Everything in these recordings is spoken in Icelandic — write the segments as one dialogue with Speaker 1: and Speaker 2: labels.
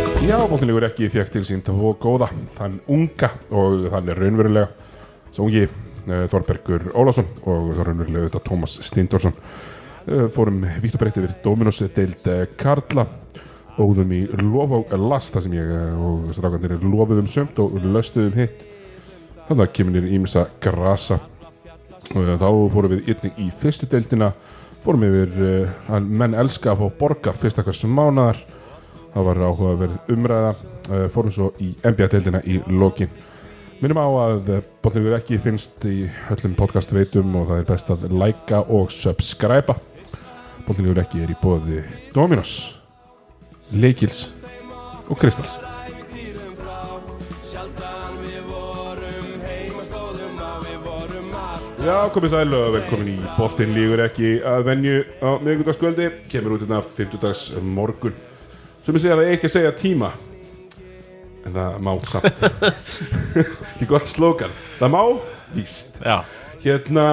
Speaker 1: fótboltinlegur ekki fekk til sín tvo góða, þann unga og þann er raunverulega svo ungi eh, Þorbergur Ólásson og raunverulega auðvitað Tómas Stindorsson Eh, fórum vitt og breytt yfir Dominos deild eh, Karla óðum í lof og last þar sem ég eh, og strákandir lofuðum sömt og löstuðum hitt þannig að kemur inn ímsa grasa og þá fórum við einnig í fyrstu deildina fórum yfir eh, að menn elska að fá borgað fyrsta hvers mánaðar það var áhugaverð umræða eh, fórum svo í NBA-deildina í lokin minnum á að Bóttlegur ekki finnst í öllum podcastveitum og það er best að læka og subscriba Bóttlegur ekki er í bóði Dominos Leikils og Kristals
Speaker 2: Ævintýrum frá Sjaldan við vorum heima Stóðum að við vorum allt
Speaker 1: Já, komið sæl og velkomin í Bóttin lígur ekki að venju á miðvikudagskvöldi kemur út hérna 50 morgun sem ég segja að það er ekki að segja tíma en það má samt ekki gott slókan það má víst
Speaker 3: Já,
Speaker 1: Hérna,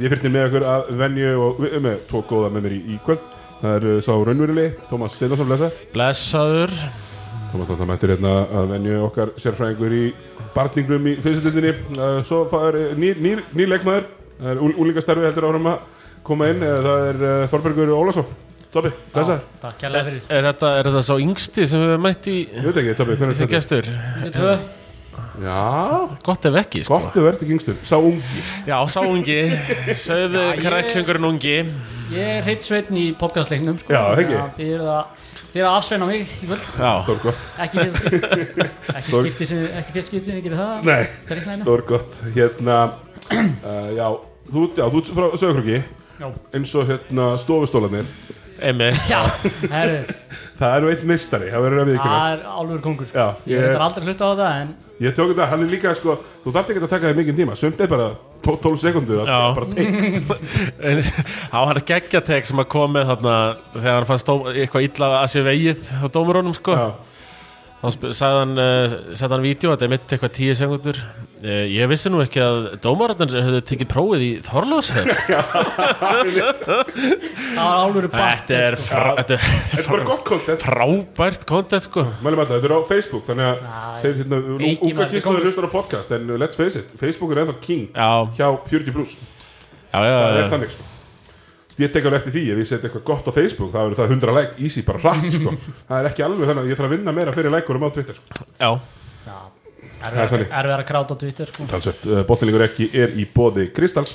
Speaker 1: ég fyrir með okkur að venju og við erum með tvo góða með mér í, í kvöld Það er uh, sá raunverulegi, Tómas Sinarsson blessa
Speaker 3: blessaður
Speaker 1: Tómas Tóta mættur hérna að venju okkar sérfræðingur í barningnum í fyrstundinni uh, Svo er nýr, nýr, nýr leikmaður, það er úl, úlingastarfi heldur áfram að koma inn uh, Það er uh, Þorbergur Ólafsson Tóbi, blessa
Speaker 4: Takk kærlega fyrir
Speaker 3: Er þetta, er þetta sá yngsti sem við mætt í
Speaker 1: Ég veit ekki, Tóbi, hvernig
Speaker 3: sem
Speaker 1: er þetta?
Speaker 3: gestur?
Speaker 4: Þið tvö
Speaker 1: Já,
Speaker 3: Gott ef ekki, sko
Speaker 1: gott að verði kingstur, sá ungi
Speaker 3: Já, sá ungi, sögðu
Speaker 4: ég-
Speaker 3: kræklingurinn ungi
Speaker 4: Ég er hreitt sveitn í podcastleiknum sko.
Speaker 1: Já, ekki.
Speaker 4: Þannig að Þið eruð að Þið eru að afsveina mig í völd
Speaker 3: Já,
Speaker 1: Stórgott,
Speaker 4: Ekki fyrst skipti Ekki
Speaker 1: Stór-
Speaker 4: skipti sem Ekki fyrst skipti sem ég gerir það
Speaker 1: nei,
Speaker 4: Hver er klæðina?
Speaker 1: stórgott Hérna, uh, já, þú, já, þú ert frá Söðurkroki
Speaker 4: Já
Speaker 1: eins og hérna stofustólanir
Speaker 3: emi
Speaker 4: Herru
Speaker 1: það er nú einn mistari, það verður að við ekki
Speaker 4: Það
Speaker 1: mest
Speaker 4: er álfur kongur sko.
Speaker 1: Já,
Speaker 4: Ég
Speaker 1: ég-
Speaker 4: er þetta aldrei að hlusta á það En
Speaker 1: ég tók þetta, hann er líka sko þú þarft ekki að taka þig mikið tíma, sumt er bara tó- 12 sekundur að
Speaker 3: Já.
Speaker 1: bara teik
Speaker 3: En Há hann geggjatek sem að kom með þarna Þegar hann fannst dó, eitthvað illa að sér vegið á dómurunum, sko
Speaker 1: Já,
Speaker 3: Þá sp- sagði hann, uh, sett hann vídeo Þetta er mitt eitthvað tíu segundur uh, Ég vissi nú ekki að dómararnir höfðu tekið prófið í Þorlósöf
Speaker 4: það var álfur
Speaker 3: Þetta
Speaker 4: bakt
Speaker 3: er, frá, þetta
Speaker 1: þetta
Speaker 3: er
Speaker 1: er bara gott content
Speaker 3: frábært kontent, sko
Speaker 1: mælum alltaf, þetta er á Facebook þannig að
Speaker 4: Já,
Speaker 1: þeir hérna,
Speaker 4: mikið
Speaker 1: unga
Speaker 4: maður,
Speaker 1: kynsluður
Speaker 4: þetta
Speaker 1: hlustar á podcast en uh, let's face it, Facebook er ennþá king
Speaker 3: Já,
Speaker 1: hjá 40 plus,
Speaker 3: já, já,
Speaker 1: það
Speaker 3: já.
Speaker 1: er þannig sko Þess, ég tek alveg eftir því, ef ég set eitthvað gott á Facebook þá eru það 100 like, easy, bara rætt sko það er ekki alveg þannig, að ég þarf að vinna meira fyrir lækurum á Twitter sko
Speaker 3: já.
Speaker 1: Það er
Speaker 4: Erfið
Speaker 1: þannig.
Speaker 4: að kráta á Twitter sko.
Speaker 1: Talsvert, uh, botnilegur ekki er í bóði Kristall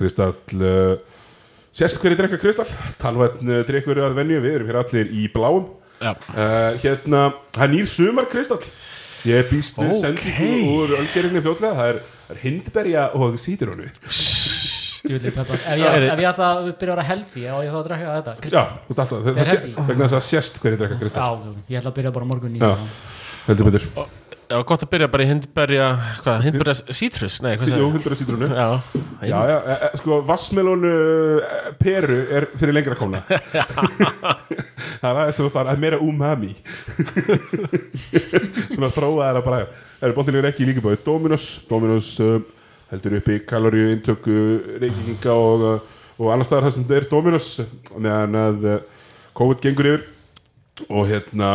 Speaker 1: Kristall uh, Sérst hverju drekka Kristall Talvætn uh, drekkur að venju, við erum hér allir í bláum
Speaker 3: já.
Speaker 1: uh, Hérna, það er nýr sumar Kristall Ég býst við
Speaker 3: Ókei.
Speaker 1: sendingu úr öngerinni fljótlega Það er, það er hindberja og sítirónu
Speaker 4: Djúvillir peppar Ef ég ef ég ætla að byrja að vera healthy Já, ég þá að drakka þetta Kristján.
Speaker 1: Já, þú ert alltaf, það,
Speaker 4: er
Speaker 1: það sé,
Speaker 4: hefði.
Speaker 1: vegna þess að sérst hverju drekka Kristall
Speaker 4: Já, ég ætla að byrja bara á morgun í
Speaker 1: Já, heldur betur
Speaker 3: Já, gott að byrja bara í hindberja hvað, hindberja sítrus? Nei, hvað
Speaker 1: Jú,
Speaker 3: segir
Speaker 1: hundra sítirónu Já,
Speaker 3: Já,
Speaker 1: já, e, e, sko, vassmelónu peru er fyrir lengra komna Það er aðeins sem þú þarf að meira umami Svona þróa þeirra bara Það eru bóttilegur ekki líka báði Dominos Dominos uh, heldur uppi kaloríu inntöku reykinga og, uh, og annars staðar það sem þetta er Dominos meðan að uh, COVID gengur yfir og hérna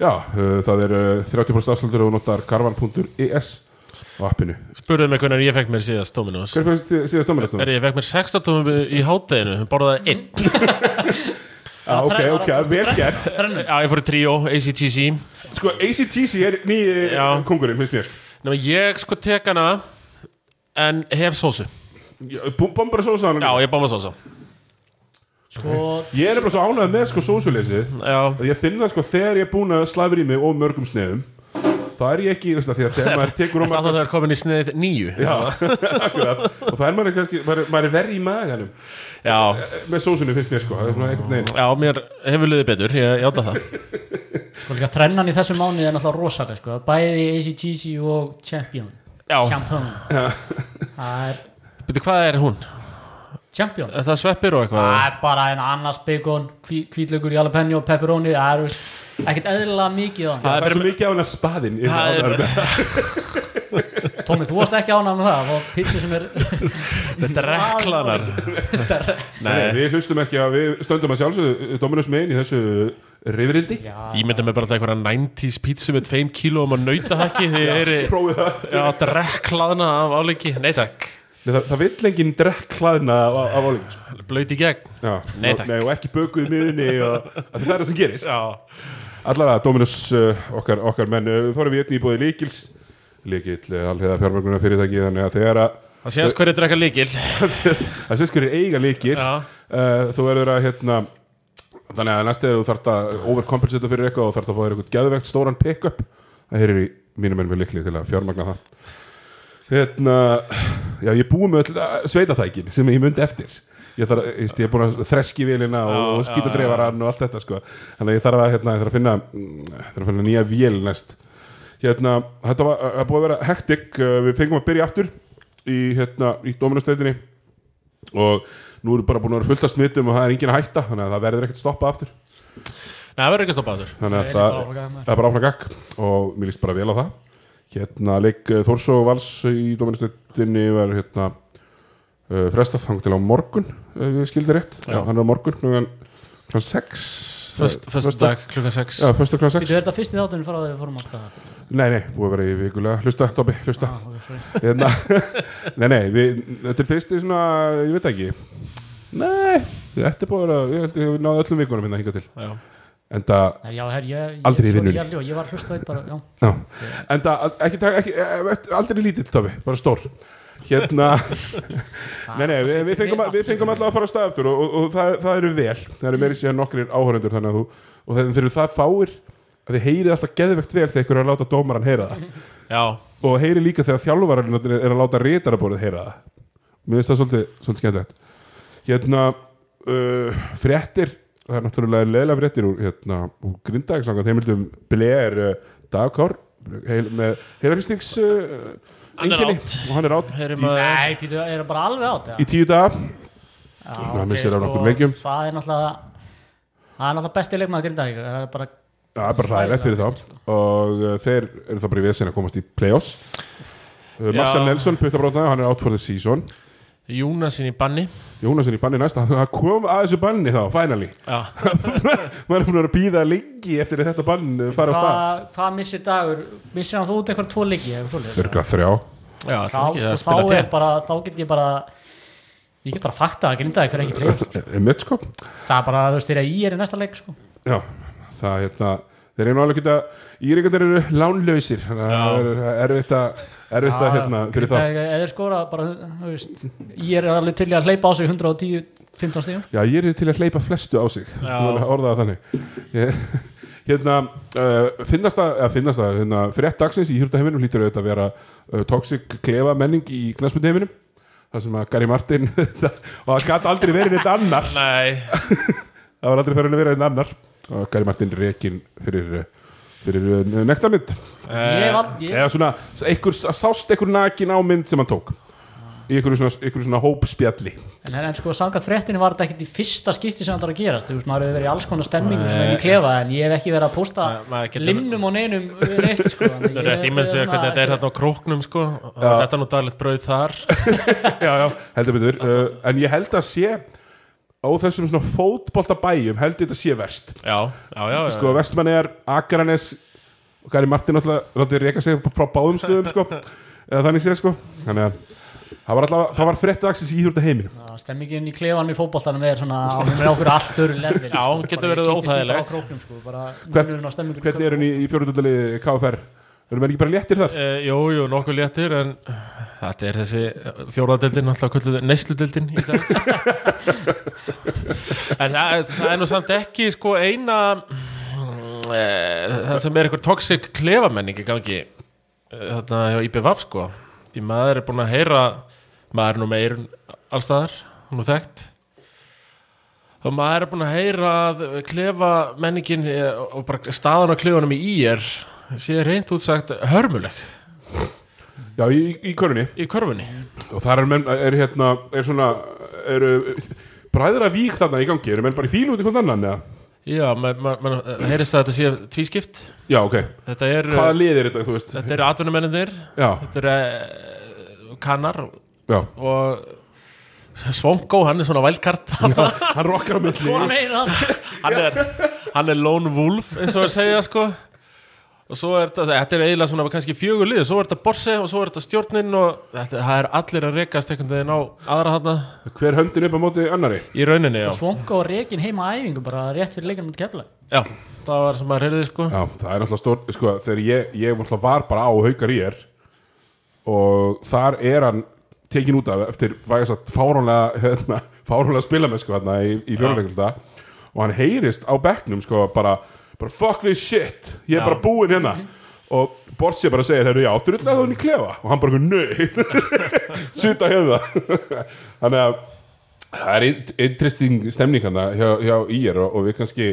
Speaker 1: já, uh, það er uh, 30% afslöndur og notar karvan.is E á appinu
Speaker 3: spurðu mig hvernig ég fekk mér síðast Dominos
Speaker 1: Hver fannst þið síðast Dominos?
Speaker 3: Er ég fekk mér 16 tómum í hátteginu borðaði einn
Speaker 1: Ah, ok, ok, vel gert
Speaker 4: Þrennu
Speaker 3: Já, ég fór í tríó, ACTC
Speaker 1: Sko, ACTC er nýji
Speaker 3: Já.
Speaker 1: kongurinn, finnst mér
Speaker 3: Nefnum ég sko tek hana en hef sósu
Speaker 1: Bombar sósa
Speaker 3: Já, ég um báma sósu
Speaker 4: Sko
Speaker 1: Ég er nefnilega svo ánægð með sko sósuleysi
Speaker 3: Já,
Speaker 1: að ég finn það sko þegar ég er búin að slæfri í mig og mörgum snefum þá er ég ekki, þú veist það, því að þegar maður tekur um
Speaker 3: það að það er komin í snið nýju
Speaker 1: Já, akkurat og það er maður kannski, maður, er- maður er verri í maganum
Speaker 3: Já,
Speaker 1: með sósunni finnst mér sko, það er svona einhvern veginn
Speaker 3: já mér hefur liðið betur, ég játa það
Speaker 4: Sko líka þrennan í þessum mánuði er náttúrulega rosalega sko. Bæði ACGC og Champion
Speaker 3: Já,
Speaker 4: Champion Það er
Speaker 3: betur hvað er hún?
Speaker 4: Champion
Speaker 3: Er Það sveppir og
Speaker 4: Það
Speaker 3: eitthvað
Speaker 4: er bara einn annars bacon hví- Hvítlaugur, jalapeno, pepperoni Það er veist, ekkert eðlilega mikið á
Speaker 3: Það
Speaker 1: Það er
Speaker 3: er fyrir
Speaker 1: svo mikið á hana spaðin ég
Speaker 3: Það
Speaker 1: er-
Speaker 3: er-
Speaker 4: hann Tómi, þú varst ekki ánað með það og pizza sem er
Speaker 3: Þetta er reklanar
Speaker 4: Þetta er-
Speaker 1: Nei, Við hlustum ekki að, við stöndum að sjálfsögðu Dominus eh, megin í þessu rifrildi
Speaker 4: Já,
Speaker 3: Ég myndi mig bara alltaf einhverja 90s pítsu með 2 kílóum að nautahakki því þeir eru
Speaker 1: prófið það
Speaker 3: að drekklaðna af áleiki Nei takk,
Speaker 1: Nei, það, það vill enginn drekk hlaðina af, af álík sko.
Speaker 3: blöyt í gegn
Speaker 1: Já.
Speaker 3: Nei,
Speaker 1: Og-
Speaker 3: takk.
Speaker 1: og ekki bökuð í miðunni og, af því það er það sem gerist
Speaker 3: Já,
Speaker 1: Allavega, Dominus, uh, okkar, okkar menn uh, þá erum við einnig í bóði líkils líkil, uh, alveg fjármörguna fyrirtæki þannig að þegar að
Speaker 3: það séast hverju drekka líkil
Speaker 1: það sést- það sést hverju eiga líkil
Speaker 3: Já.
Speaker 1: uh, þú verður að hérna þannig að næst er þú þarft að overcompensata fyrir eitthvað og þarft að fá þér eitthvað geðvegt stóran pick-up það heyrir í mínum enn við líkli til að fjármagna það hérna já ég er búið með öll eh, sveitatækin sem ég myndi eftir ég, þarf, ég, veist, ég er búin að þreski vélina og,
Speaker 3: Já,
Speaker 1: og skítadreifaran og allt þetta sko. þannig að ég þarf að, hérna, ég þarf að finna mm, þarf að finna nýja vél næst hérna, þetta var að búið að vera hektik Eh, við fengum að byrja aftur í, hérna, í Dominusteitinni og nú eru bara búin að vera fullt af smittum og það er engin að hætta þannig að það verður ekkert stoppa aftur
Speaker 3: Nei, það verður ekki að stoppa þurr
Speaker 1: þannig að
Speaker 4: Nei,
Speaker 1: það
Speaker 4: bara áfram gakk, maður.
Speaker 1: það er bara áfram gakk og mér líst bara vel á það hérna leik eh, Þórs og Vals í dominustöndinni var hérna uh, frestað þang til á morgun ef ég skildi rétt,
Speaker 3: Já.
Speaker 1: hann er á morgun klukkan klukkan 6
Speaker 3: Föstu dag klukkan 6
Speaker 1: Já, föstu klukkan 6
Speaker 4: Býtu, er þetta fyrst í þáttunum frá þegar við fórum á stað?
Speaker 1: Nei, nei, búið að vera í vikulega Hlusta, Dobby, hlusta
Speaker 4: Ah, ok, sorry.
Speaker 1: hérna, Nei, nei, við, þetta er fyrst í svona Ég veit ekki Nei, þetta er búið að vera Ég held ég hafi náð öllum vikunum hérna hingað til
Speaker 3: Já.
Speaker 1: Enda
Speaker 4: Nei, Já, her, ég, ég,
Speaker 1: Aldrei í
Speaker 4: sorry,
Speaker 1: vinnunni.
Speaker 4: ég, ljó, ég var hlust veit bara, já
Speaker 1: Já, en það, ekki, taka- ekki, ekki, aldrei lítill Tobi, bara stór Hérna, nei,
Speaker 4: Ah,
Speaker 1: nei, við, við fengum, við fengum alltaf að fara að staða eftir og, og, og það, það eru vel, það eru meiri síðan nokkrir áhörendur þannig að þú, og þegar þeir eru það fáir að þið heyrið alltaf geðvegt vel þegar ykkur er að láta dómaran heyra það
Speaker 3: Já,
Speaker 1: og heyrið líka þegar þjálfarinn er er að láta reytarabórið heyra það Mér finnst það svolítið, svolítið skemmtilegt Hérna, uh, fréttir það er náttúrulega leila fréttir úr, hérna, úr grindagsangan heimildum Blair uh, Dagkár heil, með heilafrýstings uh,
Speaker 3: Hann er
Speaker 1: einkenni
Speaker 3: out.
Speaker 1: og hann er átt
Speaker 3: heyrum
Speaker 1: í,
Speaker 3: að
Speaker 4: Nei, býtu, er það bara alveg átt?
Speaker 1: í tíu daga
Speaker 4: Já,
Speaker 1: hann
Speaker 4: ok,
Speaker 1: missir af
Speaker 4: sko,
Speaker 1: nokkrum leikjum.
Speaker 4: Það er náttúrulega Það er náttúrulega besti leikmaður Grindavík Það er bara
Speaker 1: það er bara hræðilegt fyrir þá og uh, þeir eru það bara í vesin að komast í play-offs uh, Marcel
Speaker 3: Já.
Speaker 1: Nelson puttabrótnaði, hann er out for the season
Speaker 3: Júnasin í banni
Speaker 1: Jónasson í banni næsta, hann kom að þessu banni þá, finally
Speaker 3: Já,
Speaker 1: maður er búin að vera að býða lengi eftir að þetta bann uh, fara á stað
Speaker 4: Hvað hva missir dagur? Missir hann þú út einhver tvo leiki? eða eitthvað svoleiðis?
Speaker 1: Örgla þrjá
Speaker 3: já
Speaker 4: Þá,
Speaker 3: það er að
Speaker 4: sko, þá,
Speaker 3: spila
Speaker 4: er
Speaker 3: þétt
Speaker 4: bara, þá get ég bara Ég get bara fakta að Grindavík fyrir ekki play-offs
Speaker 1: Mitt sko
Speaker 4: Það er bara, þú veist, þegar ég er í næsta leik sko.
Speaker 1: Já, það er hérna Þeir eru nú alveg geta Íringarnir eru lánlausir Þannig að það er erfitt að Erfitt að hérna fyrir þá
Speaker 4: Grindavík, ef þeir skora bara, þú veist Ég er alveg til í að hleypa á sig 110 15 stíðum
Speaker 1: Já, ég er til að hleypa flestu á sig Þú verður að orða það þannig Ég- Hérna, uh, finnast það, eða finnast það hérna, frétt dagsins í hýrtaheiminum lítur auðvitað að vera uh, toxic klefa menning í knæspundaheiminum þar sem að Gary Martin þetta- og það gæti aldrei verið þetta annar
Speaker 3: Nei,
Speaker 1: það var aldrei fyrir að vera einn annar og Gary Martin rekin fyrir fyrir eh, nektarmynd
Speaker 3: Eh,
Speaker 4: Ég hef aldrei-
Speaker 1: eða svona, einhver, sást einhver nakin á mynd sem hann tók í einhverju svona, einhverju svona hópspjalli
Speaker 4: En, en sko, samkvæmt fréttinu var þetta ekkert í fyrsta skipti sem þetta var að gerast, þú veist, maður hefur verið í alls konar stemmingu svona inn í klefa, en ég hef ekki verið að posta
Speaker 3: Ma- maður getur-
Speaker 4: linnum og neinum neitt, sko. þannig
Speaker 3: það
Speaker 4: ég
Speaker 3: er rétt
Speaker 4: veit
Speaker 3: ímynd sig
Speaker 4: um
Speaker 3: hvernig
Speaker 4: að-
Speaker 3: þetta er þetta á króknum sko Þetta er nú daglegt brauð þar
Speaker 1: já, já, heldur betur uh, en ég held að sé á þessum svona fótboltabæjum held ég þetta sé verst
Speaker 3: Já, já, já, já.
Speaker 1: sko, vestmanniðar, Akranes og Gary Martin alltaf látið reyka sig frá báðum stöðum, sko eða þannig sé, sko þannig að það var alltaf, það var frétt dagsins í Íþjórtaheiminum
Speaker 4: Já, Stemmingin í klefanum í fótboltanum er svona, hún er okkur allt öru lefnil.
Speaker 3: Já, hún getur verið óþægileg.
Speaker 4: Bara kynntist því bara á króknum, sko, bara
Speaker 1: Hvern-
Speaker 4: munurinn á stemmingu.
Speaker 1: Hvernig er hún í, í fjórundundalið KFR? Erum við ekki bara léttir þar?
Speaker 3: Eh, Jú, jú, nokkuð léttir en eh, þetta er þessi eh, fjóraðdeldin alltaf kvölduð neysludeldin í dag En það, það er nú samt ekki sko eina mm, eh, það sem er einhver toxic klefamenning í gangi eh, þarna hjá IBVF sko því maður er búin að heyra maður er nú meirun allstaðar hún er þekkt og maður er búin að heyra að klefa menningin og bara staðan á klefunum í IR sé reynd útsagt hörmuleg
Speaker 1: Já, í, í körunni
Speaker 3: í körfunni
Speaker 1: Og þar er, menn, er hérna, er svona eru bræðra vík þarna í gangi Eru menn bara í fílu út í hvern annan? Eða?
Speaker 3: Já, maður ma ma heyrist að þetta sé tvískipt
Speaker 1: Já, ok
Speaker 3: Þetta er,
Speaker 1: Hvaða lið er þetta, þú veist?
Speaker 3: þetta er atvinnumennir
Speaker 1: Já,
Speaker 3: Þetta er uh, kannar
Speaker 1: já,
Speaker 3: eh, og Svonko, hann er svona vælkart hann,
Speaker 1: hann rokkar á milli
Speaker 4: Hvað meina það?
Speaker 3: er, hann er lone wolf eins og er segja sko og svo er þetta, þetta er eiginlega svona kannski fjögur lið, svo er þetta Borse og svo er þetta stjórnin og þetta, það er allir að rekast einhvern veginn á aðra þarna
Speaker 1: hver höndin upp á móti annari
Speaker 3: í rauninni, já,
Speaker 4: Svonka og Rekin heima á æfingu bara rétt fyrir leikunum út kefla
Speaker 3: já það var sem maður heyrði sko
Speaker 1: Já, það er náttúrulega stór, sko, þegar ég, ég náttúrulega var bara á haukar í er og þar er hann tekin út af eftir vægast að fáránlega, hérna, fáránlega spila með, sko, hérna, í, í fjóruleikulta og hann heyrist á bekknum, sko, bara, bara fuck this shit, ég er bara búinn hérna og Borsi bara segir, herru, já, drullega þá hann í klefa og hann bara, nö, sýta hérna þannig að það er int- interesting stemning hann hjá, hjá IR og, og við kannski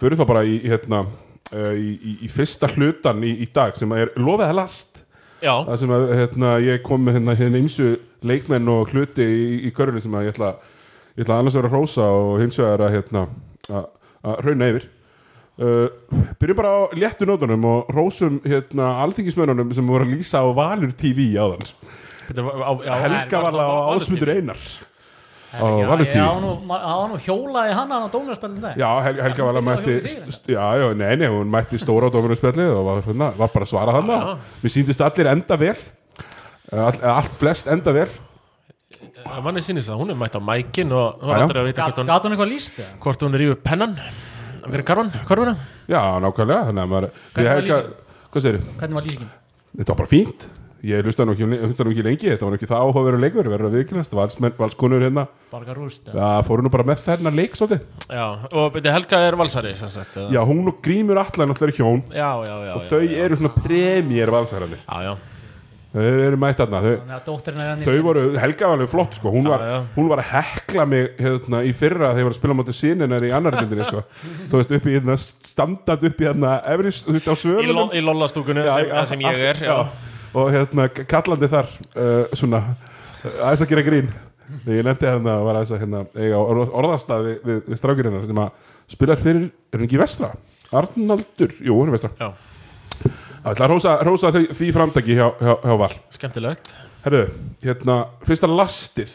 Speaker 1: förum þá bara í, hérna, uh, í, í, í fyrsta hlutan í, í dag sem er lofið að last
Speaker 3: já,
Speaker 1: það sem að hérna, ég kom með hérna, hérna eins leikmenn og hluti í, í körunni sem að ég ætla, ég ætla annars að vera að hrósa og hins vegar að, hérna, að, að rauna yfir uh, byrjum bara á léttu nótunum og hrósum hérna, alþingismennunum sem voru að lýsa á Valur TV áðan
Speaker 3: þetta var- á, já
Speaker 1: Helga
Speaker 4: var
Speaker 1: var
Speaker 4: það
Speaker 1: á
Speaker 3: Valur
Speaker 1: Ásmundur
Speaker 3: TV?
Speaker 1: Einar á Valur
Speaker 4: Já,
Speaker 1: TV
Speaker 4: nú, ma- það var nú hjólaði hann hann á dómarspælum dag
Speaker 1: Já, Hel Helga Vala
Speaker 4: hún
Speaker 1: mætti
Speaker 4: byrjaði hjá þig,
Speaker 1: st- já, já, nei, nei, hún mætti stóra á dómarspjallið og var, hérna, var bara að svara hann Mér síndist allir enda vel Eh, all, Allt flest enda vel
Speaker 3: Já, manni sýnist það, hún er mætt á mækin og hún
Speaker 1: Já,
Speaker 3: var
Speaker 1: já.
Speaker 3: aldrei að vita
Speaker 4: Gat
Speaker 3: hvort hún,
Speaker 4: gat hún eitthvað líst það?
Speaker 3: hvort hún rífur pennan fyrir karvan, karvuna
Speaker 1: Já, nákvæmlega Þannig að maður
Speaker 4: Hvernig
Speaker 1: Ég
Speaker 4: var
Speaker 1: Helga, Hvað segir
Speaker 4: Hvernig var lýsingin?
Speaker 1: Þetta var bara fínt Ég hlusta nú ekki, hlusta nú ekki lengi Þetta var nú ekki það áhugaveru leikur Verður að viðkynast Valsmenn, valskonur hérna
Speaker 4: Bara rúst eða?
Speaker 1: Það fóru nú bara með þennan leik svolítið
Speaker 3: Já, og byrja Helga er valsari sem sagt eða-
Speaker 1: Já, hún og Grímur Atlan alltaf er hjón
Speaker 3: já, já, já, já,
Speaker 1: Þau eru svona premjér valsararnir
Speaker 3: já, já.
Speaker 1: Þau eru mætt þarna Þau,
Speaker 4: Þannig að dóttirinn er hann
Speaker 1: þau voru, Helga var alveg flott sko. hún, var,
Speaker 3: já.
Speaker 1: hún var að hekla mig hérna, í fyrra þegar ég var að spila mátu síninar í annar dildinni sko. þú veist upp í hérna, standart upp í hérna, efrist, þú veist á
Speaker 3: Í, lo,
Speaker 1: svölunum
Speaker 3: í lollastúkunni
Speaker 1: Já,
Speaker 3: sem,
Speaker 1: já,
Speaker 3: sem ég er já.
Speaker 1: já. og hérna k- kallandi þar uh, svona uh, aðeins að gera grín þegar ég lendi hérna og var aðeins að hérna, eiga orð- orðastað við, við, við strákirinnar sem að spilar fyrir, er hann ekki í vestra? Arnaldur, jú, hún er vestra
Speaker 3: Já.
Speaker 1: Það ætla að rósa, rósa því, því framtaki hjá, hjá, hjá Val
Speaker 3: skemmtilegt
Speaker 1: Herðu, hérna, fyrsta lastið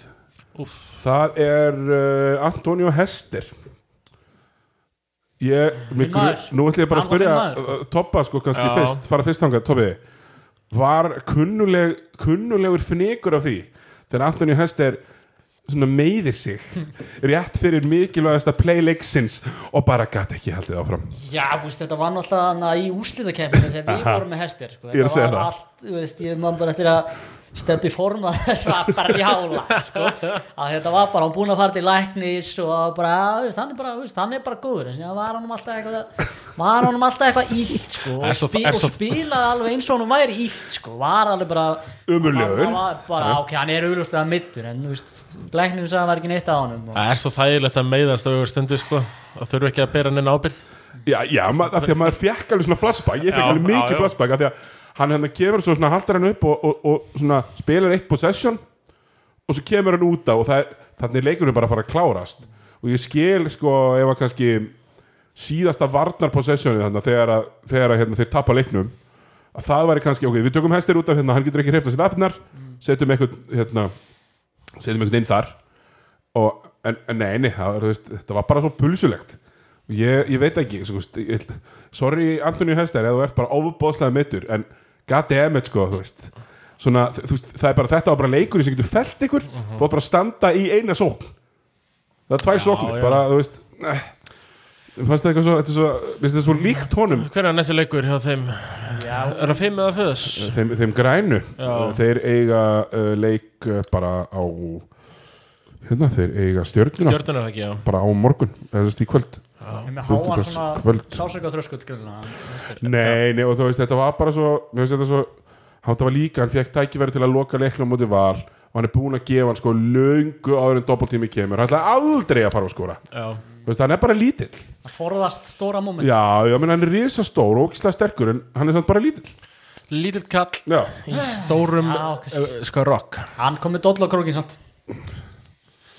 Speaker 3: Úff.
Speaker 1: Það er uh, Antonio Hester Ég, mig
Speaker 4: maður.
Speaker 1: gru- nú ætla ég bara að
Speaker 4: Hann var
Speaker 1: spyrja
Speaker 4: minn maður, sko.
Speaker 1: uh, Toppa, sko, kannski
Speaker 3: Já.
Speaker 1: fyrst, fara fyrst þangað Toppi, var kunnuleg, kunnulegur fnikur af því þegar Antonio Hester svona meiðir sig rétt fyrir mikilvægasta playleiksins og bara gat ekki haldið áfram
Speaker 4: Já, þú veist, þetta var náttúrulega hana í úrslítakefninu þegar við vorum með hestir sko.
Speaker 1: Ég er að segja
Speaker 4: Þetta var
Speaker 1: það.
Speaker 4: allt, þú veist, ég man bara eftir að steppi forma bara í hála sko. að þetta var bara, hann búin að fara til læknis og bara, þú veist, hann er bara, þú veist, hann er bara góður en síðan var hann alltaf eitthvað var hann alltaf eitthvað illt sko,
Speaker 3: Er
Speaker 4: og,
Speaker 3: svo-
Speaker 4: spi
Speaker 3: er svo-
Speaker 4: og spilaði alveg eins og hann væri illt sko, var alveg bara
Speaker 1: Ömurlegur.
Speaker 4: hann var bara, ok, hann er augljóslega mittur en þú veist, læknirinn sagði að hann var ekki neitt á honum og,
Speaker 3: það er svo þægilegt að meiðast á yfir stundu sko það þurfi ekki að bera henni ábyrð
Speaker 1: Já, já, ma- af því að maður fekk alveg svona flashback Ég fekk
Speaker 3: Já,
Speaker 1: alveg
Speaker 3: já,
Speaker 1: mikið
Speaker 3: já.
Speaker 1: flashback af því að hann hérna kemur svo svona haldar hann upp og, og, og svona spilar eitt possession og svo kemur hann út á og það, er- þannig er leikurinn bara að fara að klárast og ég skil sko ef að kannski síðasta varnar possessioni þannig þegar, að, þegar að, hérna, þeir tapa leiknum að það væri kannski, ok, við tökum hestir út af hérna, hann getur ekki hrefta sér afnar setjum einhvern, hérna setjum einhvern inn þar og, en, en nei, nei, það, var, þú veist, þetta var bara svo pulsulegt ég, ég veit ekki svo, veist, ég, sorry Antoni Hester eða þú ert bara ofbóðslega mittur en goddammit sko, þú veist svona, þ- þú veist, það er bara þetta var bara leikurinn sem getur felt ykkur þú -hmm. bara að standa í eina sókn það er tvær sóknir,
Speaker 3: já.
Speaker 1: bara, þú veist eh, fannst það eitthvað svo, þetta er svo, mér finnst þetta svo líkt honum
Speaker 3: hver er næstu leikur hjá þeim er það fimm eða föðs
Speaker 1: þeim, þeim grænu
Speaker 3: Já.
Speaker 1: þeir eiga uh, leik uh, bara á hérna, þeir eiga stjörnuna
Speaker 3: stjórnir er það ekki já
Speaker 1: bara á morgun, þessast í kvöld
Speaker 4: með háan svona
Speaker 1: Fimmtudagskvöld.
Speaker 4: sásöka þröskut grunna
Speaker 1: nei, nei, og þú veist, þetta var bara svo mér finnst þetta svo, hann þetta var líka hann fekk tækifæri til að loka leiknum mútið val og hann er búin að gefa hann sko löngu áður en doppeltími kemur, hann ætlaði aldrei að fara að skora
Speaker 3: já,
Speaker 1: þú veist, hann er bara lítill já,
Speaker 4: að forðast stóra moment
Speaker 1: já, menn hann er risastór og ógislega sterkur en hann er samt bara lítill
Speaker 3: lítill kall
Speaker 1: já,
Speaker 3: í stórum
Speaker 4: Já, ok.
Speaker 3: eh, sko rock
Speaker 4: hann kom með doll á krókin samt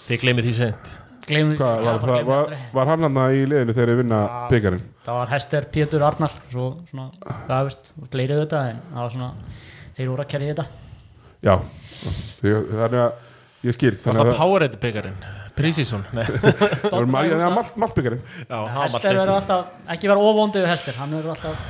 Speaker 3: þið gleymið því sent
Speaker 4: Gleymum,
Speaker 1: Hvað, var, það, var, var hann hann í liðinu þegar við vinna byggarinn
Speaker 4: það var Hester, Pétur, Arnar svo svona, hvað veist, fleiri auðvitað en það var svona, þeir voru að kerja í þetta
Speaker 1: Já, því, þannig að ég skil
Speaker 3: Það
Speaker 1: þannig
Speaker 3: er
Speaker 1: að það
Speaker 3: Powerade byggarinn Prísísson
Speaker 1: það var maður eða maltbyggarinn
Speaker 4: Hester verður
Speaker 3: Annars
Speaker 4: alltaf ekki verður ofondið við Hester, hann verður alltaf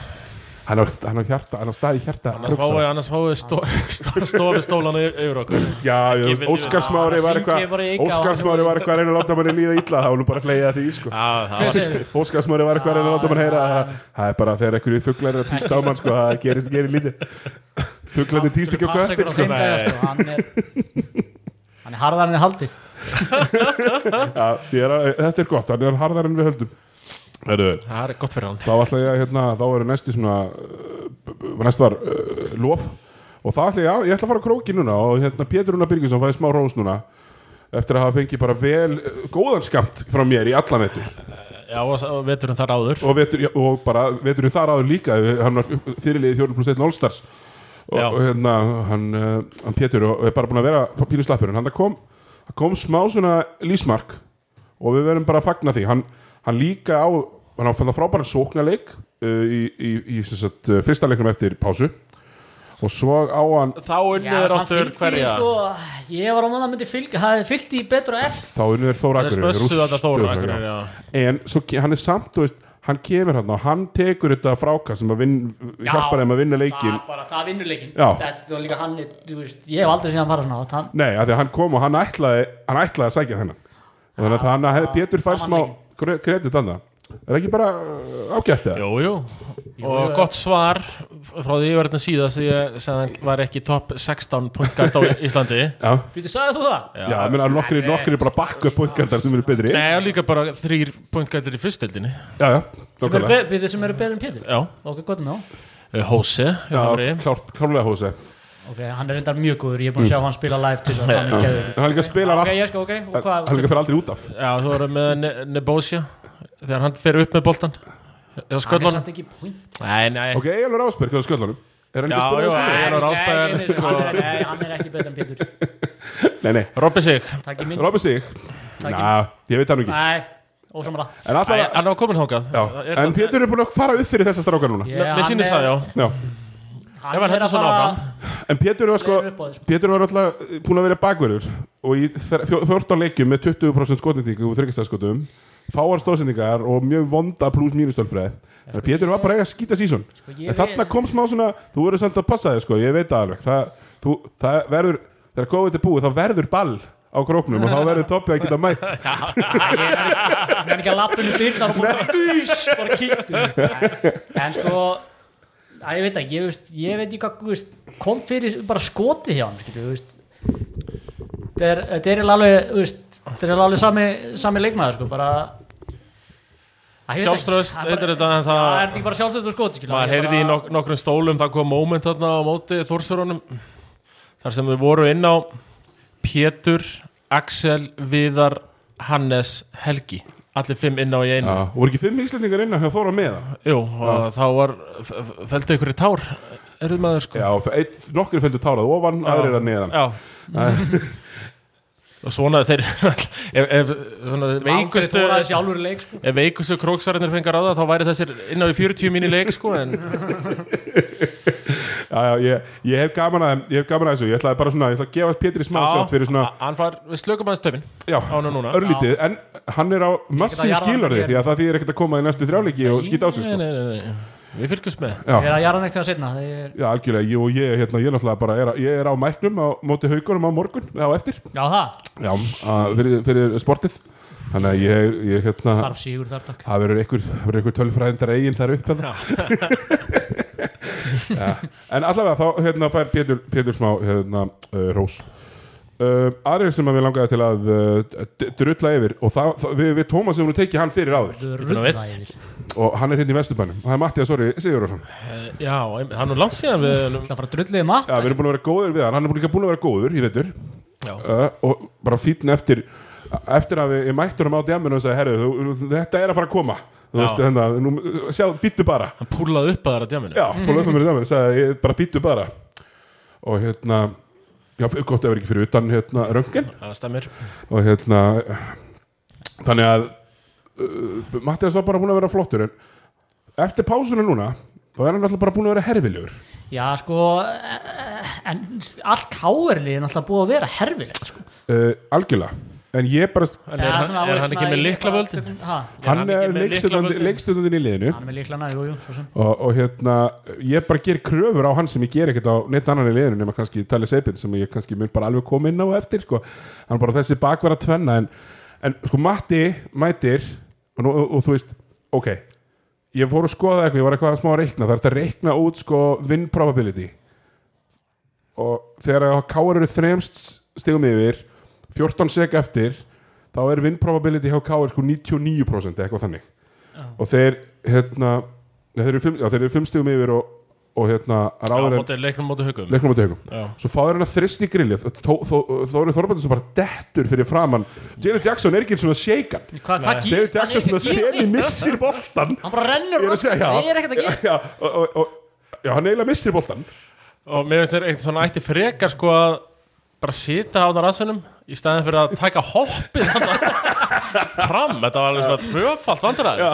Speaker 1: hann á- hann á hjarta, hann á staði hjarta
Speaker 3: fáið
Speaker 1: kruksa.
Speaker 3: annars fáið stó- stó- stofi stólan yfir okkur
Speaker 1: Já, já,
Speaker 3: Ekki
Speaker 1: Óskarsmári
Speaker 4: vilja-
Speaker 1: var
Speaker 4: Hringi
Speaker 1: eitthvað
Speaker 4: bara í Ika
Speaker 1: Óskarsmári
Speaker 4: og-
Speaker 1: var eitthvað að reyna að láta manni líða illa þá var nú bara að hleyja því
Speaker 4: Ah.
Speaker 1: sko.
Speaker 3: Já, það
Speaker 4: Hver
Speaker 3: var
Speaker 4: segir?
Speaker 1: Óskarsmári var eitthvað að reyna að láta manni heyra
Speaker 4: Ah.
Speaker 1: að það er bara þegar einhverju fuglar er að týsta á mann sko, það gerist gerir lítið fuglarnir týst ekki á
Speaker 4: Passa
Speaker 1: köttin sko.
Speaker 4: ykkur á þeim gæja,
Speaker 3: Nei.
Speaker 4: sko, hann er hann er harðar en er haldið
Speaker 1: Já, ég er að- þetta er gott, hann er harðar en við höldum Heru,
Speaker 3: Það er gott fyrir hann
Speaker 1: þá ætla ég að hérna, þá eru næsti svona uh, b- b- næst var uh, lof og það ætla ég að, ég ætla að fara á króki núna og hérna Pétur Rúna Birgisson fæði smá rós núna eftir að hafa fengið bara vel uh, góðan skamt frá mér í allan vetur
Speaker 3: Já, og og veturinn þar áður
Speaker 1: og, vetur, já, og bara veturinn þar áður líka hann var fyrirliðið 4 plus 1 Allstars og,
Speaker 3: Já.
Speaker 1: og hérna hann, uh, hann Pétur og er bara búin að vera pínu slappur en hann það kom, það kom smá svona lísmark og við verum bara að fagna því hann, hann líka á, hann á fann það frábæran sóknarleik uh, í, í, í, í sagt, uh, fyrsta leiknum eftir pásu og svo á hann
Speaker 3: Þá unnur áttur hverja
Speaker 4: sko, ég var á mann að myndi fylgja það fylgti í betra F
Speaker 1: þá unnið er Þóra
Speaker 3: Það er
Speaker 1: Akureyri
Speaker 3: spössuð
Speaker 1: rúst-
Speaker 3: þetta Þór
Speaker 1: Þór já.
Speaker 3: Akureyri já.
Speaker 1: en svo, ke- hann er samt þú veist, hann kemur hann og hann tekur þetta frákast sem að vin,
Speaker 4: Já,
Speaker 1: hjálpar þeim að vinna leikin
Speaker 4: það, bara, það vinnur leikin
Speaker 1: Já.
Speaker 4: þetta var líka hann er, þú veist, ég hef aldrei séð hann fara svona hátt, hann,
Speaker 1: Nei, af því að hann kom og hann ætlaði, hann ætlaði að sækja þennan og þannig að hann hefði Pétur fær
Speaker 4: það
Speaker 1: smá
Speaker 4: var
Speaker 1: kre- kredit þannig er ekki bara uh, ágætt það?
Speaker 3: Jú, jú Og
Speaker 4: jú.
Speaker 3: gott svar frá því ég var hérna síðast því ég sagði hann var ekki top 16 punktgætt á Íslandi
Speaker 1: Já,
Speaker 4: býttu, sagði þú það?
Speaker 1: já, ég meina nokkri, nokkri bara bakku upp búingarðar sem eru betri
Speaker 3: Nei, og líka bara þrýr punktgættir í fyrstildinni
Speaker 1: Já, já,
Speaker 4: Sem eru
Speaker 1: nokkvæmlega
Speaker 4: be- býttu sem eru betur en Pétur
Speaker 3: Já,
Speaker 4: ok, gott með þá
Speaker 3: Hóse
Speaker 1: Já, klárt, klárlega hósi En
Speaker 4: ok, hann er reyndar mjög góður, ég er búin að sjá hann spila live til þess að hann er geður
Speaker 1: hann líka Mm. spilar
Speaker 4: ok,
Speaker 1: allt,
Speaker 4: ég sko, ok, og hvað
Speaker 1: hann líka fyrir aldrei út af
Speaker 3: Já, þú erum með ne Nebosja Þegar hann fer upp með boltan Já,
Speaker 4: hann er
Speaker 3: sköllunum
Speaker 4: samt ekki point
Speaker 3: Nei, nei
Speaker 1: Ok, Egilur Ásberg, hvað er sköllunum? Er hann
Speaker 3: Já,
Speaker 1: ekki að
Speaker 3: já,
Speaker 1: spila
Speaker 3: já.
Speaker 1: þessu?
Speaker 3: Hann er Ásbæjar.
Speaker 4: Nei, nei, nei, nei, nei, hann er ekki betur en Pétur
Speaker 1: Nei, nei,
Speaker 3: Robby sig
Speaker 4: takk í minn,
Speaker 1: Robby sig
Speaker 4: Takk.
Speaker 1: Ná, ég veit hann ekki
Speaker 4: nei, ósamlega
Speaker 1: En
Speaker 3: Æ,
Speaker 1: allavega,
Speaker 3: Hann var komin þangað
Speaker 1: já, en Pétur er búin að fara upp fyrir þessa strákar núna
Speaker 4: Ég-
Speaker 3: Mér
Speaker 4: hann
Speaker 3: sýnist
Speaker 4: er-
Speaker 3: það, já
Speaker 1: Já,
Speaker 4: hann
Speaker 3: Ef hann
Speaker 4: er
Speaker 3: heldur
Speaker 4: að
Speaker 3: svona
Speaker 4: fara-
Speaker 3: áfram
Speaker 1: en Pétur var sko
Speaker 4: Leifur upp á því, sko.
Speaker 1: Pétur var alltaf búin að vera bakverður og í þre- fjó- 14 leikjum með 20% skotendingu og þryggastæðskotum fáar stóðsendingar og mjög vonda pluss mínustölfræði en Pétur var bara eiga að skýta sísón
Speaker 4: Sko, ég
Speaker 1: en þarna
Speaker 4: veit-
Speaker 1: kom smá svona þú verður samt að passa þig sko, ég veit það alveg það, þú, það verður, þegar COVID er búið þá verður ball á króknum og þá verður toppið að geta mætt
Speaker 4: Ég er ekki að lappinu dyrnar og bara dýs, bara kíktu En sko að ég veit ekki, ég veist, ég veit ekki hvað veist, kom fyrir bara skotið hjá hann skilur, veist þetta er- þetta er eiginlega alveg veist, þetta er eiginlega alveg sami, sami leikmaður sko, bara Æ, ég veit ekki.
Speaker 3: Sjálfstraust,
Speaker 4: Það er
Speaker 3: heitir
Speaker 4: bara-
Speaker 3: þetta en
Speaker 4: Já, er
Speaker 3: það
Speaker 4: þetta ekki bara sjálfstöð og skoti skilur,
Speaker 3: maður
Speaker 4: Ég
Speaker 3: heyrði í
Speaker 4: bara-
Speaker 3: nok nokkrum stólum það kom moment þarna á móti Þórsörunum þar sem við voru inn á Pétur, Axel, Viðar, Hannes, Helgi allir fimm inn á í einu
Speaker 1: Já, voru ekki fimm íslendingar inn að hafa þóra með það
Speaker 3: Jú, og þá var fældi ykkur í tár erðu maður sko
Speaker 1: já, eitt, nokkri fældu tárað ofan, aðrir að neðan
Speaker 3: Já og svona þeir ef, ef svona
Speaker 4: aldrei
Speaker 3: veikustu
Speaker 4: þóraði þessi alvöru leik sko.
Speaker 3: ef veikustu króksarinnir fengar á það þá væri þessir inn á í 40 mínu leik sko en
Speaker 1: Já, já, ég, ég hef gaman að, ég hef gaman að þessu Ég ætlaði bara svona, ég ætla að gefa Pétri smá sjátt fyrir svona
Speaker 3: a- hann var við slökum aðeins töfin
Speaker 1: Já,
Speaker 3: honum núna.
Speaker 1: örlítið En hann er á massíf
Speaker 4: jarða hann
Speaker 1: skilurði
Speaker 4: hér.
Speaker 1: Því að það þýðir ekkert að koma í næstu þrjáleiki og skýta á sig
Speaker 3: nei,
Speaker 1: sko.
Speaker 3: nei, nei, nei. Við fylgjumst með
Speaker 4: Ég er
Speaker 1: Já,
Speaker 4: að jara neitt til að setna er,
Speaker 1: já, algjörlega, ég og ég, hérna, ég náttúrulega bara er, að- ég er á mæknum á móti haugunum á morgun á eftir,
Speaker 4: Já það,
Speaker 1: já, að, fyrir, fyrir sportið Þannig að ég, ég hérna
Speaker 4: þarf sígur þar takk
Speaker 1: Það verður einhver, það verður einhver tölfræðindar eigin þar upp eða Já. En allavega þá hérna fær Pétur, Pétur smá hérna, uh, rós uh, Aðrir sem að við langaði til að uh, d- drulla yfir og það, það, við, við Tómas hefur nú tekið hann fyrir áður
Speaker 4: Rullæðir
Speaker 1: og hann er hérna í Vesturbænum og það er Mattias Orri Sigurðarsson Já,
Speaker 3: Já, einmitt, það er nú langt síðan við erum
Speaker 4: Það fara að drulliði matta
Speaker 1: við erum búin að vera góður við hann hann er líka búin að vera góður í veitur
Speaker 3: Já.
Speaker 1: uh, og bara fýtn eftir eftir að við, ég mættur hann á djaminu og sagði, herru, þú- þú- þetta er að fara að koma þú
Speaker 3: Já.
Speaker 1: veist, hérna, nú, sjá, býttu bara
Speaker 3: Hann púlaði upp að þeirra djáminu
Speaker 1: Já, fór löpum mér saman, sagði ég bara býtu bara og hérna já, gott ef er ekki fyrir utan hérna röngin
Speaker 3: Það stemmir
Speaker 1: og hérna þannig að uh, Mattias var bara búin að vera flottur en eftir pásuna núna þá er hann alltaf bara búin að vera herfilegur
Speaker 4: Já, sko, eh, en allt káerlið er náttúrulega búið að vera herfilegt sko.
Speaker 1: uh, algjörlega en ég bara,
Speaker 3: En er, hann, er hann ekki með likla völdin?
Speaker 4: hann
Speaker 1: hann
Speaker 3: ekki
Speaker 1: er
Speaker 3: með lyklavöldin?
Speaker 1: leikstundin í liðinu
Speaker 4: er með líkla næ, jú, jú, svo sem
Speaker 1: og, og hérna, ég bara ger kröfur á hann sem ég ger ekkert á neitt annan í liðinu nema kannski Tali Seipin sem ég kannski mun bara alveg koma inn á eftir sko. hann er bara þessi bakverða tvenna en, en sko Matti mætir og, nú- og, og þú veist, ok ég fór að skoða eitthvað, ég var eitthvað smá að reikna það er þetta að reikna út sko win probability og þegar Káar eru þremst stigum yfir 14 sek eftir þá er win probability hjá Káar sko 99% eða eitthvað þannig og þeir hérna já, þeir eru fimm, já, þeir eru fimm stigum yfir og, og hérna
Speaker 3: Já,
Speaker 1: ráður en
Speaker 3: móti, leiknum móti hugum
Speaker 1: leiknum á tegum
Speaker 3: Já.
Speaker 1: svo fáður hann að þrist í grillið Þóri Þorbjörn sem bara dettur fyrir framann Janet Jackson er ekki eins og að shake hann
Speaker 4: Hva, hvað gí-
Speaker 1: David Jackson
Speaker 4: hann
Speaker 1: svona
Speaker 4: er- gí-
Speaker 1: semi missir boltan
Speaker 4: hann bara rennur
Speaker 1: Ég er að segja, já.
Speaker 4: það er ekkert að gera
Speaker 1: já, og, og, og, já, hann eiginlega missir boltan
Speaker 3: Og mér finnst þér eitthvað svona ætti frekar sko að bara sita á það rassunum í staðin fyrir að taka hoppið þarna fram, þetta var alveg svona tvöfalt vandræði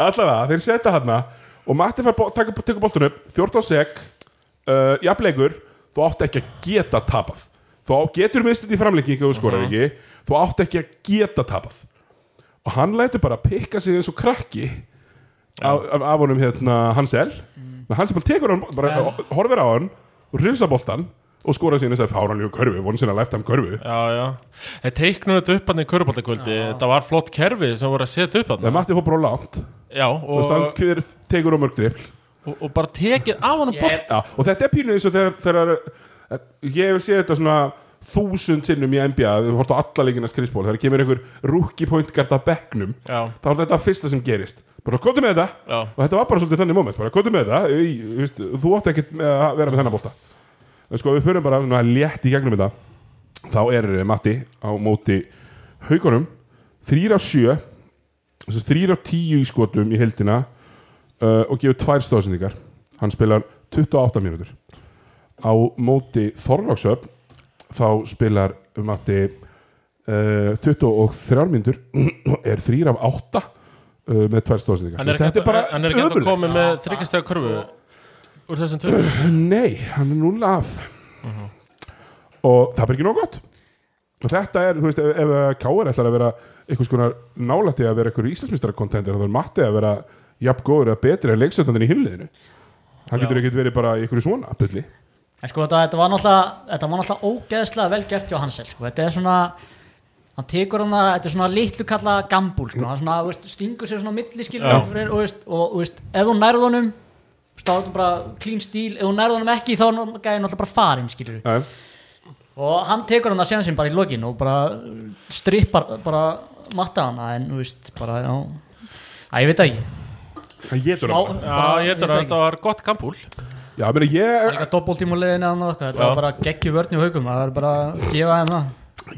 Speaker 1: Allavega, þeir setja hana og Matti fær bo- taka- tekur boltun upp 14 sek, uh, jafnleikur þú átt ekki að geta tapað þú á- getur mistið í framlengingu og þú
Speaker 3: Mhm.
Speaker 1: skorar ekki þú átt ekki að geta tapað og hann lætur bara pikka sig eins og krakki af, af, af honum hérna Hansel
Speaker 3: Mhm.
Speaker 1: mm. Hansel bara tekur hann, bara horfir á hann og hrifsa boltan og skorar síðan þess að fáranlegu körfu, von sinna leftam körfu
Speaker 3: Já, já Þeir teiknum þetta upp hann í köruboltakvöldi Þetta var flott kerfi sem voru að setja upp
Speaker 1: þegar
Speaker 3: hann
Speaker 1: Matti fór bara á langt þú
Speaker 3: Já,
Speaker 1: veist, hann
Speaker 3: og,
Speaker 1: hver tekur á mörg drill
Speaker 3: og, og bara tekið á hann um bolt
Speaker 1: Já, og þetta er pínu eins og þegar, þegar eh, ég hef séð þetta svona þúsund sinnum í NBA, þú hort á alla leikina skrifsból, þegar kemur einhver rookie point guard að bekknum,
Speaker 3: Já.
Speaker 1: þá er þetta fyrsta sem gerist bara komdu með þetta,
Speaker 3: Já.
Speaker 1: og þetta var bara svolítið þannig moment, bara komdu með þetta í, veist, þú átt ekki að vera með þennan bolta en sko við förum bara svona létt í gegnum þetta þá er eh, Matti á móti haugunum þrýr á sjö þrýr á tíu í skotum í heldina uh, og gefur tvær stóðsendingar hann spilar 28 mínútur á móti Þorláksöp þá spilar um Matti uh, 23 mínútur og er þrýr af átta uh, með tvær stóðsendingar
Speaker 3: Hann er ekki
Speaker 1: þetta er bara
Speaker 3: hægt- hann er ekki hægt að
Speaker 1: ömurlegt.
Speaker 3: koma með þryggastega körfu Úr þessum tökum
Speaker 1: Nei, hann er núna af Mhm. Og það er ekki nóg gott Og þetta er, þú veist, ef, ef K.R. ætlar að vera einhvers konar nálætti að vera einhver íslensmistarakontender, þá er Matti að vera jafn góður eða betri en leiksöndandinn í hinliðinu Hann getur ekkert verið bara í einhverju svona byrli.
Speaker 4: En sko þetta, þetta var náttúrulega, þetta var náttúrulega ógeðslega vel gert hjá Hansel sko. Þetta er svona, hann tekur hann að, þetta er svona litlu kalla gambúl sko. Hann svona, þú veist, stingur sér svona á milli skilur
Speaker 3: Já.
Speaker 4: og, þú veist, og þú veist, ef hún nærð honum stáðum bara clean stíl ef hún nærð honum ekki þá er hann gæði náttúrulega bara farinn skilur
Speaker 1: Já,
Speaker 4: og hann tekur hann að séðan bara í lokin og bara strippar bara matta hann en þú veist, bara, já Æ, ég veit það ekki
Speaker 1: Hann getur hann bara.
Speaker 4: Smá-
Speaker 3: Já, ég þetta að
Speaker 4: veit það ekki.
Speaker 3: þetta var gott kampúl
Speaker 1: Já, meni, ég,
Speaker 4: Líka doppeltímulegin eða annað okkar, þetta var
Speaker 3: Já.
Speaker 4: bara geggju vörn í haugum, það var bara að gefa henn það.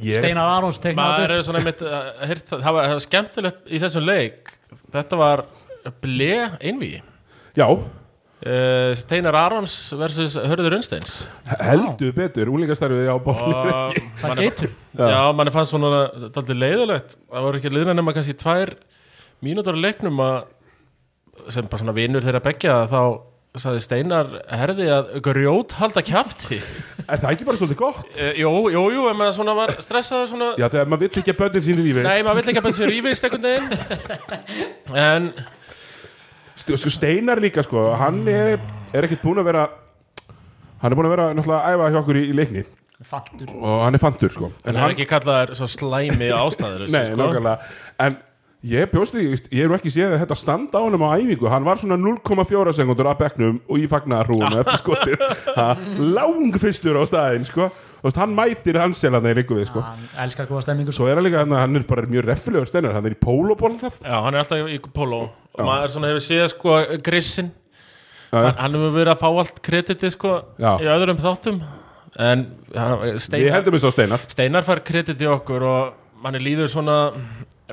Speaker 1: ég
Speaker 4: Steinar Arons teiknaði
Speaker 3: maður
Speaker 4: þetta.
Speaker 3: er svona mitt heyrt, það, það var það var skemmtilegt í þessum leik þetta var ble einví
Speaker 1: Já,
Speaker 3: uh, Steinar Arons versus Hörður Unnsteins
Speaker 1: heldur betur úlingastarfið á bólni
Speaker 3: Og
Speaker 4: Það
Speaker 3: manni-
Speaker 4: geitur.
Speaker 3: já, manni fannst svona daldið leiðilegt það voru ekki liðna nema kannski tvær mínútur á leiknum að sem bara svona vinur þeirra begja þá sagði Steinar herði að grjót halda kjafti
Speaker 1: Er það ekki bara svolítið gott?
Speaker 3: uh, jú, jú, jú, en maður svona var stressaði svona
Speaker 1: Já, þegar maður vill ekki að bönnið sín í lífi
Speaker 3: Nei, maður vill ekki að bensin rífist einhvern veginn En
Speaker 1: St- sko, Steinar líka sko, hann er, er ekkert búinn að vera hann er búinn að vera náttúrulega að æfa hjá okkur í, í leikni
Speaker 4: Faktur.
Speaker 1: og hann er fantur sko en
Speaker 3: Það er ekki kallaðar svo slæmi ástæður
Speaker 1: nei,
Speaker 3: sko.
Speaker 1: nákvæmlega en ég bjóst því, ég er nú ekki séð þetta standa á honum á æfingu, hann var svona 0,4 sekundur að bekknum og í fagnarrúum eftir skotir, Ha, lang fyrstur á staðin sko, og þú veist, hann mætir hans selan þegar ykkur við sko
Speaker 4: Hann elskar góða stemmingu.
Speaker 1: svo er hann líka, hann- hann er bara mjög reffilegur steinar, hann er í pólóból alltaf
Speaker 3: Já, hann er alltaf í póló og maður svona hefur séð sko grissin hann, hann hefur verið að fá allt krediti sko
Speaker 1: Já.
Speaker 3: í öðrum þáttum en hann-
Speaker 1: ég
Speaker 3: steinar,
Speaker 1: hendur mig svo steinar
Speaker 3: steinar fær krediti okkur og manni líður svona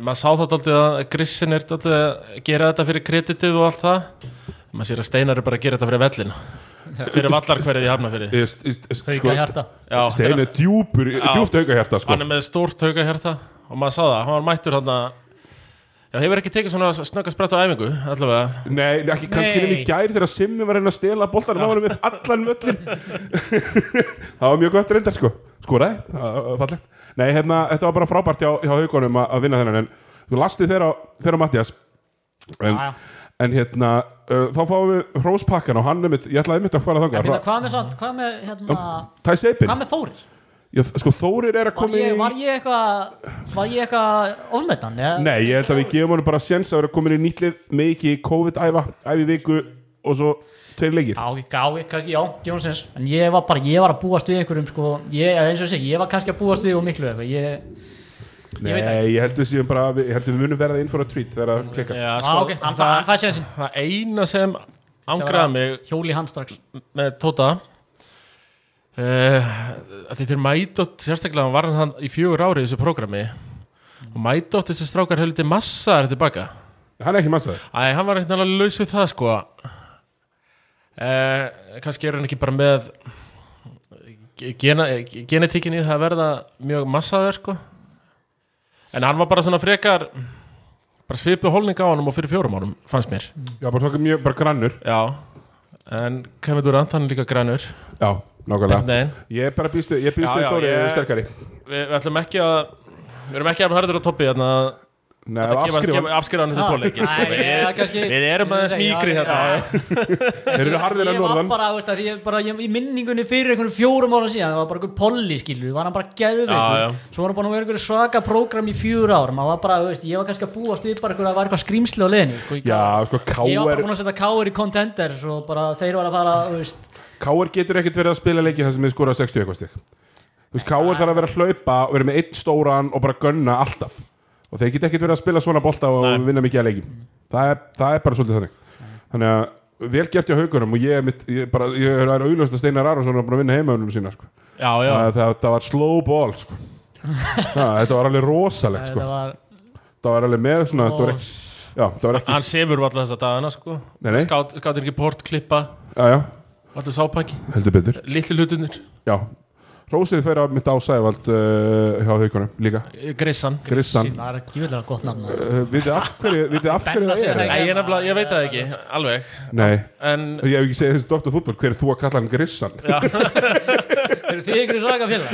Speaker 3: maður sá það alltaf að grissin er alltaf að gera þetta fyrir kreditið og allt það maður sér að steinar er bara að gera þetta fyrir vellina fyrir vallarkverðið í hafna fyrir
Speaker 1: Ég- ég- ég-
Speaker 4: Hauka
Speaker 1: sko,
Speaker 4: hjarta.
Speaker 1: Stein er djúpur, djúpt auka hjarta sko
Speaker 3: hann er með stórt haugahjarta og maður sá það, hann var mættur hann Já, hefur ekki tekið svona snögga spratt á æfingu, allavega
Speaker 1: Nei, ekki kannski
Speaker 4: Nei.
Speaker 1: nefnir í gær þegar Simmi var að reyna að stela boltanum á hann upp allan völlin Það var mjög gott reyndar sko Skoraði, það var fallegt Nei, hérna, þetta var bara frábært hjá, hjá haugunum að, að vinna þennan en þú lasti þeirra, þeirra Mattias en,
Speaker 4: Já, já.
Speaker 1: en hérna, uh, þá fáum við hróspakkan og hann er mitt, ég ætlaði mitt að fara
Speaker 4: En býta,
Speaker 1: þangað
Speaker 4: hvað með samt, hvað með, hérna,
Speaker 1: Tæs Eipin,
Speaker 4: hvað með Þórir?
Speaker 1: sko Þórir er að
Speaker 4: Var
Speaker 1: koma
Speaker 4: ég,
Speaker 1: í
Speaker 4: var ég eitthvað, var ég eitthvað ofmetan? eða?
Speaker 1: Nei, ég held að við gefum honum bara séns að vera komin í nýtlið mikið COVID-æfa, æfi viku og svo tveir leikir
Speaker 4: Já, ég gá, ég, kannski, já, Jónsins En ég var bara, ég var að búast við einhverjum, sko Ég, eða eins og þessi, ég var kannski að búast við og miklu eitthvað Ég,
Speaker 1: Nei,
Speaker 4: Ég veit
Speaker 1: ég, held við síðan bara ég held við munum verða inn for a treat þegar að klikka
Speaker 3: Já,
Speaker 4: á, Ah, ok, hann fæ- hann
Speaker 3: sko, það,
Speaker 4: fæði sér sín
Speaker 3: það eina sem angraði mig
Speaker 4: Hjóli hann strax
Speaker 3: með Tóta uh, Því þeir mætótt sérstaklega var hann hann í fjögur ári í þessu prógrami og mætótt þessi strákar hefur litið massaðar tilbaka
Speaker 1: Hann er ekki massaður
Speaker 3: Æ, hann var ekkert alveg laus við það sko uh, Kannski er hann ekki bara með gena, genetikin í það að verða mjög massaður sko En hann var bara svona frekar bara svipu holning á honum og fyrir fjórum árum fannst mér
Speaker 1: Já, bara svona mjög, bara grannur
Speaker 3: Já, en Kevin Durant, hann er líka grænur
Speaker 1: Já, nákvæmlega
Speaker 3: Nei,
Speaker 1: Ég bara býstu, ég býstu
Speaker 3: Já, já,
Speaker 1: Þóri
Speaker 3: ég-
Speaker 1: sterkari
Speaker 3: við, við ætlum ekki að Við erum ekki að harður á toppi hérna að
Speaker 1: Nei,
Speaker 3: að
Speaker 1: það
Speaker 3: gefa- gefa-
Speaker 1: afskrifa
Speaker 3: afskrifa hann þessi tóleiki sko.
Speaker 4: Ah. Nei,
Speaker 3: Við-
Speaker 4: já, kannski-
Speaker 3: Við erum aðeins
Speaker 4: Já,
Speaker 3: mýkri
Speaker 4: já,
Speaker 3: hérna
Speaker 1: Þeir eru harðir
Speaker 4: Ég
Speaker 1: að
Speaker 4: var
Speaker 1: norðan
Speaker 4: bara, veist það, ég bara ég, í minningunni fyrir einhvern fjórum ára síðan, það var bara einhvern polli skilur, var hann bara
Speaker 3: Já, já.
Speaker 4: geðveikur svo var hann bara nú einhver svaka prógram í fjúra árum, hann var bara, veist, ég var kannski að búast við bara einhver að var eitthvað skrýmsli á leðinni sko, í
Speaker 1: Já,
Speaker 4: KR.
Speaker 1: sko,
Speaker 4: ég var bara
Speaker 1: Káar
Speaker 4: búin að setja káir í contenders og bara þeir var að fara, veist
Speaker 1: Káar getur ekkert verið að spila leiki þar sem við skora 60 eitthvað stig Þú veist, Káar þarf að vera að hlaupa og vera með eitt stóran og bara gunna alltaf og þeir geta ekkert verið að spila svona bolta og vinna mikið að leiki það er, það er bara svolítið þannig Þannig að vel gert hjá haugunum og ég, er mitt, ég, bara, ég er að auðljósta Steinar Arason að vinna heimaunum sína sko.
Speaker 3: Já, já,
Speaker 1: það, það, það var slow ball sko. það, þetta var alveg rosalegt sko.
Speaker 4: þetta var,
Speaker 1: það var alveg með svona, það var
Speaker 4: Ó.
Speaker 1: ekki, já, það var ekki
Speaker 3: hann sefur alltaf þessa dagana sko
Speaker 1: Nei, nei.
Speaker 3: Skát, Skátir ekki port, klippa,
Speaker 1: já, já,
Speaker 3: allur sápaki
Speaker 1: heldur betur
Speaker 3: Litli hlutunir,
Speaker 1: já. Rósið fyrir að mitt á Sævald uh, hjá haugunum líka
Speaker 3: grissan
Speaker 1: Grissan
Speaker 4: það er ekki vilja gott nafn maður.
Speaker 1: uh, vitið af hverju, vitið af hverju
Speaker 4: Benna
Speaker 1: það
Speaker 4: segir
Speaker 1: er
Speaker 4: það
Speaker 3: Æ, ég, nefnilega- ég veit það ekki, alveg
Speaker 1: nei,
Speaker 3: En
Speaker 1: ég hef ekki segið þessi doktor fútbol hver er þú að kalla hann Grissan
Speaker 4: eru þið ykkur svaka félag?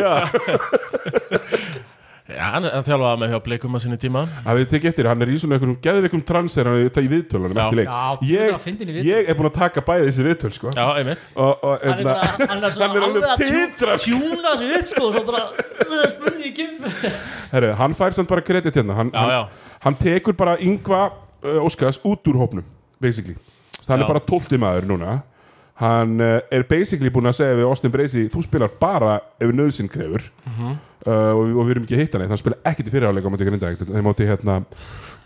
Speaker 3: já, hann, hann þjálfaði með hjá Blikum að sinni tíma
Speaker 1: að við tekið eftir, hann er í svona einhverjum geðveikum transir hann er í viðtölunum
Speaker 3: Já.
Speaker 1: eftir leik
Speaker 4: Já, guð, það var fyndin í
Speaker 1: ég,
Speaker 4: viðtölum.
Speaker 1: ég er búin að taka bæði þessi viðtöl sko.
Speaker 3: Já, einmitt
Speaker 1: og, og,
Speaker 4: hann er
Speaker 1: hérna-
Speaker 4: bara, hann er
Speaker 1: hann er
Speaker 4: svona
Speaker 1: alveg
Speaker 4: alveg að tjú-
Speaker 1: titrar.
Speaker 4: tjúna sig upp sko, og svo bara, það spurning ekki
Speaker 1: Herru, hann fær samt bara kredit hérna hann,
Speaker 3: Já, já.
Speaker 1: hann, hann tekur bara yngva uh, Óskars út úr hópnum basically, Þannig hann
Speaker 3: Já.
Speaker 1: er bara 12 maður núna hann uh, er basically búin að segja við Austin Bracey, þú spilar bara ef nöðsinn krefur uh, og, og við erum ekki að hitta neitt, hann spila ekkert í fyrirháleik á móti grindaðið, þegar móti hérna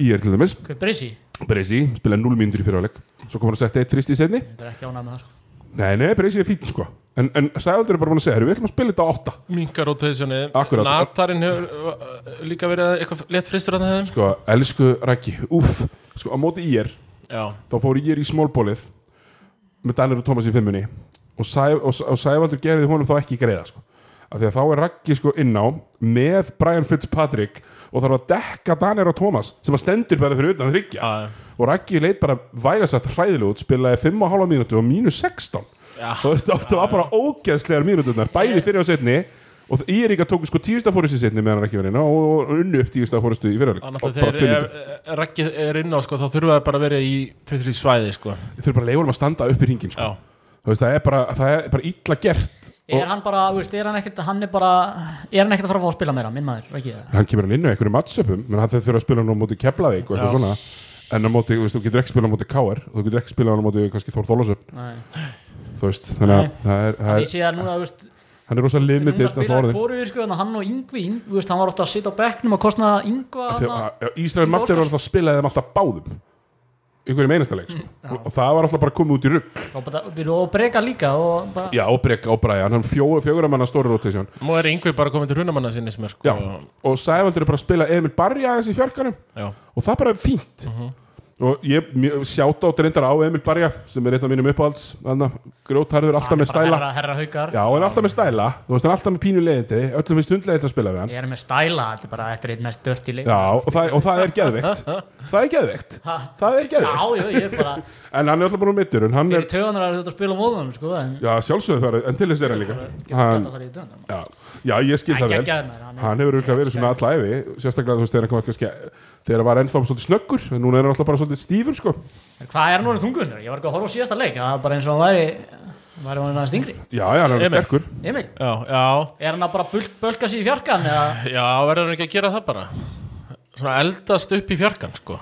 Speaker 1: í er til dæmis,
Speaker 4: Hver brisi?
Speaker 1: Bracey spila 0 mínútur í fyrirháleik, svo kom hann að setja eitt trist í setni,
Speaker 4: Þetta er ekki ánægð með það sko
Speaker 1: nei, nei, Bracey er fín sko en, en Sævaldur er bara búin að segja, herru, við ætlum að spila þetta á 8
Speaker 3: Minkar rotationi
Speaker 1: Akkúrat.
Speaker 3: Natarinn hefur uh, líka verið eitthvað létt fristur að þeim
Speaker 1: sko, elsku Raggi, úff sko, á móti í er,
Speaker 3: Já,
Speaker 1: þá fór ég í smólbólið með Danir og Thomas í fimmunni og, Sæ, og, og Sævaldur gerði honum þá ekki greiða sko. af því að þá er Raggi sko inn á með Brian Fitzpatrick og þarf að dekka Danir og Thomas sem að stendur bara fyrir utan þryggja
Speaker 3: Já, já.
Speaker 1: og Raggi leit bara vægasett hræðileg út spilaði 5,5 mínútu og mínus 16
Speaker 3: Já.
Speaker 1: og veist, þetta var bara ógeðslegar mínúturnar bæði fyrir á setni og ég er ekki að tóku sko tíusta fórustu setni meðan Raggi var inn á og og unnu upp tíusta fórustu í fyrirleik Og
Speaker 3: Þannig að
Speaker 1: bara tveimur.
Speaker 3: þegar er, er, Raggi er inn á sko, þá þurfa það bara að vera í 23 svæði sko.
Speaker 1: Þeir eru bara að leifa um að standa upp í ringin sko.
Speaker 3: Já.
Speaker 1: Þú veist, það, er bara, það er bara illa gert
Speaker 4: Er hann bara, þú veist, er hann ekkert, hann er bara, er hann ekkert að fara að fá að spila meira, minn maður, er ekki það?
Speaker 1: hann kemur hann inn á einhverju mattsöpum menn hann þeir þurfa að spila hann á móti Keflavík og eitthvað
Speaker 3: Já.
Speaker 1: svona en á móti, þú veist, þú getur ekki spila hann á móti KR og þú getur ekki spila hann á móti kannski Þór Þólasöp
Speaker 4: Nei.
Speaker 1: þú veist, þannig að
Speaker 4: Nei.
Speaker 1: það er, það
Speaker 4: Ég
Speaker 1: er
Speaker 4: sé það núna, þú veist,
Speaker 1: hann er rosa limitið
Speaker 4: núna
Speaker 1: þannig að
Speaker 4: spilaði
Speaker 1: orðin
Speaker 4: hvoruður, sko, en hann og Yngvi, Yng- þú veist, hann var ofta að sitja á bekknum og kostna Yngva,
Speaker 1: Þegar-
Speaker 4: hann
Speaker 1: að- Ísrael Martin var alltaf að spila þeim alltaf báðum einhverjum einasta leik sko. og það var alltaf bara komið út í rugg
Speaker 4: og bara, byrju, og breyka líka og bara,
Speaker 1: já, og Breka og Brian, hann fjó, fjögur manna stóri rotation
Speaker 3: Nú er yngvið bara komið til hrunamanna sinni sem er sko,
Speaker 1: já, og Sævaldur er bara að spila Emil Barri aðeins í fjörkanum
Speaker 3: Já.
Speaker 4: Mhm.
Speaker 1: og það bara er fínt og ég sjáta á reyndar á Emil Barja sem er einn af mínum uppáhalds þarna, grjótharður, alltaf með
Speaker 4: bara
Speaker 1: stæla
Speaker 4: herra, herra haukar
Speaker 1: já, en alltaf með stæla, þú veist hann er alltaf með pínu leiðindi öllum finnst hundleiðilt að spila við hann
Speaker 4: ég er með stæla, þetta er bara þetta er eitt mest dörti leik
Speaker 1: já, og það, og það er geðveikt það er geðveikt,
Speaker 4: Ha?
Speaker 1: það er
Speaker 4: já,
Speaker 1: geðveikt
Speaker 4: já, ég er bara
Speaker 1: en hann er alltaf bara mittur, en hann
Speaker 4: fyrir
Speaker 1: er
Speaker 4: töðunar að þetta spila móðunum sko, en
Speaker 1: já, sjálfsögðu það, en til þess er hann líka
Speaker 4: hann,
Speaker 1: hann,
Speaker 4: þetta farið í töðunar
Speaker 1: já, já, ég skil
Speaker 4: Hann
Speaker 1: það vel
Speaker 4: geggjaður maður, hann er-
Speaker 1: hann hefur auðvitað verið svona alla æfi sérstaklega þú veist þegar hann kom kannski þegar hann var ennþá svolítið snöggur, en núna er hann alltaf bara svolítið stífur sko.
Speaker 4: En hvað er nú þungunur? Ég var ekki að horfa á síðasta leik það var bara eins og hann væri hann væri hann aðeins yngri
Speaker 1: já, já, hann er
Speaker 3: Emil.
Speaker 1: sterkur
Speaker 4: Emil,
Speaker 3: já, já,
Speaker 4: er hann að bara bul bölka sér í fjarkan eða
Speaker 3: já, verður hann ekki að gera það bara svona eldast upp í fjarkan sko.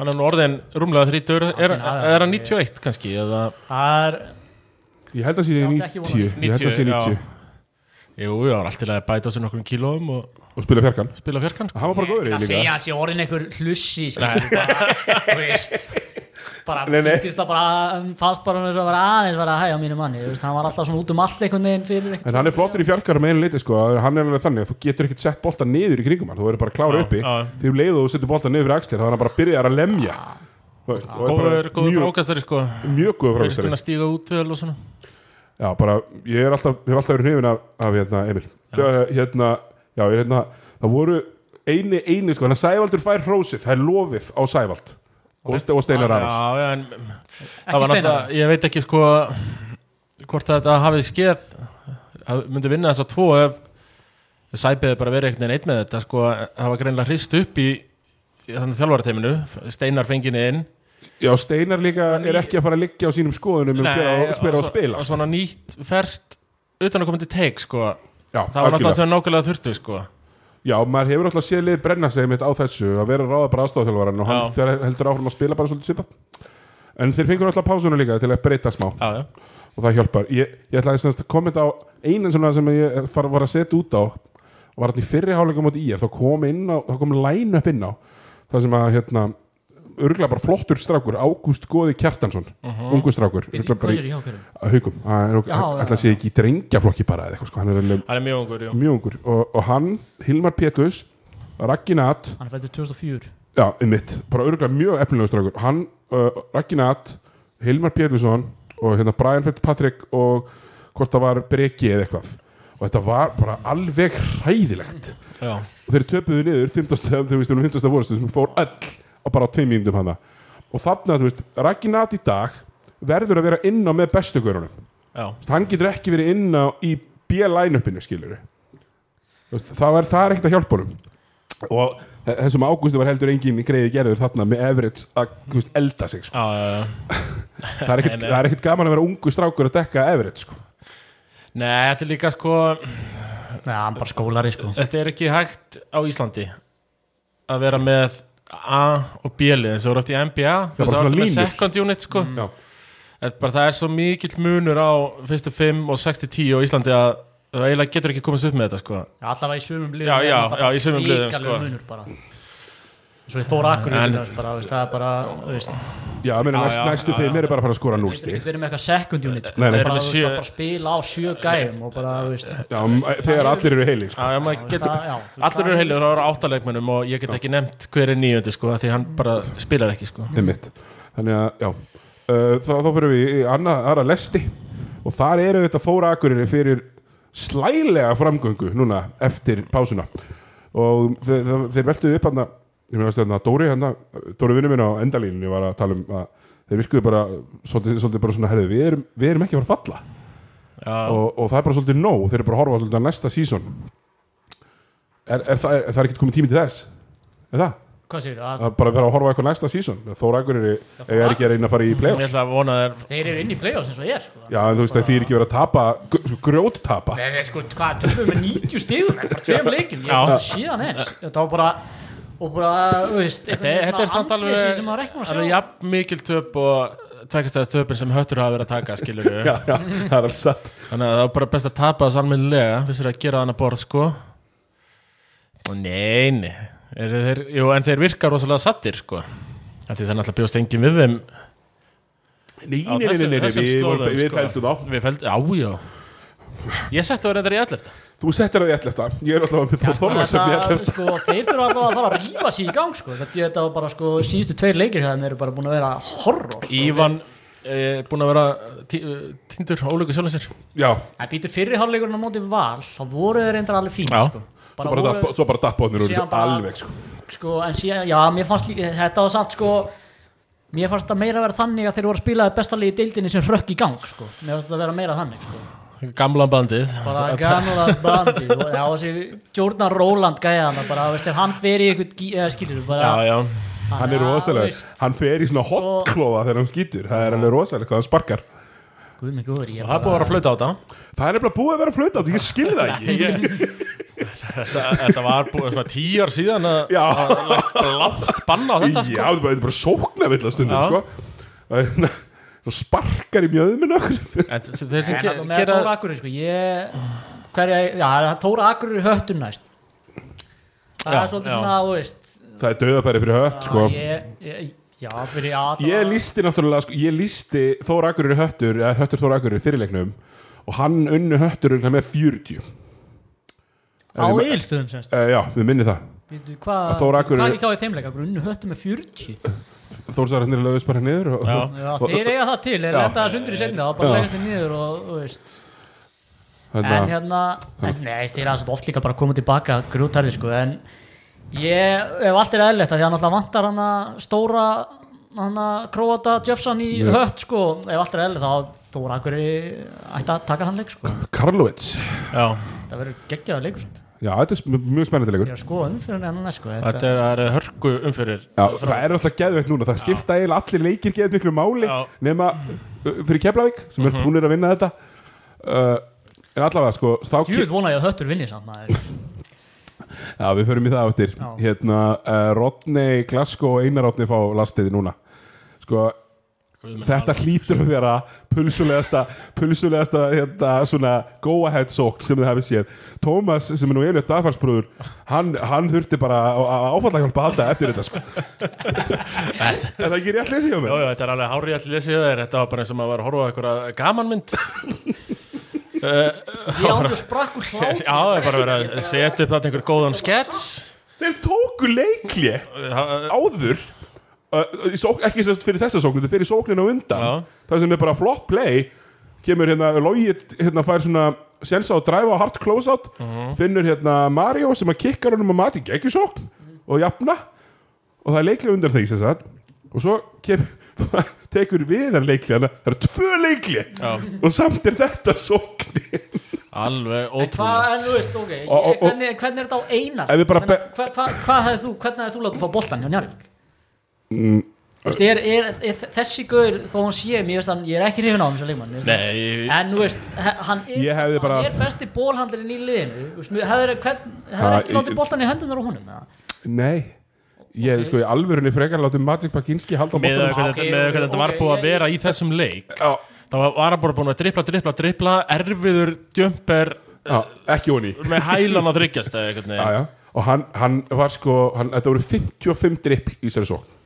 Speaker 3: hann er nú orðin rúmlega 30 er, er, er hann 91 kannski eða,
Speaker 4: það er
Speaker 1: ég held að sé
Speaker 4: Já, átti ekki von á
Speaker 1: 90, ég held að sé
Speaker 3: 90,
Speaker 1: 90
Speaker 3: jú, já, hann er alltaf að bæta á sig nokkrum kílóum og
Speaker 1: og spila fjarkan
Speaker 3: spila fjarkan sko.
Speaker 1: hann var bara góður í
Speaker 4: að
Speaker 1: því
Speaker 4: segja
Speaker 1: líka
Speaker 4: að sé orðin einhver hlussi skilur, bara, þú veist bara
Speaker 1: Nei, nei.
Speaker 4: fyrst að bara um, fannst bara eins og að vera aðeins vera að hægja á mínu manni þú veist, hann var alltaf svona út um allt einhvern veginn fyrir einhvern
Speaker 1: en hann er flottur í fjarkar með einu leiti sko, að hann er alveg þannig að þú getur ekkert sett bolta niður í kringum hann, þú verður bara klára
Speaker 3: Já,
Speaker 1: uppi
Speaker 3: já.
Speaker 1: þegar leiðu og þú setur bolta niður fyrir axlir þá er hann bara byrjar að lemja Þú veist, og er
Speaker 3: góður,
Speaker 1: bara
Speaker 3: góður
Speaker 1: mjög,
Speaker 3: frákastari sko.
Speaker 1: mjög góður
Speaker 3: verður svona
Speaker 1: frákastari
Speaker 3: að stíga út vel og svona
Speaker 1: já, bara, ég er alltaf, hef alltaf verið hrifin af, af hérna, Emil já. hérna, já, ég er hérna, það voru eini, eini, sko, hann að Sævaldur fær hrósið það er lofið á Sævald og, og Steinar Arans
Speaker 3: Ah, já, já, en það
Speaker 4: Ekki
Speaker 3: var náttúrulega,
Speaker 4: Steinar?
Speaker 3: ég veit ekki sko hvort þetta hafi skeð það myndi vinna þess að tvo ef Sæbið bara verið einhvern veginn einn með þetta sko, það var greinlega hrist upp í, í þannig þjálfarateiminu, Steinar fenginni inn
Speaker 1: Já, Steinar líka er ekki að fara að liggja á sínum skoðunum um hver á að spila og
Speaker 3: og svo-
Speaker 1: spila sko.
Speaker 3: og svona nýtt, ferst utan að koma til teik sko,
Speaker 1: Já,
Speaker 3: það var
Speaker 1: algjörlega.
Speaker 3: náttúrulega sem nákvæmlega þurftu sko,
Speaker 1: Já, maður hefur alltaf séð lið brenna sig mitt á þessu að vera ráða bara aðstofþjálfaran og hann
Speaker 3: Já.
Speaker 1: fer, heldur áfram að spila bara svolítið svipa En þeir fengur alltaf pásuna líka til að breyta smá
Speaker 3: já, já
Speaker 1: og það hjálpar Ég, ég ætlaði semst að kommenta á einan svona sem ég far, var að setja út á var hann í fyrri háleika móti í þá kom, inn á, þá kom line up inn á það sem að hérna örgulega bara flottur strákur, Ágúst Góði Kjartansson uh
Speaker 3: Mhm.
Speaker 1: ungu strákur
Speaker 4: veginn
Speaker 1: örugglega bara
Speaker 4: hvað
Speaker 1: í-
Speaker 4: sér í hjákjörum?
Speaker 1: að haugum, hann er
Speaker 4: Já, já,
Speaker 1: alltaf sé ekki í drengjaflokki bara eða eitthvað, sko. hann er alveg
Speaker 3: hann er mjög ungur, jú
Speaker 1: mjög ungur og, og hann, Hilmar Pétus Ragginat,
Speaker 4: Hann fættur 2004
Speaker 1: já, um mitt bara örgulega mjög efnilegur strákur hann, uh, Ragginat, Hilmar Pétusson og hérna Brian Fitzpatrick og hvort það var Breki eða eitthvað og þetta var bara alveg hræðilegt
Speaker 3: já,
Speaker 1: og þeir töpuðu niður 15. þegar við stjórnum 15. vorustu sem fór öll á bara á tveim mínútum hana og þarna, þú veist, Ragginat í dag verður að vera inn á með bestu görunum
Speaker 3: já,
Speaker 1: Þú veist, hann getur ekki verið inn á í B-line-upinu skilur það er, það er ekkert að hjálpa honum og þe- þessum ágústu var heldur engin greiði gerður þarna með Everett að þú veist, elda sig sko.
Speaker 3: já, já, já.
Speaker 1: það, er ekkert, það er ekkert gaman að vera ungu strákur að dekka Everett sko.
Speaker 3: Nei, þetta er líka sko
Speaker 4: Nei, hann bara skólari sko
Speaker 3: Þetta er ekki hægt á Íslandi að vera með A og B-lið eins og voru eftir í NBA þú veist,
Speaker 1: bara
Speaker 3: það
Speaker 1: svona
Speaker 3: var með
Speaker 1: línur. Mm.
Speaker 3: second unit sko
Speaker 1: Já.
Speaker 3: Þetta bara, það er svo mikill munur á fyrstu 5 og 6-10 á Íslandi að það eiginlega getur ekki komast upp með þetta sko
Speaker 4: Allavega í sumum liðum
Speaker 3: Já,
Speaker 4: er
Speaker 3: já, já,
Speaker 4: náttúrulega
Speaker 3: í sumum liðum,
Speaker 4: hrikalegur
Speaker 3: sko.
Speaker 4: munur bara. Svo ég þóra akkur
Speaker 3: En-
Speaker 4: Það er bara, þú veist
Speaker 1: já, ég meina,
Speaker 3: Já,
Speaker 1: næst,
Speaker 3: já,
Speaker 1: næstu
Speaker 3: já,
Speaker 1: þeim eru bara að fara að skora
Speaker 4: Þú
Speaker 1: núlstig
Speaker 4: veist, við erum með eitthvað second unit sko.
Speaker 1: Nei, nei.
Speaker 4: Bara,
Speaker 3: Bara
Speaker 4: þú veist,
Speaker 3: sjö-
Speaker 4: að bara spila á sjö gæjum og bara, þú veist
Speaker 1: Já, m- þegar allir eru heilir sko.
Speaker 3: Já, já, maður getur
Speaker 4: það- já, þú veist,
Speaker 3: Allir
Speaker 4: það
Speaker 3: eru
Speaker 4: er-
Speaker 3: heilir ára áttaleikmennum og ég get ekki nefnt hver er nýjöndi sko af því hann bara spilar ekki sko
Speaker 1: Einmitt. þannig að, já Uh, þá, þá fyrir við í annað, aðra lesti og þar eru þetta þóra akkurir fyrir slælega framgöngu núna eftir pásuna og þeir, þeir- þeir veltuðu upp hann ég meina að Dóri hann Dóri vinnu minn á endalínunni var að tala um að þeir virkuðu bara svolítið, svolítið bara svona herðu, við erum, við erum ekki að fara að falla
Speaker 3: Já,
Speaker 1: og, og það er bara svolítið nóg þeir eru bara að horfa svolítið að næsta sísón er, er, það- er, það er ekkert komið tími til þess er það?
Speaker 4: Hvað séu,
Speaker 1: Það er bara að vera að horfa á eitthvað næsta sísón Þóra Akureyri er ekki að reyna að fara í
Speaker 3: ég
Speaker 1: play-offs
Speaker 3: ætla að vona þér
Speaker 4: þeir eru inn í play-offs eins og ég er sko.
Speaker 1: Já, en þú veist að því er ekki verið að tapa gr- sko, grjóttapa
Speaker 4: Nei, nei, sko, hvað, töfum við með 90 stigum en bara tveim leikjum, ég
Speaker 3: Já.
Speaker 4: var síðan eins þetta var bara, og bara, þú veist
Speaker 3: Þe- Þetta er samt alveg
Speaker 4: sem maður ekki maður
Speaker 3: alveg
Speaker 4: sjá
Speaker 3: jafn mikil töp og tvekastæðast töpin sem höttur hafa verið að taka skilur við
Speaker 1: Já, já, það er alveg satt
Speaker 3: Þannig að það var bara best að tapa þessu almennilega Fyrst er að gera þannig borð sko Og nei, nei er, þeir, Jú, en þeir virka rosalega sattir sko Af Því það er náttúrulega bjóst engin við þeim
Speaker 1: Nei,
Speaker 3: á
Speaker 1: nei, nei, nei, nei,
Speaker 3: þessum-
Speaker 1: nei,
Speaker 3: þessum
Speaker 1: við,
Speaker 3: slóðum,
Speaker 1: við
Speaker 3: sko.
Speaker 1: fældum þá
Speaker 3: Við fældum, já, já Ég setti það reyndar í allt eftir
Speaker 1: Þú settir það í ell eftir Ég er alltaf með Þór Þorlags sem ég ell
Speaker 4: Þetta, sko, þeir þurfa alltaf að fara að rífa sér í gang sko. þetta, þetta var bara sko, síðustu tveir leikir hérna eru bara búin að vera horror sko.
Speaker 3: Ívan er búin að vera tí- eh, týndur ólöku sjálfum sér
Speaker 1: Já,
Speaker 4: það býtur fyrri hálfleikurinn á móti val þá voru þeir reyndar alveg fín
Speaker 3: Já.
Speaker 4: sko.
Speaker 1: svo bara, datt- svo bara dattbóðnir úr
Speaker 4: Síðan
Speaker 1: þessu
Speaker 4: bara-
Speaker 1: alveg sko.
Speaker 4: sko, en síðan, já, mér fannst líka þetta var samt, sko mér fannst þetta meira að vera þannig að þeir voru að spila það besta lið í deildinni sem hrökk í gang, sko mér fannst þetta að vera meira þannig, sko
Speaker 3: Gamla bandið
Speaker 4: bara gamla bandi og já, þessi Jordan Róland gæði hann bara, veist, ef hann fer í eitthvað skilur, bara
Speaker 3: Já, já
Speaker 1: Hann er
Speaker 4: Já,
Speaker 1: rosalegur
Speaker 4: veist.
Speaker 1: Hann fer í svona hotklofa þegar hann skýtur Það er alveg rosalega hvað hann sparkar
Speaker 4: Guð mig góður, ég
Speaker 3: Það er búin að vera að flauta á þetta
Speaker 1: Það er nefnilega búið að vera flöta Ég skilði það ekki
Speaker 3: Þetta, þetta var búið svona tíjar síðan að
Speaker 1: Já.
Speaker 3: að lagt blátt banna á þetta
Speaker 1: Já,
Speaker 3: sko
Speaker 1: það er bara- þetta er bara sókna vill að
Speaker 3: Já.
Speaker 1: stundum sko. Svo sparkar í mjöðminn okkur
Speaker 3: En þessi- þeir sem
Speaker 4: Ge
Speaker 3: ge-
Speaker 4: með
Speaker 3: gera
Speaker 4: Tóra Akureyri sko ég, hverja, já, það er Tóra Akureyri höttun næst það
Speaker 3: Já,
Speaker 4: er svolítið
Speaker 3: já.
Speaker 4: svona, þú veist
Speaker 1: Það er döðafæri fyrir hött sko.
Speaker 4: já, ég, ég, já, fyrir já, það
Speaker 1: Ég
Speaker 4: var-
Speaker 1: lísti náttúrulega sko, Ég lísti Þóra Akurir höttur eða höttur Þóra Akurir fyrirleiknum og hann unnu höttur örugglega með 40
Speaker 4: á
Speaker 1: Ef ég ma-
Speaker 4: eilstöðum semst
Speaker 1: Eh, Já, við minni það
Speaker 4: Býtu, hvað,
Speaker 1: Að Þór Akureyri-
Speaker 4: hvað ekki á í þeimleika grunnu höttum með 40 já,
Speaker 1: Þórsararnir lögðist bara niður og,
Speaker 3: Já.
Speaker 4: þeir eiga það til,
Speaker 1: Já.
Speaker 4: þeir lenda það sundur í segna og bara
Speaker 1: Já.
Speaker 4: legast þeir niður og, þú veist en
Speaker 1: Þarna,
Speaker 4: hérna, en nei, þeir er aðeins oft líka bara að koma tilbaka grútarði sko, en ég, ef allt er eðlilegt að því að náttúrulega vantar hann að stóra hann að króata Jeffson í
Speaker 1: Já.
Speaker 4: hött sko, ef allt er eðlilegt þá þú voru akkur ætti að taka hann leik sko,
Speaker 3: hérna-
Speaker 1: Karlovits
Speaker 3: Já,
Speaker 4: það verður geggjaður leikur samt.
Speaker 1: Já, þetta er sm- mjög spennandi leikur
Speaker 4: ég er að skoða umfyrir hann næst sko, þetta,
Speaker 3: þetta er, það er hörku umfyrir
Speaker 1: Já, það er alltaf geðveikt núna, það skipta eiginlega allir leikir geðveikt miklu máli
Speaker 3: Já.
Speaker 1: nema uh, fyrir Keflavík sem er búinir að vinna þetta uh, en allavega sko þá ke-
Speaker 4: djúið vona ég að höttur vinni samt maður,
Speaker 1: Já, við förum í það áttir
Speaker 4: Já.
Speaker 1: hérna, uh, Rodney, Glasgow og Einar Rodney fá lastið núna sko, þetta hlýtur að vera pulsulegasta pulsulegasta hérna, svona go-ahead sók sem þið hafið séð Tómas, sem er nú einu dagfarsbrúður hann, hann þurfti bara á- á áfalla hjálpa að halda eftir þetta sko en það gerir allir þessi hjá
Speaker 3: Jó,
Speaker 1: mig
Speaker 3: jó, þetta er alveg hárið allir lesið þeir Þetta var bara eins og maður var að horfa á einhverja gamanmynd
Speaker 4: ég ándur sprakk úr
Speaker 3: Já,
Speaker 4: hlá
Speaker 3: það er bara verið að setja upp þetta einhver góðan skets
Speaker 1: þeir tóku leiklje áður uh, í sók, ekki sérst fyrir þessa sóknir, þetta fyrir sóknina á undan
Speaker 3: Já.
Speaker 1: það sem er bara flop play kemur hérna, Logi hérna fær svona séns á að dræfa á hard closeout
Speaker 3: Mhm.
Speaker 1: finnur hérna Mario sem að kikkar honum að mati geggjusókn og jafna og það er leiklega undan því sem sagt og svo kemur tekur við hann leikli þannig að það eru tvö leikli
Speaker 3: Já.
Speaker 1: og samt er þetta sóknir
Speaker 3: Alveg
Speaker 4: Hvað,
Speaker 3: ótrúlega
Speaker 4: en þú veist, ok,
Speaker 1: Og- og-
Speaker 4: ég, hvernig, hvernig er þetta á einar?
Speaker 1: Ef við bara
Speaker 4: Menna,
Speaker 1: be-
Speaker 4: hva, hva, hvað hefði þú, hvernig hefði þú látið að fá boltan hjá Njarvík?
Speaker 1: Mm,
Speaker 4: Þú veist, er, er, er þessi gaur, þó hann sé, mér veist hann, ég er ekki hrifin á hann sem leikmann, mér veist hann-
Speaker 3: Nei,
Speaker 4: En þú veist, he- hann
Speaker 1: Ég
Speaker 4: er,
Speaker 1: hefði bara-
Speaker 4: hann er besti bólhandlirinn í liðinu, þú veist, hefur
Speaker 1: Ha,
Speaker 4: ekki
Speaker 1: í-
Speaker 4: látið boltan í hendunar á honum, eða?
Speaker 1: nei ég hefði sko í alvörunni frekar látið Magic Baginski halda á
Speaker 3: með
Speaker 1: boltanum.
Speaker 4: Já,
Speaker 3: hvernig
Speaker 4: ok,
Speaker 3: þetta- með hvernig
Speaker 4: ok,
Speaker 3: þetta var búið
Speaker 4: ég-
Speaker 3: að vera í þessum leik
Speaker 1: Já,
Speaker 3: þá var- var hann bara búin að drippla, drippla, drippla erfiður djömper
Speaker 1: já, ekki honi
Speaker 3: með hælan að þryggjast eða einhvern
Speaker 1: já,
Speaker 3: veginn
Speaker 1: já. og hann, hann var sko hann, þetta voru 55 drippl í þessari sókn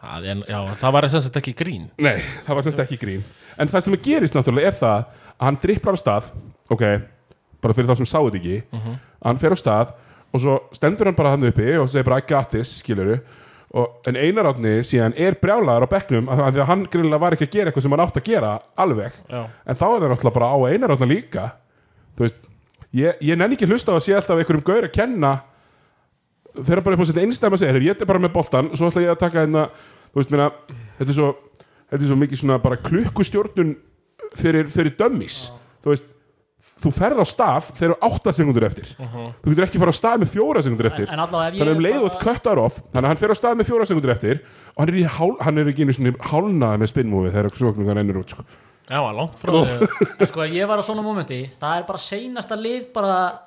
Speaker 3: Það er- Já, það var þess að þetta ekki grín
Speaker 1: nei, það var semst ekki grín en það sem gerist náttúrulega er það að hann dripplar á stað ok, bara fyrir þá sem sáu þetta ekki hann fer á stað og svo stendur hann bara hann uppi og segir bara I got this, skiluru og, en einar átni síðan er brjálaður á bekknum af af því að hann greinlega var ekki að gera eitthvað sem hann átt að gera alveg,
Speaker 3: Já.
Speaker 1: en þá er það náttúrulega bara á einar átna líka þú veist, ég, ég nenni ekki að hlusta á að sé alltaf einhverjum gaur að kenna þeirra bara upp á sitt einstæma segir "Heyrðu, ég er bara með boltan, svo ætla ég að taka hérna þú veist, minna, þetta er svo þetta er svo mikið svona bara klukkustjórnun fyrir, fyrir dömmis þú veist, þú ferð á stað þegar þú átta sekundur eftir þú getur ekki fara á stað með fjóra sekundur eftir
Speaker 4: Mhm. En- en allavega ef ég
Speaker 1: þannig um
Speaker 4: bara-
Speaker 1: leiðu út köttar off þannig að hann fer á stað með fjóra sekundur eftir og hann er, í hál, hann er ekki einu svona hálnaði með spinnmófi þegar sjókningan ennur út sko.
Speaker 3: Já, hann var langt frá því
Speaker 4: En sko, ef ég var á svona momenti, það er bara seinasta lið bara,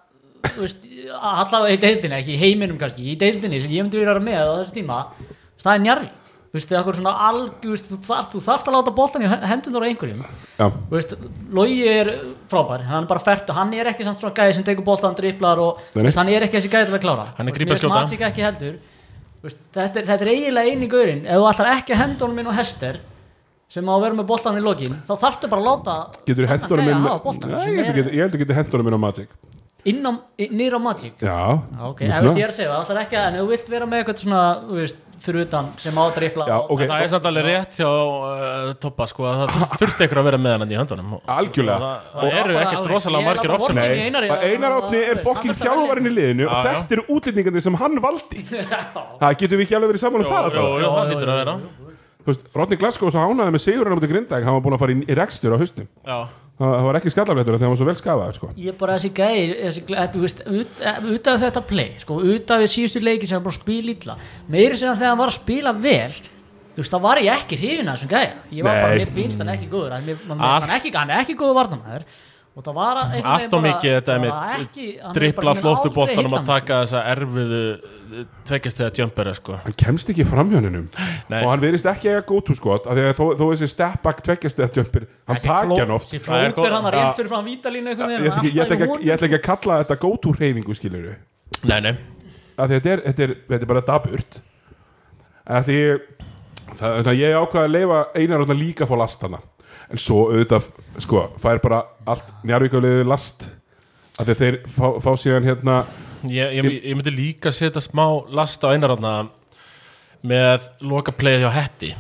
Speaker 4: þú veist, allavega í deildinni, ekki í heiminum kannski, í deildinni sem ég myndi vera með á þessu tíma, þú veist, það er njarvík, þú veist, það er okkur svona alg, þú veist, þú þarft, þú þarft að láta boltan í hendunar á einhverjum,
Speaker 1: já,
Speaker 4: þú veist, Logi er frábær, hann er bara fært og hann er ekki samt svona gæði sem tekur boltan, driblar og,
Speaker 1: Nei,
Speaker 4: þú
Speaker 1: nei.
Speaker 4: veist, hann er ekki þessi gæði til að klára.
Speaker 3: Hann er
Speaker 4: Þú veist,
Speaker 3: grípa
Speaker 4: mér finnst
Speaker 3: skjóta.
Speaker 4: Magic ekki heldur, Þú veist, þetta, er, þetta er eiginlega eini gaurinn, ef þú ætlar ekki að henda honum inn á hester, sem á að vera með boltan í lokin þá þarftu bara að láta
Speaker 1: Getur
Speaker 4: þennan
Speaker 1: hendur honum
Speaker 4: gæja
Speaker 1: inn
Speaker 4: hafa boltann,
Speaker 1: Nei,
Speaker 4: sem
Speaker 1: ég held
Speaker 4: er
Speaker 1: að geti- ég held að geti hendur honum inn á Magic
Speaker 4: inn á, nýra Magic
Speaker 1: Já,
Speaker 4: Já, ok,
Speaker 1: Nú
Speaker 4: eða
Speaker 1: svona.
Speaker 4: veist ég er að segja það, alltaf ekki að en ef þú vilt vera með eitthvað svona, þú veist, fyrir utan sem á að dripla
Speaker 1: Já,
Speaker 4: og-
Speaker 1: ok.
Speaker 3: Það er samt alveg rétt hjá uh, Toppa sko að það þur- þurfti ykkur að vera með hann í höndunum og-
Speaker 1: Algjörlega.
Speaker 3: og Það, það eru
Speaker 4: bara
Speaker 3: ekkert
Speaker 4: alveg-
Speaker 3: rosalega
Speaker 4: ég er
Speaker 3: margir
Speaker 4: alveg
Speaker 3: opsum
Speaker 4: vorkenni
Speaker 1: Nei,
Speaker 4: Einar í
Speaker 1: að
Speaker 4: að-
Speaker 1: Einar Átni er
Speaker 4: að-
Speaker 1: fokkin
Speaker 4: að- að-
Speaker 1: þjálfarinn í liðinu og
Speaker 3: Já, já.
Speaker 1: þetta eru útlendingandi sem hann valdi Það getum við ekki alveg verið saman um það
Speaker 3: Jú,
Speaker 1: alltaf.
Speaker 3: jú,
Speaker 4: Jú,
Speaker 3: það hlýtur
Speaker 4: jú,
Speaker 3: að vera
Speaker 4: jú,
Speaker 1: Þú veist, Rodney Glasgow svo hánaði með sigurinn á mútið grindag hann var búin að fara í, í rekstur á haustum
Speaker 3: Já,
Speaker 1: það það var ekki skallafléttur þegar hann var svo vel skafaður sko.
Speaker 4: Ég er bara þessi gæi, þessi, gæ- þú veist, ut, ut af þetta play, sko, ut af því síðustu leiki sem hann bara spila illa, meiri sem þegar hann var að spila vel, þú veist, þá var ég ekki hrifin af þessum gæja, ég var bara,
Speaker 1: Nei.
Speaker 4: mér finnst hann ekki góður, hann, mér, mér
Speaker 3: Allt-
Speaker 4: finnst hann, ekki, hann er ekki góður varnamæður og það var einhvern
Speaker 3: Allt of
Speaker 4: veginn bara-
Speaker 3: mikið þetta er
Speaker 4: það var
Speaker 3: með
Speaker 4: ekki- hann er
Speaker 3: dribla
Speaker 4: bara- hann er
Speaker 3: flóttu
Speaker 4: aldrei
Speaker 3: boltanum
Speaker 4: heillandi.
Speaker 3: að
Speaker 4: sko.
Speaker 3: taka þessa erfiðu eh, tveggjast eða tjömbera sko
Speaker 1: hann kemst ekki fram hjá hennum
Speaker 3: Nei.
Speaker 1: og hann verist ekki eiga gótu skot af því að þó, þó þessi step back tveggjast eða tjömpir hann
Speaker 4: Þessi
Speaker 1: taki
Speaker 4: fló-
Speaker 1: hann oft
Speaker 4: þessi
Speaker 1: ég,
Speaker 3: Það er góð-
Speaker 4: flótur hann var
Speaker 1: Já.
Speaker 4: rétt fyrir frá vítalínu einhvern veginn
Speaker 1: ætla
Speaker 4: hann
Speaker 1: ekki- ég, ætla
Speaker 4: alltaf í
Speaker 1: ekki að-
Speaker 4: honum.
Speaker 1: ég ætla ekki að kalla þetta gótu hreyfingu skilur
Speaker 3: Nei, nei,
Speaker 1: af því að þetta er, þetta er, þetta er bara daburt af því það, það, ég ákvaði að leifa einar og líka að fá last hana en svo auðvitað sko, fær bara allt njárvíkjafliðu last af því að þeir fá, fá síðan hérna
Speaker 3: ég, ég, ég myndi líka setja smá last á einaranna með loka playið hjá Hetti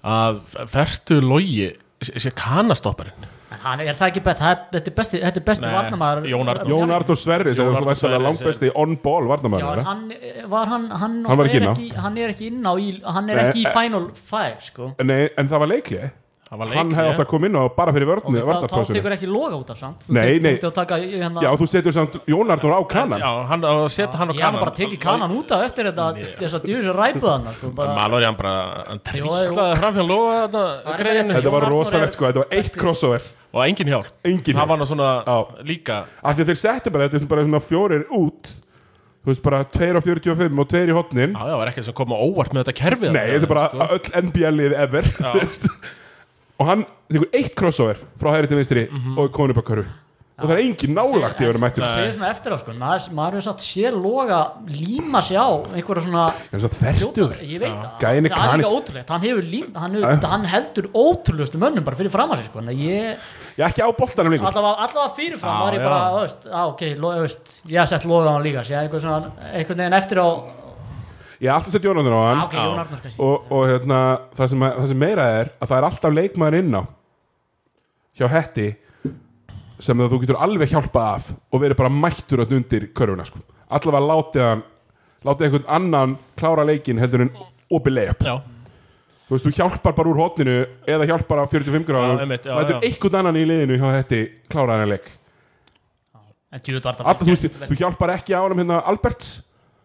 Speaker 3: að fertu logi sé kanastopparinn
Speaker 4: En hann er það ekki best, það er, þetta er besti, þetta er besti
Speaker 3: Nei,
Speaker 4: varnamaður
Speaker 3: Jón Arnór.
Speaker 1: Jón Artur Sverri sem
Speaker 3: Jón
Speaker 1: var
Speaker 3: Arnór
Speaker 1: verðsvæðlega
Speaker 3: Sverris
Speaker 1: langbesti on-ball
Speaker 4: Já,
Speaker 1: varnamæður
Speaker 4: en hann eh, var hann, hann,
Speaker 1: Hann var ekki
Speaker 4: er
Speaker 1: inn á.
Speaker 4: hann er ekki inn á í, hann er
Speaker 1: Nei,
Speaker 4: ekki í
Speaker 1: eh,
Speaker 4: Final 5 sko
Speaker 1: en, en það var leiklið
Speaker 3: Það var
Speaker 1: hann hefði átt
Speaker 3: leikli
Speaker 1: að koma inn á bara fyrir
Speaker 4: og
Speaker 1: vörnni
Speaker 4: þá, þá
Speaker 1: varnarplásunni
Speaker 4: tekur hérna- ekki loga út af samt Þú
Speaker 1: Nei,
Speaker 4: tekur-
Speaker 1: nei.
Speaker 4: þú tekur að taka í- hérna,
Speaker 1: Já, þú setur samt Jón Artur á kannan
Speaker 3: Já, hann á að setja hann á
Speaker 4: ég hann
Speaker 3: kanan
Speaker 4: bara tekið kanan út af eftir þetta þess að djúðis að ræpu hann sko, bara,
Speaker 3: Malori hann bara, hann
Speaker 4: Jó,
Speaker 3: tríklaði fram hjá loga þarna
Speaker 4: er
Speaker 3: greiðinu
Speaker 4: bara-
Speaker 1: Þetta
Speaker 4: Jón
Speaker 1: var
Speaker 4: Arnór
Speaker 1: rosalegt
Speaker 4: er-
Speaker 1: sko, þetta var eitt crossover
Speaker 3: og engin hjálp
Speaker 1: Engin
Speaker 3: Það var nú svona
Speaker 1: Já.
Speaker 3: líka
Speaker 1: af því að þeir settu bara, þetta er bara svona fjórir út þú veist bara 2 á 45 og 2 í hotnin
Speaker 3: Já, það var ekkert sem kom á óvart með þetta Sko. kerfið
Speaker 1: nei, þetta er bara öll NBA-lið ever þú veist. og hann tekur eitt crossover frá hægri til vinstri og konur bara körfu og það er engin nálagt í að vera mættur
Speaker 4: Það segir svona eftir á sko maður, maður er satt sér loga líma sér á einhverja svona
Speaker 1: en svo þertur
Speaker 4: Hljóta- ég veit það
Speaker 1: Gæinn er
Speaker 4: það er
Speaker 1: kaninn.
Speaker 4: líka ótrúlegt hann, hefur lím, hann, hefur, hann heldur ótrúlegustu mönnum bara fyrir fram að sig sko. þannig að ég,
Speaker 1: ég er ekki á boltanum lengur
Speaker 4: allavega, allavega fyrir fram
Speaker 3: Já,
Speaker 4: var ég
Speaker 3: já.
Speaker 4: bara, þú veist, á, ok, lo, þú veist, ég hef sett loga á hann líka sér eitthvað svona, einhvern veginn eftir á
Speaker 1: ég er alltaf sett Jónandur á
Speaker 4: á,
Speaker 1: hann
Speaker 4: ok, Jón Arnars kannski
Speaker 1: og, og hérna, það, sem, að- það sem meira er að það er alltaf leikmaður inn á hjá Hetti sem það þú getur alveg hjálpa af og verið bara mættur öll undir körfuna sko. allavega látið hann látið einhvern annan klára leikin heldur en opið leiðap
Speaker 3: Já,
Speaker 1: þú veist, þú hjálpar bara úr hotninu eða hjálpar á 45
Speaker 3: Já,
Speaker 1: gráðum
Speaker 3: einmitt, já,
Speaker 1: lætur
Speaker 3: já.
Speaker 1: einhvern annan í liðinu hjá Hetti klára hann leik
Speaker 4: en djúið var það
Speaker 1: Alla, þú, veist, þú hjálpar ekki á hann hérna Alberts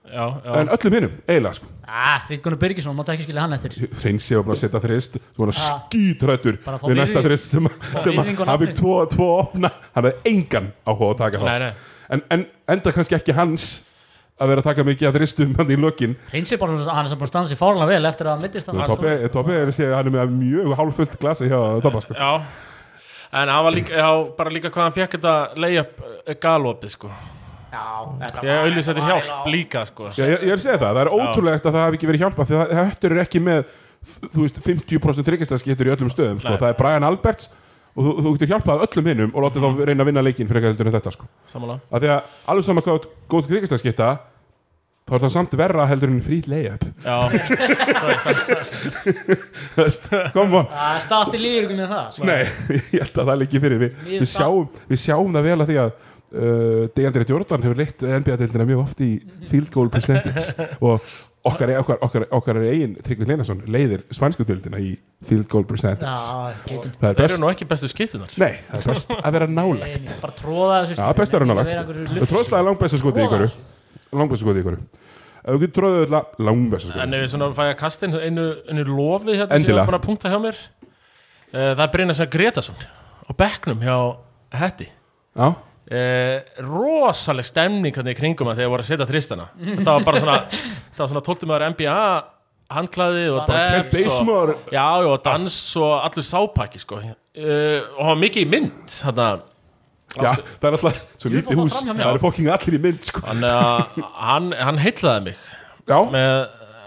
Speaker 3: já, já
Speaker 1: en öllum hinnum, eiginlega sko.
Speaker 4: ah, Ritgunur Birgisson, máttu ekki skilja hann eftir
Speaker 1: Hreinsi var búin að setja þrist svona skítrættur
Speaker 4: Bara fá
Speaker 1: við næsta
Speaker 4: virðingu.
Speaker 1: þrist sem, sem
Speaker 4: virðingu og
Speaker 1: hann fikk
Speaker 4: nafni.
Speaker 1: tvo, tvo opna hann hefði engan áhuga að taka
Speaker 3: Nei, nei.
Speaker 1: þá en, en enda kannski ekki hans að vera að taka mikið að þristum hann í lokin
Speaker 4: Heinsi bara, svona- hann er sem búin að standa sér fárlega vel eftir að mittist hann
Speaker 1: Toppi Toppi er að segja að hann er með mjög hálfullt glasi hjá Toppa sko.
Speaker 3: Já, en það var líka, já, bara líka hvað hann fekk þetta layup galopið sko
Speaker 4: já,
Speaker 3: Ég auðvitað þetta hjálp líka sko
Speaker 1: Já, ég, ég er að segja það, það er ótrúlegt að það hafi ekki verið hjálpa því að höttur er ekki með þú veist, 50% tryggastaskittur í öllum stöðum sko.
Speaker 3: Nei.
Speaker 1: það er Brian Alberts og þú, þú getur hjálpað öllum hinnum og látið þá reyna að vinna leikin fyrir eitthvað en þetta sko.
Speaker 3: Samanlega
Speaker 1: af því að alveg saman hvað þú ert góð krigastaskitta þá er það samt verra heldur en frýt layup
Speaker 3: Já,
Speaker 1: Þú veist, come on
Speaker 4: það státti líður ykkur með það sko.
Speaker 1: nei, ég held að það liggi fyrir við,
Speaker 4: Mér
Speaker 1: við, sjáum, við sjáum það vel að því að uh, Deandre Jordan hefur leitt NBA-deildina mjög oft í field goal percentage og okkar, okkar, okkar, okkar eigin Tryggvi Leinarsson leiðir spænsku deildina í field goal percentage
Speaker 4: já, getum
Speaker 1: það er
Speaker 3: það eru
Speaker 1: best
Speaker 3: nú ekki bestu skiptunar
Speaker 1: nei, það er best að vera nálægt
Speaker 4: Nei, bara tróða þessu sko.
Speaker 1: Já, best að vera nálægt Það tróðslega langbæsta skotið í
Speaker 4: Troða
Speaker 1: ykkur Langbæsta skotið í ykkur Ef þú getur tróðið öll langbæsta skotið
Speaker 3: En ef við svona fæja kastin einu, einu lofi hérna sem ég
Speaker 1: Endilega.
Speaker 3: var búin að punkta hjá mér eh, Það er Brynars að Gretason á bekknum hjá Hetti
Speaker 1: Já,
Speaker 3: eh, rosaleg stemning hann í kringum hann þegar voru að setja þristana þetta var bara svona, þetta var svona 12 maður NBA handklaði og
Speaker 1: Bara Kent
Speaker 3: dans og,
Speaker 1: Basemore.
Speaker 3: já, já, og dans og allur sápaki sko. eh, og hann var mikið í mynd þarna,
Speaker 1: já, það er alltaf svo lítið
Speaker 4: fór
Speaker 1: hús,
Speaker 4: framhjá mér.
Speaker 1: það eru fokking allir í mynd sko.
Speaker 3: hann, eh, hann, hann heitlaði mig
Speaker 1: Já,
Speaker 3: með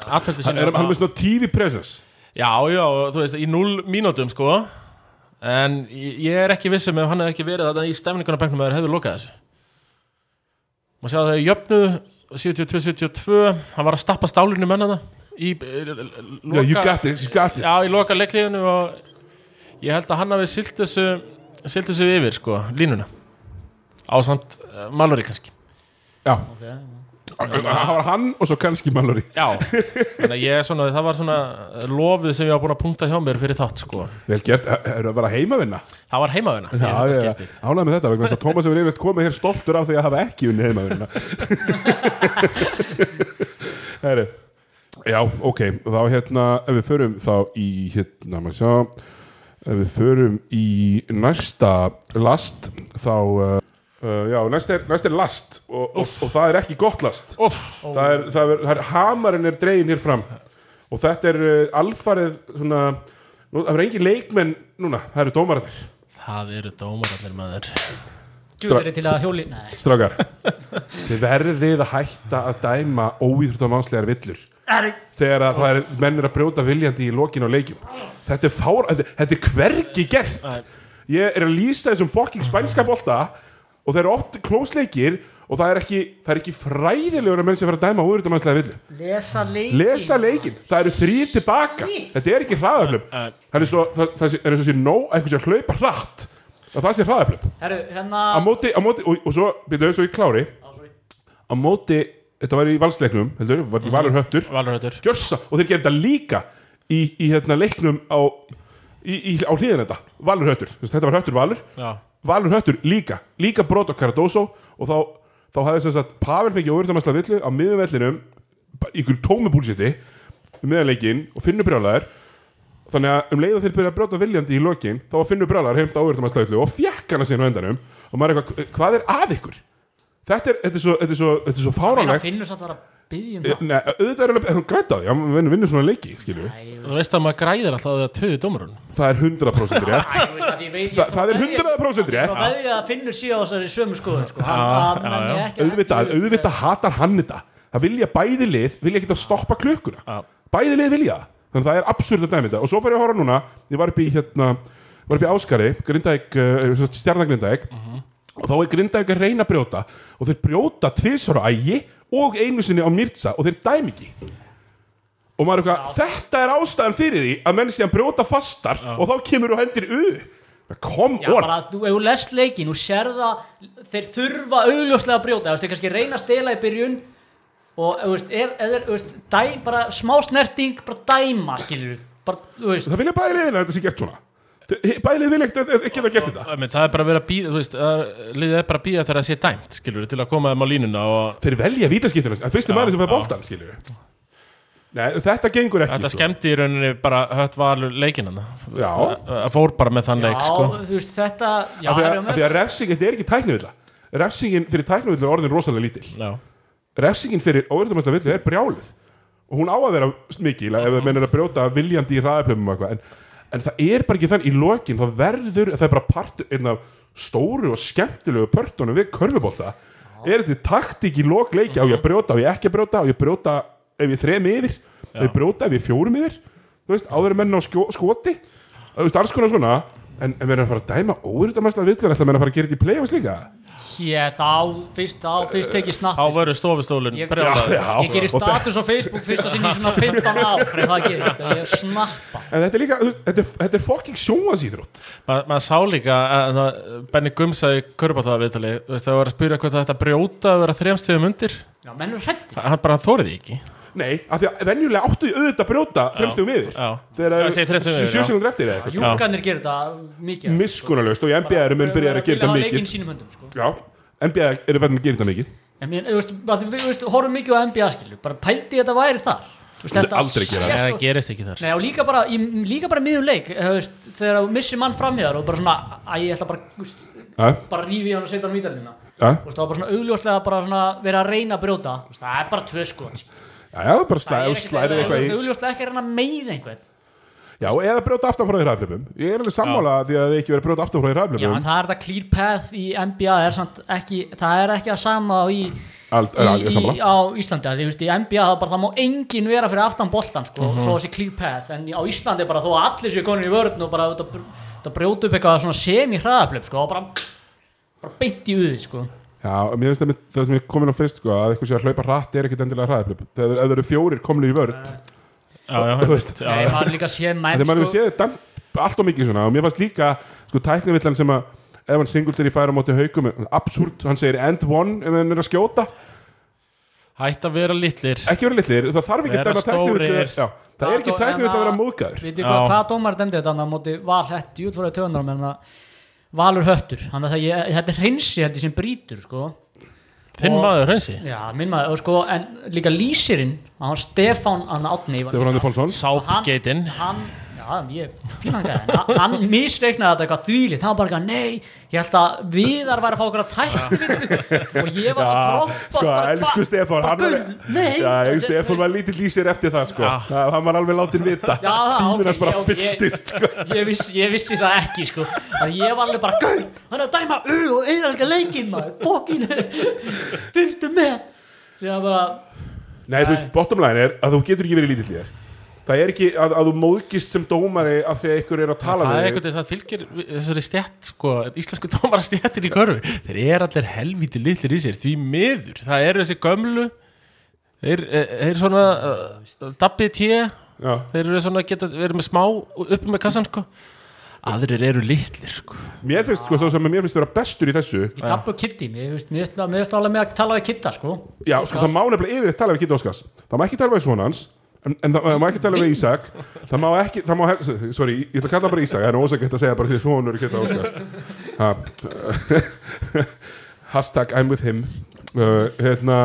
Speaker 3: atverdi
Speaker 1: er
Speaker 3: sinni
Speaker 1: hann með svona TV presence
Speaker 3: Já, já, og þú veist, í null mínútum sko En ég ég er ekki vissum ef hann hefði ekki verið þarna í stemningunarbæknum eða þeir hefðu lokað þessu Má sjá að þau jöfnuðu 72-72 Hann var að stappa stálinu mennana í, eh, l- l- l-
Speaker 1: Já, you
Speaker 3: loka-
Speaker 1: got this, you got this
Speaker 3: Já, ég loka leiklífinu og ég held að hann hafi silt þessu silt þessu yfir, sko, línuna ásamt uh, Mallory kannski
Speaker 1: Já,
Speaker 4: okay.
Speaker 1: það var hann og svo kannski Mallory
Speaker 3: Já, þannig að ég er svona það var svona lofið sem ég var búin að punkta hjá mér fyrir þátt, sko
Speaker 1: Vel gert, eru að vera heimavinna
Speaker 3: Það var heimaðuna í þetta skipti
Speaker 1: ánægð með þetta vegna þess að Tómas hefur yfirleitt komið hér stoltur af því að hafa ekki hérna. unni heimavinna Herri Já, ok, þá hérna ef við förum þá í hérna, maður sjá ef við förum í næsta last þá uh, uh, já, næst er, næst er last og, og, og það er ekki gott last
Speaker 3: Úff,
Speaker 1: það er, það er, það er hamarinn er dregin hér fram og þetta er uh, alfarið svona, nú, það er engin leikmenn núna, það eru dómarandir
Speaker 3: Það eru dómararnir maður
Speaker 4: Djúður er til að hjóli Nei,
Speaker 1: Strákar, þið verðið að hætta að dæma óíþróttamannslegar villur
Speaker 4: er,
Speaker 1: þegar að það er menn er að brjóta viljandi í lokin á leikjum. Þetta er fár, þetta, þetta er hvergi gert. Ég er að lýsa þessum fokking spænska bolta og það eru oft klósleikir og það er ekki, það er ekki fræðilegur að menn sem fara að dæma óíþróttamannslegar villu.
Speaker 4: lesa leikin
Speaker 1: Lesa leikinn, það eru þrýr tilbaka Þetta er ekki hraðaflöp
Speaker 3: Eh,
Speaker 1: Það er svo, það, það sé- er eins og sé nóg að einhvers að hlaupa hratt og það sé hraðaflöp
Speaker 4: Herru, hérna
Speaker 1: á móti, á móti og, og svo, byrjuðu svo ég klári á móti, þetta var í valsleiknum heldur, var í valur höttur
Speaker 3: Valurhættur
Speaker 1: gjössa, og þeir gerir þetta líka í, í hérna leiknum á í, í, á hliðin þetta, valur höttur Þess, þetta var höttur valur,
Speaker 3: Já,
Speaker 1: valur höttur líka líka brot á Cardoso og þá, þá hafði þess að Pavel fengið óverðamæsla villu á miðumvellinum, ykkur tómi búlsiti, um miðanleikin og finnur brjálæðar þannig að um leiða þeir byrja að brjóta viljandi í lokin þá var finnur brjálæðar heimt á óverðamæsla villu og fjekk hana síðan á endanum og maður er eitthvað, hvað er að ykkur? Þetta er, þetta er svo, þetta er svo, þetta er svo
Speaker 4: Meina
Speaker 1: fáránlegt
Speaker 4: finnur samt að vera að byggja um
Speaker 1: Eh,
Speaker 4: það
Speaker 1: Nei, auðvitað er alveg, hann græta á því, hann vinnur, vinnur svona leiki, skilju
Speaker 4: Æ,
Speaker 3: þú veist að maður græðir alltaf að það töði dómarun
Speaker 1: Það er 100% rétt
Speaker 4: Æ, veist að ég veit,
Speaker 1: Þa- það er 100% rétt.
Speaker 4: Það veðja að finnur síðan á þessari sömu skoðum sko.
Speaker 3: Já,
Speaker 4: Hann-
Speaker 3: já,
Speaker 4: hann nenni
Speaker 3: já.
Speaker 4: ekki að-
Speaker 1: Auðvitað, auðvitað hatar hann þetta Það vilja bæði lið, vilja ekkert að stoppa klukkuna
Speaker 3: Já.
Speaker 1: Bæði lið vilja það Þannig að það er absurd að dæmi þetta Og svo fyrir að horfa núna, ég var upp í hérna Var upp í Áskari, Grindæk, uh, stjarnagrindæk
Speaker 3: Mhm.
Speaker 1: Og þá er Grindæk að reyna að brjóta Og þeir brjóta tvisar á ægi Og einu sinni á Mirza Og þeir dæmi ekki Og maður er eitthvað, þetta er ástæðan fyrir því Að menn síðan brjóta fastar Og þá kemur þú hendir u Come
Speaker 4: Já,
Speaker 1: on
Speaker 4: bara þú, ef þú lest leikin, þú sér það þeir þurfa augljóslega að brjóta þú veist, þeir kannski reyna að stela í byrjun og, þú veist, ef, ef þeir, þú veist, dæ, bara smá snerting, bara dæma, skilur við bara, þú veist,
Speaker 1: Það vilja bæði liðin að þetta sé gert svona Þe- Bæði liðin vilja ekkert- ekki að gert þetta
Speaker 3: Það er bara að vera að býða, þú veist að- liðið er bara að býða þegar það sé dæmt skilur til að koma þeim á línuna og
Speaker 1: Þeir velja vítaskiptina Það er fyrsti maður sem fær
Speaker 3: já.
Speaker 1: boltan skilur við Nei, þetta gengur ekki
Speaker 3: þetta
Speaker 1: sko.
Speaker 3: skemmti í rauninni bara hött valur leikinana
Speaker 1: Já.
Speaker 3: að fór bara með þann leik
Speaker 4: já,
Speaker 3: sko
Speaker 4: þú veist, þetta já,
Speaker 1: Af því að,
Speaker 4: það eru
Speaker 1: af því að refsing, þetta er ekki tæknivilla Refsingin fyrir tæknivilla er orðin rosalega lítil
Speaker 3: Já,
Speaker 1: Refsingin fyrir óverðumæsta villu er brjálið Og hún á að vera mikil Ef það mennir að brjóta viljandi í ræðaplöfum og eitthvað en, en það er bara ekki þann í lokin Það verður, það er bara partur Einn af stóru og skemmtilegu pörtunum Við körfubólta Er þetta taktík í lok leikja Á ég að brjóta, á ég ekki að brjóta Á ég að brjóta ef ég þrem yfir Á ég að brjóta ef ég fjórum yfir Þú veist, áður en menn á skjó, skoti Þú veist, alls konar svona En, en verður að fara að dæma óverðumæsta villu Ætla menn að fara að gera þetta í play-offs líka
Speaker 4: Hér, þá, fyrst, þá, fyrst ekki
Speaker 3: þá
Speaker 4: snappið sko.
Speaker 3: verður stofustólin
Speaker 4: Ég-
Speaker 3: brjálaður.
Speaker 1: Já, já.
Speaker 4: ég gerir
Speaker 1: Og það-
Speaker 4: status á Facebook fyrst að sinni svona 15 ár hvernig það gerir þetta, ég snappa
Speaker 1: En þetta er líka, þú veist, þetta er, þetta er fucking sjónvansýþrótt
Speaker 3: Ma, maður sá líka að, að, að Benny Gums sagði körbátaða viðtali þú veist, það var að spyrja hvað þetta brjóta að vera þremstöðum undir,
Speaker 4: já, menn er hrættir,
Speaker 3: hann bara þórið því ekki
Speaker 1: Nei, af því að venjulega áttu því auðvitað að brjóta fremstugum yfir
Speaker 3: já.
Speaker 1: Þegar
Speaker 3: Já, ég segi
Speaker 1: það
Speaker 3: þremstugum
Speaker 1: er
Speaker 3: yfir, já.
Speaker 1: sjösingum eftir eða eitthvað
Speaker 4: júkanir gerir þetta mikið
Speaker 1: Miskunnarlaust og í NBA eru menn byrjar að gera þetta
Speaker 4: leikin
Speaker 1: mikið
Speaker 4: sínum höndum, sko
Speaker 1: Já, NBA eru verðin að gera þetta mikið
Speaker 4: En mér, þú veist, að því við, þú veist, horfum mikið á NBA skilju, bara pældi ég þetta væri þar. Þú veist,
Speaker 1: Myndi aldrei gera
Speaker 4: sé
Speaker 3: Nei, það
Speaker 4: svo-
Speaker 3: gerist ekki þar
Speaker 4: Nei, og líka bara, í, líka bara miðum leik, þú veist, þegar þú missir mann framhjár og bara svona, að ég ætla bara, þú veist,
Speaker 1: Já,
Speaker 4: bara rífi hann og setja hann á vítalina.
Speaker 1: já,
Speaker 4: Þú veist, það var bara svona augljóslega bara svona verið að reyna að brjóta, þú veist, það er bara tvö skot.
Speaker 1: já, já, bara slæ-
Speaker 4: ekkert-
Speaker 1: slærið
Speaker 4: þú
Speaker 1: eitthvað
Speaker 4: veist,
Speaker 1: í
Speaker 4: Augljóslega ekki að reyna að meiða einhvern.
Speaker 1: Já, eða brjóta aftan frá því ræðflipum Ég er alveg sammála því að þið ekki verið að brjóta aftan frá því
Speaker 4: Já, en
Speaker 1: ræðflipum
Speaker 4: það er þetta clear path í NBA, er samt ekki, það er ekki að sama og í
Speaker 1: Allt, er,
Speaker 4: í,
Speaker 1: alveg sammála.
Speaker 4: í, á Íslandi að því, þú veist, í NBA það, bara, það má enginn vera fyrir aftan boltan sko, svo þessi clear path, en á Íslandi bara þó að allir séu konin í vörðin og bara þetta, þetta brjótu upp eitthvað svona semi-hraðaplöp sko, og bara, bara beint í uði sko.
Speaker 1: Já, mér finnst einmitt það sem ég kom inn á fyrst sko, að eitthvað sé að hlaupa rætt er ekkit endilega hraðaplöp þegar ef það eru fjórir komlir í vörð
Speaker 3: já, já,
Speaker 1: þú veist.
Speaker 3: já,
Speaker 4: Nei,
Speaker 3: já.
Speaker 4: maður líka séð menn
Speaker 1: þegar maður
Speaker 4: sko,
Speaker 1: hefur séð damp allt og mikið svona og mér fannst líka sko tæknivillan sem að ef hann singultir í færa móti haukum absúrt, hann segir end one ef hann er að skjóta
Speaker 3: hætt að vera litlir
Speaker 1: ekki vera litlir, það þarf ekki
Speaker 3: Vera
Speaker 1: dæma tæknivill
Speaker 3: stórir.
Speaker 1: já, það er ekki
Speaker 4: Tato-
Speaker 1: tæknivill að
Speaker 4: en
Speaker 1: vera
Speaker 4: að-
Speaker 1: móðgæður
Speaker 4: Vitið
Speaker 3: Já.
Speaker 4: hvað, hvað dómar dæmdi þetta annað á móti val hett, jú, tvolega töðunar menn að valur höttur, þannig að ég, þetta er hreinsi held ég sem brýtur sko.
Speaker 3: þinn
Speaker 4: Og-
Speaker 3: maður hreinsi
Speaker 4: Já, minn maður, og sko, en líka lýsirinn, hann Stefán Anna Átni var-
Speaker 1: Stefán Andri Pálsson
Speaker 3: sápgeitin
Speaker 4: hann, já, ég fílangaði hann hann misreiknaði þetta eitthvað þvílitt hann var bara eitthvað, nei, ég held að viðar væri að fá okkur að tækni og ég var að trompa
Speaker 1: sko,
Speaker 4: bara,
Speaker 1: elsku
Speaker 4: hva-
Speaker 1: Stefán hann
Speaker 4: bara,
Speaker 1: var,
Speaker 4: guð, nei
Speaker 1: já, ég, Stefán var lítill í sér eftir það sko.
Speaker 3: Já.
Speaker 1: það, hann var alveg látin vita
Speaker 4: Já, það, ok,
Speaker 1: símur hans bara
Speaker 4: já, ok, ég-
Speaker 1: fylltist sko.
Speaker 4: ég, viss, ég vissi það ekki sko. að ég var alveg bara gaur, hann er að dæma u og auðvitað leikinn maður, bókin fyrstu með síðan bara,
Speaker 1: Nei, þú veist, bottom line er að þú getur ekki verið lítill í þér Það er ekki að, að þú móðgist sem dómari af því að ykkur er að tala
Speaker 3: það er
Speaker 1: við
Speaker 3: einhvern veginn sem fylgir þessari stjætt sko, íslensku tómara stjættir í körfu þeir eru allir helvíti litlir í sér því miður, það eru þessi gömlu þeir, eh, þeir svona uh, dabbið tíu
Speaker 1: Já,
Speaker 3: þeir eru svona geta, við erum með smá uppi með kassan sko aðrir eru litlir sko
Speaker 1: Mér finnst, sko, svo sem mér finnst vera bestur í þessu
Speaker 4: ég gabbu kitti mér veist, mér veist, mér veist alveg með að tala við kitta sko.
Speaker 1: Já, sko, það má nefnilega yfirleitt tala við Kitty Óskars Það má ekki tala við svona hans En, en það, það má ekki tala við Ísak Það má ekki, það má, hel- sorry, ég ætla að kalla bara Ísak Það er ósækert að segja bara því svonur Kitty Óskars ha, Hashtag I'm with him uh, Hérna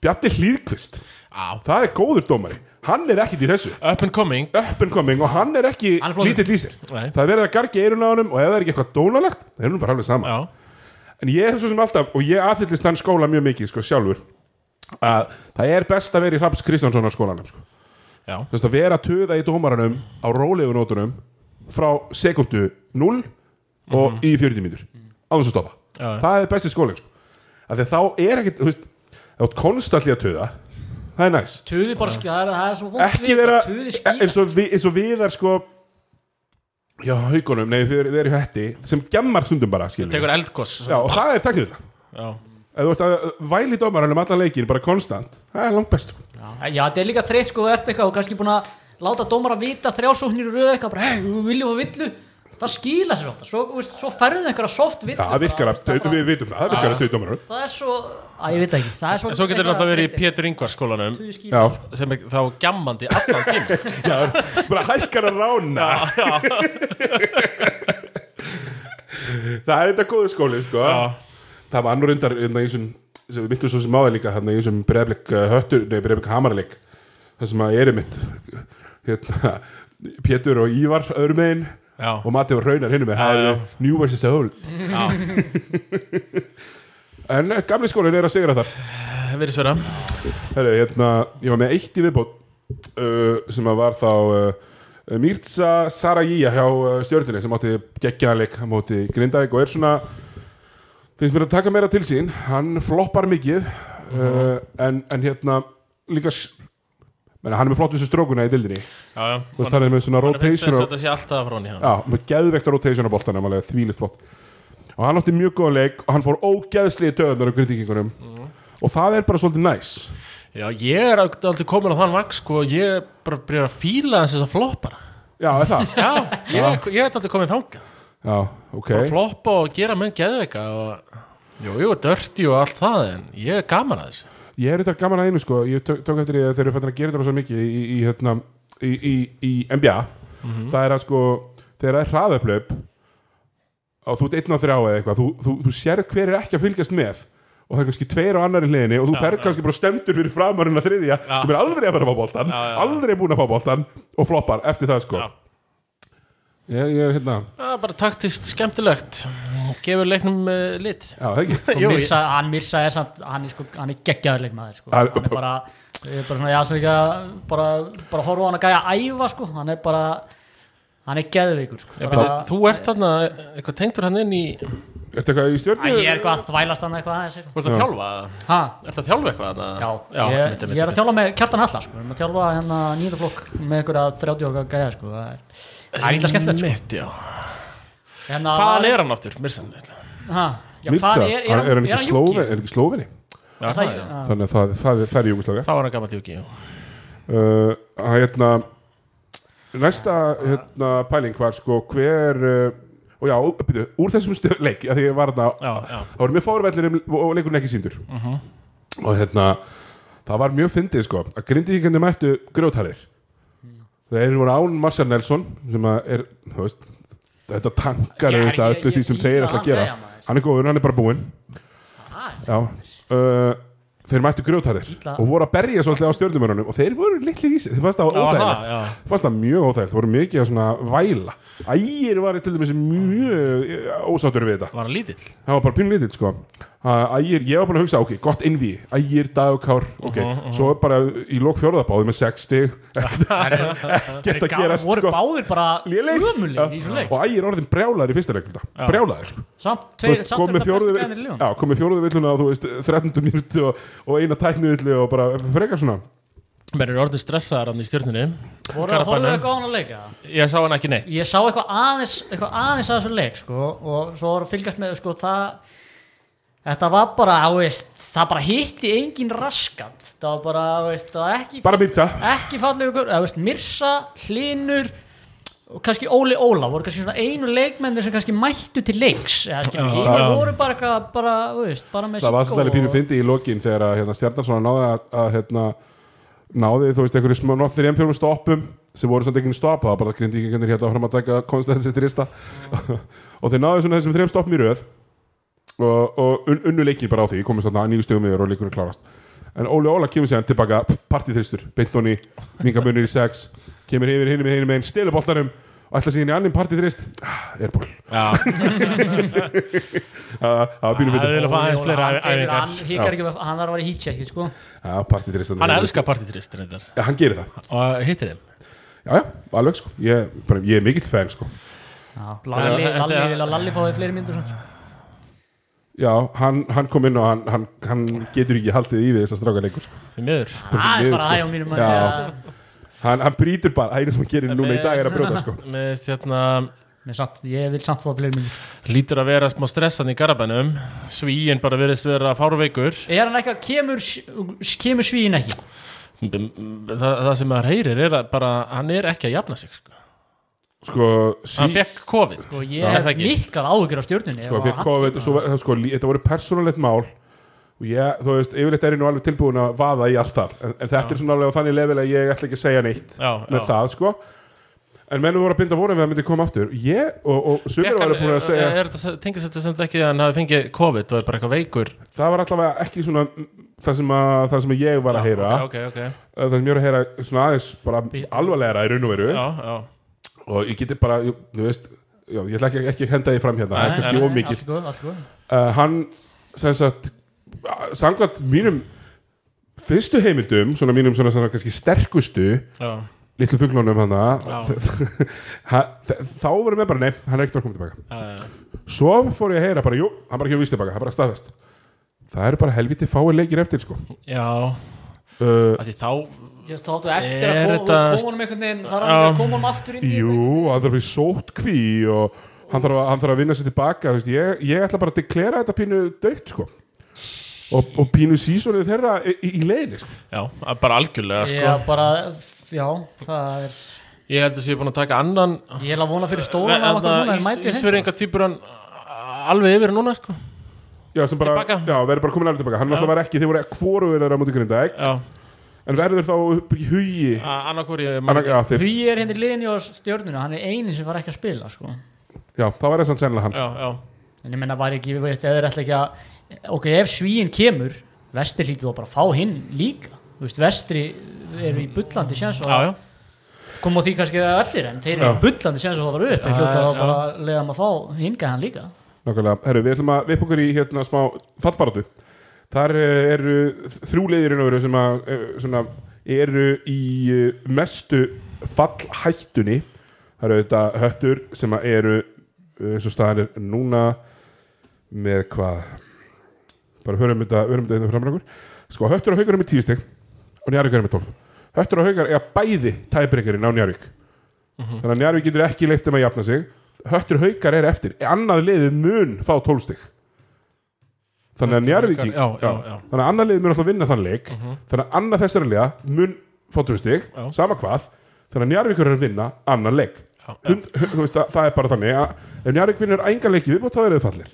Speaker 1: Bjarni Hlýðkvist
Speaker 3: á,
Speaker 1: Það er góður dómari Hann er ekkit í þessu
Speaker 3: up and coming
Speaker 1: up and coming og hann er ekki
Speaker 4: Hann er flottur.
Speaker 1: lítill í sér
Speaker 3: Nei.
Speaker 1: það er verið að gargi eirun á honum og ef það er ekki eitthvað dónalegt það er hún bara alveg sama
Speaker 3: já,
Speaker 1: en ég hef svo sem alltaf og ég aðhyllist þann skóla mjög mikið sko sjálfur að það er best að vera í Hraps Kristjánssonar skólanum sko.
Speaker 3: já,
Speaker 1: þú veist að vera að töða í dómaranum á rólegunótunum frá sekundu 0 og í 40 mínútur á þess að stoppa
Speaker 3: Mhm. Já, já.
Speaker 1: það er besti skólin sko. af því að þá er ekkit þú veist, þá er konstantli að töða það er næs
Speaker 4: tuði bara skil, það er, það er svo vont
Speaker 1: ekki
Speaker 4: við,
Speaker 1: vera e,
Speaker 4: bara tuði skýra
Speaker 1: eins og, vi, eins og viðar sko já, haugunum, nei, þið eru- þið eru í hætti sem gemmar stundum bara, skilur við.
Speaker 3: tekur eldgoss
Speaker 1: já, og það er takk við það
Speaker 3: já.
Speaker 1: ef þú ert að uh, væli dómarann um alla leikin bara konstant, það er langt best
Speaker 4: Já, þetta er líka þreið sko, þú ert eitthvað og kannski búin að láta dómar að vita þrjásóknir í röðu eitthvað, bara, hei, við viljum að villu það skýla sér ofta, svo, veist, svo ferðu einhverja soft villu
Speaker 1: já, það virkar að,
Speaker 4: veist, það, bara,
Speaker 1: við vitum það, það virkar að töðu dómarann
Speaker 4: það er svo, að ég veit það ekki það er svo,
Speaker 3: en svo getur náttúrulega verið í Pétur Ingvar skólanum
Speaker 1: já,
Speaker 4: Pétur
Speaker 3: sem er þá gjammandi allan tím
Speaker 1: já, bara hækkar að rána það er þetta góðu skóli sko. það var annur undar hérna, í þessum- sem við myndum svo sem áður líka hérna, í þessum breyðblik höttur, nei breyðblik hamarleik það sem að ég er mitt hérna, Pétur og Ívar öðrum megin
Speaker 3: Já.
Speaker 1: og Matti og Raunar hinnum með það
Speaker 3: já.
Speaker 1: er New versus Old
Speaker 3: já,
Speaker 1: en eh, gamli skólinn er að sigra þar
Speaker 3: það verið svera
Speaker 1: Heri, hérna, ég var með eitt í viðbót uh, sem að var þá uh, Mirza Saragija hjá uh, stjörnunni sem átti geggjaðanleik á móti Grindavík og er svona finnst mér að taka meira til sín hann floppar mikið uh, en, en hérna líka s- menna, hann er með flottustu strókuna í dildinni
Speaker 3: já, já,
Speaker 1: þú veist hann er með svona
Speaker 3: Honum
Speaker 1: rotation
Speaker 3: finnst þess að
Speaker 1: og,
Speaker 3: þetta sé alltaf frá hann í hann
Speaker 1: já, með geðvekta rotation á boltanum alveg þvílið flott og hann átti mjög góðan leik og hann fór ógeðslið töðunar á grindingingunum og það er bara svolítið næs
Speaker 3: Já, ég er aldrei komin á þann vagn sko, ég bara byrjar að fíla þess að floppara.
Speaker 1: já, er það
Speaker 3: Já, ég, ég er aldrei komin þangað.
Speaker 1: Já, ok
Speaker 3: Bara floppa og gera menn geðveika og, jú, jú, dörti og allt það, en ég er gaman að þessu.
Speaker 1: Ég er þetta gaman að einu sko Ég tök, tók eftir því að þeir eru fættin að gera þetta rosa mikið í, í, hérna, í, í, í NBA
Speaker 4: Mhm.
Speaker 1: Það er að sko Þegar það er hraðaplöp og þú ert einn á þrjá eða eitthvað þú, þú, þú sér hver er ekki að fylgjast með og það er kannski tveir á annari hliðinni og þú ferð kannski bara stemtur fyrir framarinn að þriðja sem er aldrei að fara að fá boltan
Speaker 3: Já, já, já.
Speaker 1: aldrei búin að fá boltan og floppar eftir það sko
Speaker 3: Já.
Speaker 1: ég, ég er hérna
Speaker 3: Já, bara taktist skemmtilegt, gefur leiknum uh, lit.
Speaker 1: Já, það ekki
Speaker 3: Jú,
Speaker 4: Ingvar.
Speaker 3: ég-
Speaker 4: Missa- hann missaði samt, hann er, sko, hann er geggjaðurleik maður sko.
Speaker 1: Hann-
Speaker 4: hann er bara, ég er bara svona, já, svo ekki að bara, bara horfa á hann að gæja æfa sko. hann er bara, hann er geðveikur sko.
Speaker 3: Ég,
Speaker 4: bara,
Speaker 3: þú ert þarna, eitthvað tengdur hann inn í
Speaker 1: Ertu eitthvað í
Speaker 4: Æ,
Speaker 1: stjörnu?
Speaker 4: ég er eitthvað að þvælast hann eitthvað aðeins sko.
Speaker 3: Þú ert að þjálfa það?
Speaker 4: ha,
Speaker 3: Er það að þjálfa eitthvað? þarna?
Speaker 4: já,
Speaker 3: já
Speaker 4: ég,
Speaker 3: mitt, mitt,
Speaker 4: ég er að þjálfa með kjartan allar sko. við erum að þjálfa hérna nýjunda flokk með einhverja 30 okkar gæja sko. það er, það er illa skemmtilegt sko.
Speaker 3: Mitt, já
Speaker 4: hérna,
Speaker 3: Hvaðan er hann aftur? Mirsan Já,
Speaker 4: ha, já,
Speaker 1: Mirza,
Speaker 4: hvað er, er,
Speaker 1: hann- er hann ekki
Speaker 4: Juki?
Speaker 1: slóveni? Er Ah, hann ekki slóveni?
Speaker 3: það,
Speaker 4: Það-
Speaker 3: já.
Speaker 4: já.
Speaker 1: Þannig að það, það, það er Júgoslavia
Speaker 3: Þá er hann gammal júki
Speaker 1: uh, hérna næsta hérna, pæling var sko hver uh, og já, byrju, úr þessum stöð leik að því ég var það
Speaker 3: Já, já.
Speaker 1: það voru mjög fórvellir og leikurinn ekki síndur
Speaker 4: Mhm.
Speaker 1: og hérna það var mjög fyndið sko að grindvíkjandi mættu grjótharðir þeir voru án Marcel Nelson sem að er, þú veist þetta tankar
Speaker 4: Já,
Speaker 1: auðvitað
Speaker 4: ég-
Speaker 1: öllu
Speaker 4: ég
Speaker 1: því sem
Speaker 4: fíla
Speaker 1: þeir ætla
Speaker 4: hann
Speaker 1: að gera
Speaker 4: gæja, maður.
Speaker 1: hann er góður, hann er bara búinn
Speaker 4: Ha,
Speaker 1: Já, uh, þeir mættu grjótarðir
Speaker 4: Ítla.
Speaker 1: og voru að berja svolítið á stjörnumörunum og þeir voru litlir í sig, þeir fannst það
Speaker 3: Já,
Speaker 1: óþægilegt
Speaker 3: það, já.
Speaker 1: Þeim fannst það mjög óþægilegt, þeir voru mikið að svona væla Ægir var til dæmis mjög eh, ósáttur við þetta
Speaker 3: Var hann lítill?
Speaker 1: það var bara pínu lítið sko Að Ægir, ég var búin að hugsa, ok, gott innví Ægir, dag og kár, ok
Speaker 4: Uh-huh,
Speaker 1: svo er bara í lók fjórðabáði með 60 ekkert að
Speaker 4: Þeir
Speaker 1: gerast
Speaker 4: voru
Speaker 1: sko
Speaker 4: báðir bara
Speaker 1: Lélegir.
Speaker 4: ömulegir í þessum
Speaker 1: Já.
Speaker 4: leik sko.
Speaker 1: og Ægir orðin brjálaður í fyrsta leik brjálaður sko
Speaker 4: samt
Speaker 1: Þú
Speaker 4: tveir
Speaker 1: veist,
Speaker 4: samt
Speaker 1: kom
Speaker 4: eru
Speaker 1: með
Speaker 4: þetta bestu
Speaker 1: fjóruðu
Speaker 4: gæðin í liðum
Speaker 1: já, kom með fjóruðu villuna og þú veist 13 minúti og, og eina tæknu villu og bara frekar svona
Speaker 3: Mér er orðin stressaðar hann í stjórninni
Speaker 4: voru að horfa eitthvað á hann að leika
Speaker 3: Ég sá hann ekki neitt
Speaker 4: ég sá eitthvað aðeins eitthvað aðeins að þessu leik sko, og svo var að fylgjast með sko, það, þetta var bara á, veist, það bara hitti engin raskat það var bara, á, veist, það var ekki
Speaker 1: bara mýta
Speaker 4: ekki fallegu gaur, eða, veist, Mirsa, Hlinur og kannski Óli Óla voru kannski svona einu leikmennir sem kannski mættu til leiks eða skilur,
Speaker 3: Já.
Speaker 4: hinn
Speaker 3: Já.
Speaker 4: voru bara eitthvað bara, þú veist, bara með
Speaker 1: það var
Speaker 4: sitt
Speaker 1: svolítið pínu fyndi í lokin þegar að hérna, Stjarnarsson náði að, að hérna, náði þú veist einhverju smá nottir í M4 stoppum sem voru samt ekki stopp það var bara grindi ekki hérna áfram að taka konstantið trista og þeir náðu svona þessum þrejum stoppum í röð og, og un, unnu leiki bara á því komið svona nýju stöðum yfir og leikurinn klárast en Óli Óla kemur sér tilbaka partíþristur, beint honni, vingamunir í sex kemur yfir hinum með hinum meginn, stelur boltanum og ætla sér inn í annin partíþrist ah, er ból,
Speaker 3: Já,
Speaker 1: það var býnum
Speaker 3: það
Speaker 1: við
Speaker 3: vil að fá aðeins fleira
Speaker 4: hann,
Speaker 3: æ-
Speaker 4: kemur, hann,
Speaker 3: æfingar
Speaker 4: hikar ekki, hann þarf að vera hítjekki sko.
Speaker 1: Ah, partíþristan
Speaker 3: Hann elskar partitrist reyndar
Speaker 1: Ja, hann gerir það,
Speaker 3: Og hittir þeim
Speaker 1: já já, alveg sko ég, bara, ég er mikill fan sko
Speaker 4: Lalli,
Speaker 3: Já,
Speaker 4: Lalli,
Speaker 3: þetta-
Speaker 4: Lalli, Lalli fáið fleiri myndur svona, sko.
Speaker 1: já, hann, hann kom inn og hann, hann, hann getur ekki haldið í við þess að stráka leikur sko.
Speaker 3: Því miður
Speaker 4: aðeins
Speaker 1: miður, sko.
Speaker 4: var að hægja á
Speaker 1: Já.
Speaker 4: mínum manni að-
Speaker 1: hann, hann brýtur bara, það einu sem hann gerir núna í dag er að brjóta sko.
Speaker 3: Mér veist hérna
Speaker 4: Nei, samt, ég vil samt fá fleiri myndur
Speaker 3: Lítur að vera smá stressan í garabænum Svíin bara veriðst vera fárveikur
Speaker 4: er hann eitthvað, kemur, s- kemur svíin ekki
Speaker 3: Það, það sem maður heyrir er að bara Hann er ekki að jafna sig sko.
Speaker 1: sko,
Speaker 3: Hann
Speaker 1: sí,
Speaker 3: fekk COVID
Speaker 4: og ég
Speaker 3: Er
Speaker 4: hef
Speaker 3: það ekki?
Speaker 4: mikkal áhyggjur á stjórnunni
Speaker 1: sko, við COVID, svo, var- sko, lí- þetta voru persónulegt mál og ég, þú veist, yfirleitt er ég nú alveg tilbúin að vaða í allt það en, en þetta er svona alveg á þannig level að ég ætla ekki að segja neitt
Speaker 3: Já,
Speaker 1: með
Speaker 3: já.
Speaker 1: það, sko en mennum voru að binda voru við að myndi koma aftur ég, og, og sumir
Speaker 3: Fekk hann- eh,
Speaker 1: voru búin að segja
Speaker 3: Er þetta tengið þetta sem ekki að hann hafi fengið COVID og er bara eitthvað veikur
Speaker 1: það var allavega ekki svona mm, það sem, að, það sem að ég var að heyra
Speaker 3: Ok, ok, ok
Speaker 1: uh, það sem ég var að heyra svona aðeins bara alvarlegra í raun og veru
Speaker 3: Já, já
Speaker 1: og ég geti bara, ég- þú veist já, ég ætla ekki, ekki að henda því fram hérna, það er kannski of mikið
Speaker 4: allt góð, allt góð
Speaker 1: uh, hann sem sagt samkvæmt mínum fyrstu heimildum, svona mínum svona, svona kannski sterkustu,
Speaker 3: Já,
Speaker 1: litlu fuglunum hann
Speaker 3: Já.
Speaker 1: þá voru með bara, nei, hann er ekkert að koma tilbaka
Speaker 3: já, já.
Speaker 1: svo fór ég að heyra bara, jú, hann bara ekki að vísa tilbaka, hann bara staðfest það eru bara helviti fáir leikir eftir sko.
Speaker 3: já
Speaker 1: uh,
Speaker 3: að því þá
Speaker 4: Ég veist, þá áttu eftir
Speaker 3: Er
Speaker 4: að koma,
Speaker 3: þetta- Um,
Speaker 4: koma honum einhvern veginn þar að
Speaker 3: Já.
Speaker 4: koma honum aftur inn í
Speaker 1: jú, hann þarf í sótkví og hann þarf, að, hann þarf að vinna sér tilbaka þú veist, ég, ég ætla bara að deklera þetta pínu dögt sko. og, og pínu sísonið þeirra í, í, í leiðinni sko.
Speaker 3: já, að bara algjörlega
Speaker 4: þetta.
Speaker 3: sko.
Speaker 4: Já, bara, já, það er
Speaker 3: ég held að sé búin að taka annan
Speaker 4: Ég er að vona fyrir stólan af okkur núna en mætir heim
Speaker 3: Ísveringa týpur hann alveg yfir núna sko.
Speaker 1: Já, sem bara,
Speaker 3: Tilbaka.
Speaker 1: já, verður bara komin alveg tilbaka Hann náttúrulega var ekki, þeir voru hvorugur þeirra á móti grindaðeg
Speaker 3: já,
Speaker 1: En verður þá upp í hugi
Speaker 3: annarkori
Speaker 1: Anna, já, þeir,
Speaker 4: Hugi er hendur liðin í stjórnuna, hann er einin sem var ekki að spila sko.
Speaker 1: já, þá var það sann sennilega hann
Speaker 3: já, já,
Speaker 4: En ég menna var ekki, við veist, eða er alltaf ekki að Ok, ef svíin kemur Vestir hlýtur þá bara að fá hinn líka Þú veist, vestri eru í bullandi séns
Speaker 3: já, já.
Speaker 4: og koma á því kannski á eftir en þeir eru
Speaker 1: Já.
Speaker 4: í bullandi séns og það var upp þeir
Speaker 3: Já,
Speaker 4: hljóta þá
Speaker 3: já.
Speaker 4: bara að leiða hann að fá hinga hann líka
Speaker 1: Nákvæmlega, herru, við ætlum að vipa okkur í hérna smá fallbaratu Þar eh, eru þrjú leiðir en öðru sem að eh, svona, eru í eh, mestu fallhættunni Það eru þetta höttur sem að eru eh, eins og staðan er núna með hvað bara hörum þetta, hörum þetta hérna framrangur sko höttur og haugar er með 10 stig og Njarvík er með 12 höttur og haugar er bæði tæbreykarinn á Njarvík
Speaker 3: Mhm.
Speaker 1: þannig að Njarvík getur ekki leift um að jafna sig höttur og haugar er eftir annað liðið mun fá 12 stig þannig að
Speaker 3: Höttur og
Speaker 1: Njarvík
Speaker 3: Haukar, já, já, já.
Speaker 1: þannig að annað liðið mun alltaf vinna þann leik þannig að annað þessara liða mun fá 12 stig,
Speaker 3: Mhm. Já.
Speaker 1: sama hvað þannig að Njarvík er að vinna annan leik
Speaker 3: Já, já.
Speaker 1: Hund, þú veist, það, það er bara þannig að ef Njarvík vinnur enga leiki viðbót þá eru þau fallir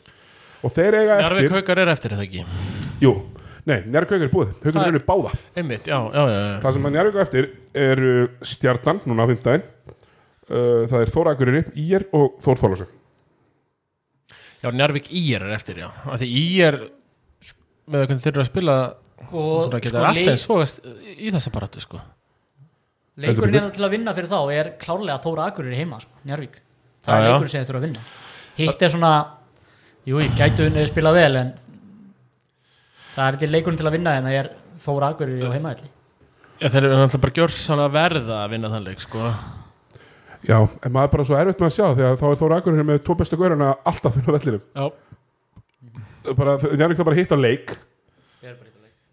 Speaker 1: og þeir eiga eftir
Speaker 3: Njarvík haukar er eftir þetta ekki
Speaker 1: Jú, nei, Njarvík haugur er búið Haugur
Speaker 3: Það
Speaker 1: er
Speaker 3: er-
Speaker 1: unni báða
Speaker 3: einmitt, já, já, já, já.
Speaker 1: Það sem að Njarvík á eftir er uh, stjarnan núna á fimmtæðin uh, Það er Þóra Akureyri, Ír og Þór Þólasum
Speaker 3: já Njarvík ír er eftir, já af því ír með hvernig þeir eru að spila
Speaker 4: og
Speaker 3: svona
Speaker 4: sko,
Speaker 3: geta alltaf
Speaker 4: leik,
Speaker 3: eins sogast í þessa baratu sko
Speaker 4: leikurinn er til að vinna fyrir þá er klárlega Þóra Akurir heima sko, Njarvík, það
Speaker 3: Já,
Speaker 4: er
Speaker 3: já.
Speaker 4: leikurinn sem þeir þurfa að vinna hitt er svona jú, ég gætu unni spila vel en það er til leikurinn til að vinna en það er Þóra Akurir og heimaðalli
Speaker 3: já, þeir eru náttúrulega bara gjörð svona verða að vinna þann leik sko
Speaker 1: Já, en maður er bara svo erfitt með að sjá þegar þá er Þóra Akureyri með tvo bestu gaurana alltaf fyrir vellinum
Speaker 3: já,
Speaker 1: bara, Njarvík það bara hitt á leik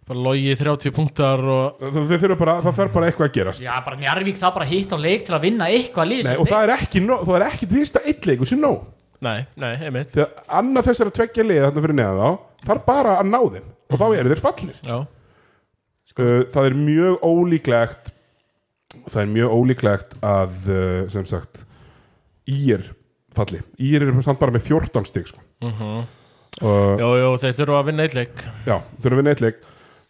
Speaker 3: bara logi 30 punktar og
Speaker 1: Það, það, bara, það fer bara eitthvað að gerast
Speaker 4: já, bara Njarvík það bara hitt á leik til að vinna eitthvað lýs
Speaker 1: nei, og það er ekki, nóg- það er ekki dvista eitt leikur sem nóg
Speaker 3: nei, nei, einmitt
Speaker 1: þegar annað þessara tveggja liða þarna fyrir neðan þá þarf bara að ná þeim og þá eru þeir fallir
Speaker 3: já,
Speaker 4: Sko.
Speaker 1: uh, það er mjög ólíklegt það er mjög ólíklegt að uh, sem sagt ír falli ír er samt bara með 14 stig sko. uh,
Speaker 3: já, já, Mhm. þeir þurfa að vinna eitt leik
Speaker 1: já, þurfum við neitleik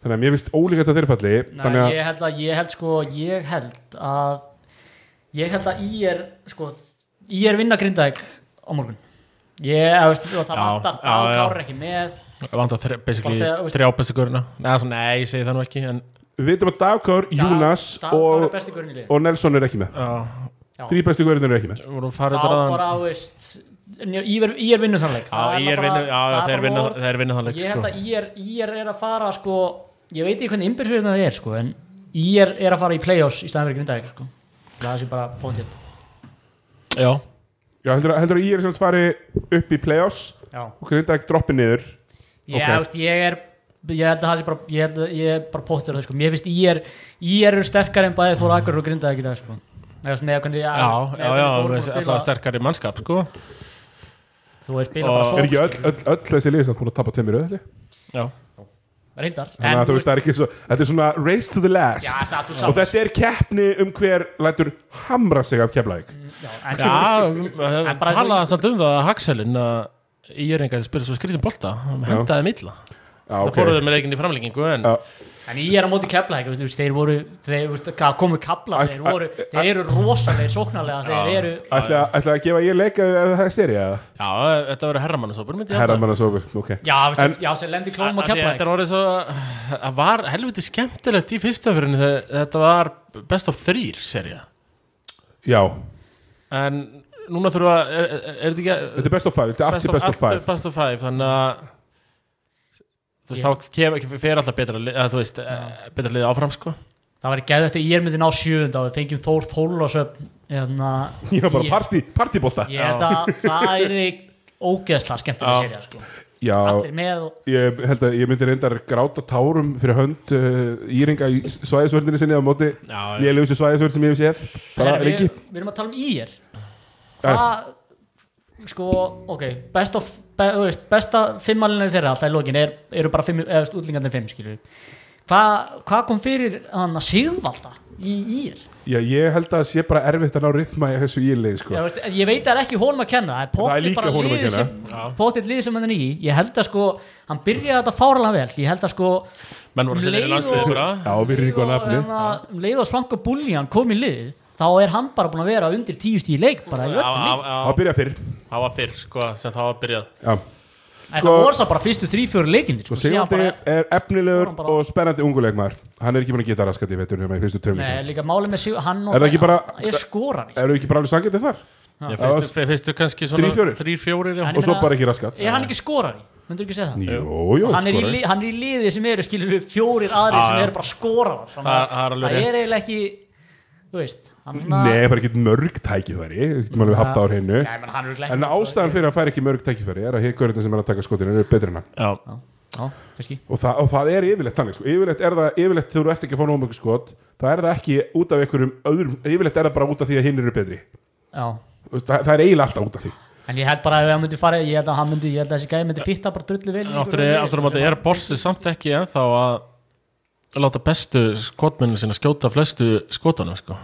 Speaker 1: þannig að mér finnst ólíklegt að þeir falli
Speaker 4: Nei,
Speaker 1: þannig að
Speaker 4: ég held að, ég held sko, ég held að ég held að í er sko, í er vinna grindaðik á morgun ég, að veist, og það
Speaker 3: Já,
Speaker 4: vantar
Speaker 3: já, já.
Speaker 4: dagkárar ekki með
Speaker 3: vanda þre, basically
Speaker 4: Bara þegar-
Speaker 3: þrjá bestu göruna nei, svo, nei, ég segi það nú ekki en,
Speaker 1: við veitum að Dagkár, Júnas
Speaker 4: og,
Speaker 1: og, og Nelson er ekki með
Speaker 3: já,
Speaker 1: þrý bestu góðurinn eru ekki með
Speaker 3: vorum
Speaker 4: þá
Speaker 3: farið þaðan.
Speaker 4: bara, þú veist í er, í er vinnu þannleik
Speaker 3: Já, ég er vinnu, já, já, þeir vinna, þeir vinna þann leik
Speaker 4: ég held
Speaker 3: sko.
Speaker 4: að í er, í er er að fara sko, ég veit ekki hvernig innbyrðsverðin það er sko, en í er er að fara í play-offs í staðan fyrir grindaðik sko. það sé bara potið
Speaker 3: Já,
Speaker 1: já, heldur, heldur að ír er sem sagt fari upp í playoffs
Speaker 4: já
Speaker 1: og grinda ekki droppi niður
Speaker 4: Já,
Speaker 1: Ok.
Speaker 4: okay. veist, ég er ég held að það sé bara ég, held, að- ég er bara pottur á það sko. mér finnst ég er ég eru sterkar en bæði Þóra Akur og Grindavík í dag sko. Ég veist, með hvernig,
Speaker 3: já, já, já,
Speaker 4: þú
Speaker 3: já alltaf
Speaker 4: spila,
Speaker 3: sterkari mannskap sko.
Speaker 4: þú veist spila
Speaker 3: og-
Speaker 4: bara
Speaker 1: er
Speaker 4: sók
Speaker 1: ekki öll, öll, öll þessi liðis að búin að tapa tveimur öðli
Speaker 3: Já,
Speaker 4: reyndar
Speaker 1: þannig að þú veist það er ekki svo þetta er svona race to the last
Speaker 4: já, satt þú
Speaker 1: og
Speaker 4: saman
Speaker 1: þetta er keppni um hver lætur hamra sig af keflæk
Speaker 4: já, en,
Speaker 3: já um,
Speaker 4: En bara
Speaker 3: talaði
Speaker 4: svo-
Speaker 3: samt um það að Haxelin að ég er einhverjum að spila svo skrýtum bolta hann
Speaker 1: Já.
Speaker 3: hendaði milla okay.
Speaker 1: Já,
Speaker 3: það
Speaker 1: ok.
Speaker 3: fóruðu með leikin í framlengingu en
Speaker 1: Já.
Speaker 4: en ég er á móti kefla þú veist, þeir voru þeir þú veist, hvað komu kapla þeir,
Speaker 1: Ætl-
Speaker 4: voru,
Speaker 1: æ-
Speaker 4: þeir eru rosalegir sóknarlega þeir
Speaker 3: Já.
Speaker 4: eru
Speaker 1: Ætla, ætla að gefa ég leika ef það er serið eða?
Speaker 3: já, þetta verið herramannasópur myndi ég halda.
Speaker 1: Herramannasófur, ok
Speaker 4: já, veist,
Speaker 1: En-
Speaker 4: já, sem lendir klónum á
Speaker 3: Af því að
Speaker 4: kefla
Speaker 3: Þetta er orðið svo Það var helviti skemmtilegt í fyrsta fyririnu Þetta var best of þrýr serið
Speaker 1: Já,
Speaker 3: En núna þurfa Er, er, er þetta ekki að
Speaker 1: þetta er best of five, þetta er aftur best of
Speaker 3: allt er
Speaker 1: five
Speaker 3: best of five þannig að þú veist, þá kem, fer alltaf betra lið, að, þú veist, eh, betra liðið áfram sko
Speaker 4: það var geðvægt eftir ég er myndi ná sjöund og við fengjum Þór Þólasöfn
Speaker 1: Ég
Speaker 4: ég
Speaker 1: var bara partí, partíbolta
Speaker 4: Ég held að það er ógeðslega skemmtilega
Speaker 3: Já.
Speaker 4: serja sko.
Speaker 1: Já,
Speaker 4: Allir með og
Speaker 1: ég held að ég myndi reyndar gráta tárum fyrir hönd uh, íringa í svæðisvörðinni sinni á móti
Speaker 3: Já, já.
Speaker 1: lélegustu svæðisvörð sem ég hef séð bara Eh.
Speaker 4: Herra,
Speaker 1: lengi
Speaker 4: við, við erum að tala um ír Hvað Sko, ok, best of be, þú veist, Besta fimmalinni þeirra alltaf í lokin er, Eru bara fimm, eða veist, útlingarnir fimm skilur Hvað hva kom fyrir hann að sigvalda í ír
Speaker 1: Já, ég held að það sé bara erfitt að ná rithma í þessu ílið sko.
Speaker 4: Já, veist, ég veit það er ekki honum að kenna það
Speaker 1: Það
Speaker 4: er
Speaker 1: er
Speaker 4: pottþétt
Speaker 1: líka
Speaker 4: bara
Speaker 1: honum að
Speaker 4: liðið
Speaker 1: kenna.
Speaker 4: sem- pottþétt liðið sem hann er í ég held að sko, hann byrjaði þetta fárlega vel ég held að sko
Speaker 3: menn voru
Speaker 4: Leið
Speaker 3: sinni í landsliði
Speaker 4: og-
Speaker 3: bara
Speaker 1: Já, við erum
Speaker 4: og,
Speaker 1: góða nafni
Speaker 4: hérna, um leið og svanka búljan kom í lið þá er hann bara búin að vera undir tíu stíð leik bara í
Speaker 3: Já,
Speaker 4: öllum leik
Speaker 1: Það
Speaker 3: já, já,
Speaker 1: byrja fyrr
Speaker 3: það var fyrr sko sem það var byrjað
Speaker 1: Já
Speaker 4: en
Speaker 1: sko-
Speaker 4: það voru svo bara fyrstu þrý, fjóri leikinni
Speaker 1: Sko
Speaker 4: sko, síðan
Speaker 1: Sigvaldi
Speaker 4: bara-
Speaker 1: er efnilegur
Speaker 4: Síðan bara-
Speaker 1: og spennandi unguleikmaður Hann er ekki búin að geta raskat í vetur nema í fyrstu tveim
Speaker 4: Nei,
Speaker 1: leikum
Speaker 4: líka máli með sig, hann og
Speaker 1: Er það ekki bara-
Speaker 4: hann er skorar sko.
Speaker 1: Eru ekki bara alveg sangið þar?
Speaker 3: Já,
Speaker 1: Það
Speaker 3: fyrstu, fe- fyrstu kannski svona
Speaker 1: Þrír, fjórir?
Speaker 3: þrír, fjórir, já.
Speaker 4: En-
Speaker 1: Og svo
Speaker 4: meina-
Speaker 1: bara ekki raskat
Speaker 4: er hann ekki skorar myndur ekki segja það
Speaker 1: Jú, jú,
Speaker 4: hann er, í,
Speaker 1: skorar.
Speaker 4: li- hann er í liði sem eru skilur við fjórir aðrir
Speaker 3: Já,
Speaker 4: sem
Speaker 3: já.
Speaker 4: eru bara skorar
Speaker 3: Það- það er alveg
Speaker 4: það er
Speaker 3: rétt.
Speaker 4: eiginlega ekki þú veist hann er svona
Speaker 1: Nei, bara ekki mörg tækifæri Við getum alveg haft það á hreinu
Speaker 4: Já, ég meina, hann er örugglega ekki-
Speaker 1: En ástæðan fyrir að hann fær ekki mörg tækifæri er að hér görðin sem er að taka skotinu er betri en hann
Speaker 3: já,
Speaker 4: Já, já, kannski
Speaker 1: og það, og það er yfirleitt þannig sko. yfirleitt er það, yfirleitt þegar þú ert ekki að fá nóg mörg skot það er það ekki út af einhverjum öðrum yfirleitt er það bara út af því að hinn eru betri
Speaker 4: Já,
Speaker 1: Þú veist, það, það er eiginlega alltaf út af því
Speaker 4: en ég held bara að ef hann myndi fara ég held að hann myndi, ég held að þessi gæði myndi fitta bara drullu vel í
Speaker 3: en
Speaker 4: einhverju
Speaker 3: aftur
Speaker 4: liði,
Speaker 3: aftur á
Speaker 4: sko,
Speaker 3: móti
Speaker 4: sem
Speaker 3: er Borsi samt ekki ennþá að láta bestu skotmennin sinna skjóta flestu skotanum sko.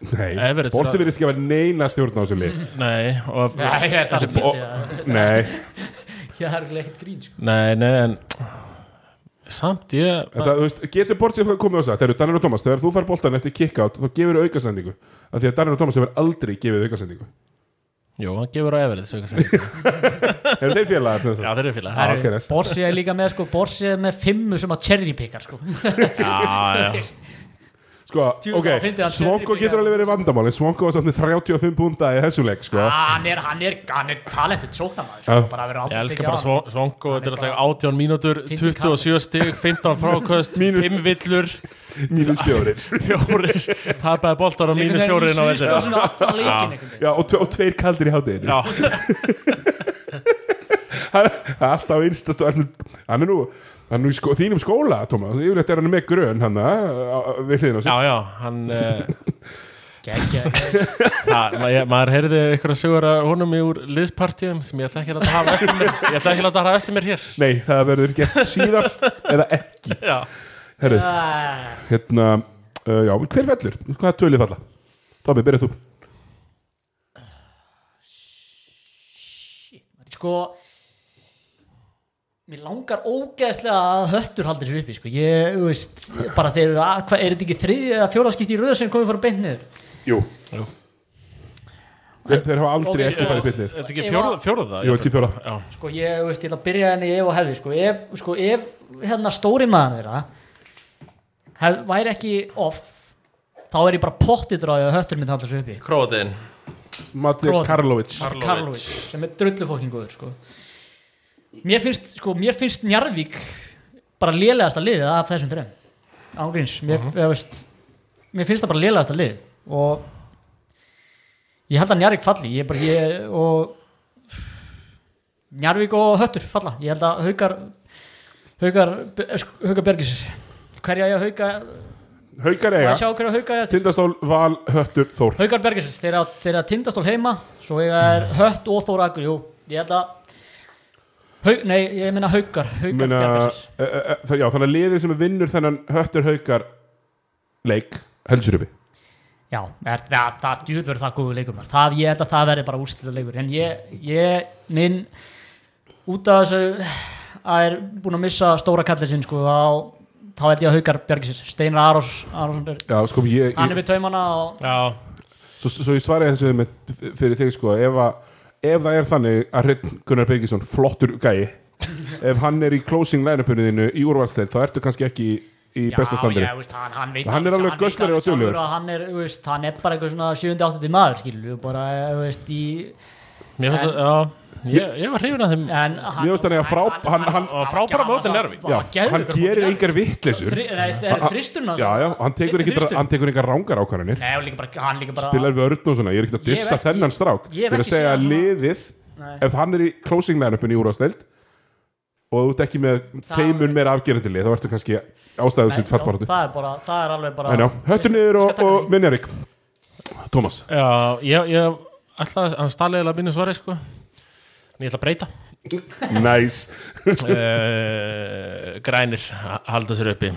Speaker 1: Nei,
Speaker 3: Everett er Mm,
Speaker 1: Borsi
Speaker 3: að-
Speaker 1: verið skjafar neina stjórn á þessu lið
Speaker 3: nei, og,
Speaker 4: Nei, ég er það sem
Speaker 1: Bo-
Speaker 4: myndi að-
Speaker 1: Nei,
Speaker 4: Ég er örugglega ekkert grín sko.
Speaker 3: nei, nei en, samt ég
Speaker 1: en það, þú veist, getur Borsi komið á þess að þegar Danir og Thomas, þegar þú fær boltan eftir kick-out þá gefur þú aukasendingu af því að Danir og Thomas hefur aldrei gefið aukasendingu
Speaker 3: jú, hann gefur á Everett svo ekki að segja.
Speaker 1: Eru þeir félagar? sem sagt?
Speaker 3: já, þeir eru félag
Speaker 1: Já,
Speaker 3: já,
Speaker 1: ok, nice.
Speaker 4: Borsi er líka með sko, Borsi er með fimmu sem að cherrypickar sko.
Speaker 3: já, já,
Speaker 1: Sko,
Speaker 4: Djú,
Speaker 1: ok,
Speaker 4: þá fyndi hann
Speaker 1: Svonko
Speaker 4: Cedric
Speaker 1: getur
Speaker 4: líka.
Speaker 1: alveg verið vandamál en Svonko var samt með 35 púnta í þessu leik sko.
Speaker 4: hann, er, hann, er, hann er talented
Speaker 1: Já.
Speaker 4: sóknamaður sko, bara að vera
Speaker 3: ég
Speaker 4: aldrei
Speaker 3: elska
Speaker 4: tekið á
Speaker 3: bara
Speaker 4: hann.
Speaker 3: Svon- Svonko þetta er
Speaker 4: bara-
Speaker 3: alltaf 18 mínútur,
Speaker 4: Fyndi
Speaker 3: 27 stig 15 frákvöst, 5 villur
Speaker 1: mínus fjórir
Speaker 3: fjórir, tapaði boltar á
Speaker 4: Einhvern
Speaker 3: mínus
Speaker 4: veginn
Speaker 3: fjórin á
Speaker 4: í
Speaker 3: vellinum.
Speaker 4: svona allan leikinn einhvern veginn.
Speaker 1: Já, og, tve, og tveir kaldir í hátteginu
Speaker 3: Já,
Speaker 1: hann hann er alltaf einstast og hann, hann er nú, hann er nú í sko, þínum skóla Thomas, yfirleitt er hann með grön hann uh, við hliðin á sig
Speaker 3: já, já, hann uh,
Speaker 4: Geggjað.
Speaker 3: það, maður, maður heyrði ykkur að segja honum í úr liðspartíum sem ég ætla ekki að láta hafa eftir mér ég ætla ekki að láta hafa eftir mér hér
Speaker 1: nei, það verður gert síðar eða ekki,
Speaker 3: Já,
Speaker 1: herru,
Speaker 4: Æ,
Speaker 1: hérna uh, já, hver fellur, hvað tölið falla Tómi, byrjað þú,
Speaker 4: Sko Mér langar ógeðslega að höttur haldir sér uppi sko. Ég, þú veist, bara þeir eru að, hvað, er þetta ekki þriðið eða fjóraskipti í röð sem komið fyrir beint niður?
Speaker 1: jú þeir, þeir hafa aldrei
Speaker 4: Ok,
Speaker 1: ekki
Speaker 4: já.
Speaker 1: farið bitnir,
Speaker 3: þetta er ekki fjóruða, fjóruða
Speaker 1: jú, til fjóra
Speaker 3: Já,
Speaker 4: Sko, ég, þú veist, ég ætla að byrja henni ef og hefði, sko, ef, sko, ef hérna stóri maður þeirra hef, væri ekki off þá er ég bara pottið dráði að höttur myndi haldir sér uppi.
Speaker 3: króðin
Speaker 1: Matti
Speaker 4: Krónan.
Speaker 1: Karlovic
Speaker 3: Karlovic.
Speaker 4: Karlovic, sem er drullufókingóður, sko. Mér finnst, sko, mér finnst Njarðvík bara lélegasta liðið af þessum trefn ángríns mér, uh veist, mér finnst það bara lélegasta lið og ég held að Njarvík falli ég bara, ég, og Njarvík og Höttur falla ég held að Haukar Haukar, Haukar Bergis hverja ég Hauka
Speaker 1: Haukar
Speaker 4: ja.
Speaker 1: eiga,
Speaker 4: sjá hverja Hauka ég-
Speaker 1: Tindastól, Val, Höttur, Þór
Speaker 4: Haukar Bergis, þeir eru að- þeir eru að tindastól heima svo ég er Hött og Þór Akur jú, ég held að Hauk, nei, ég meina Haukar Haukar
Speaker 1: Meina,
Speaker 4: Bergis
Speaker 1: e, e, e, já, þannig að liðið sem vinnur þennan Höttur, Haukar leik, heldur uppi
Speaker 4: Já, er, það, það djúð verður það góðu leikur maður. það, ég held að það verður bara úrslita leikur en ég, ég, minn út af þessu að er búin að missa stóra kallið sinn sko, þá, þá held ég að haukar Björgisins, Steinar Arós Arósson er,
Speaker 1: Já, sko, ég,
Speaker 4: hann
Speaker 1: ég
Speaker 4: er við taumana og
Speaker 3: Já,
Speaker 1: svo, svo ég svaraði þessu með, fyrir þig, sko, ef, að, ef það er þannig að Hreinn Gunnar Birgisson, flottur gæi, ef hann er í closing line-upinu þínu í úrvalsleir, þá ertu kannski ekki í, í besta standinu.
Speaker 4: já, veist, hann, hann, veit,
Speaker 1: Hann er alveg
Speaker 4: veit
Speaker 1: göslari
Speaker 4: alveg
Speaker 1: og duglegur.
Speaker 4: sjálfur að hann er, þú veist, hann er bara eitthvað svona 7-8 maður skilur við bara eh, þú veist, í,
Speaker 3: mér finnst að já, ég, ég var hrifin að þeim
Speaker 4: en
Speaker 1: Mér finnst þannig að frá- hann- hann-
Speaker 3: frábæra móti Njarðvík.
Speaker 1: Já, hann gerir engar vittleysur.
Speaker 4: þristurna
Speaker 1: Já, já, hann tekur, ekki, hann tekur engar rángar ákvarðanir,
Speaker 4: Nei, og líka bara, hann líka bara
Speaker 1: spilar vörðn og svona, ég er ekkert að
Speaker 4: Ég hef
Speaker 1: dissa
Speaker 4: ekki-
Speaker 1: þennan strák.
Speaker 4: ég hef
Speaker 1: Ég er að
Speaker 4: ekki
Speaker 1: segja
Speaker 4: séð
Speaker 1: að
Speaker 4: hann svona-
Speaker 1: liðið,
Speaker 4: Nei.
Speaker 1: ef hann er í closing line-upinu í úrvalsleir, og þú ert ekki með þeimun meira afgerandi lið, þá ertu kannski ástæðu
Speaker 4: Nei,
Speaker 1: sitt fattbáratu.
Speaker 4: já, það er bara, það er alveg bara
Speaker 1: En já, höttur niður og, og minjarík Tómas
Speaker 3: Já, ég, ég ætla að hann staliðilega mínu svari sko en ég ætla að breyta
Speaker 1: Nice
Speaker 3: uh, Grænir, ha- halda sér uppi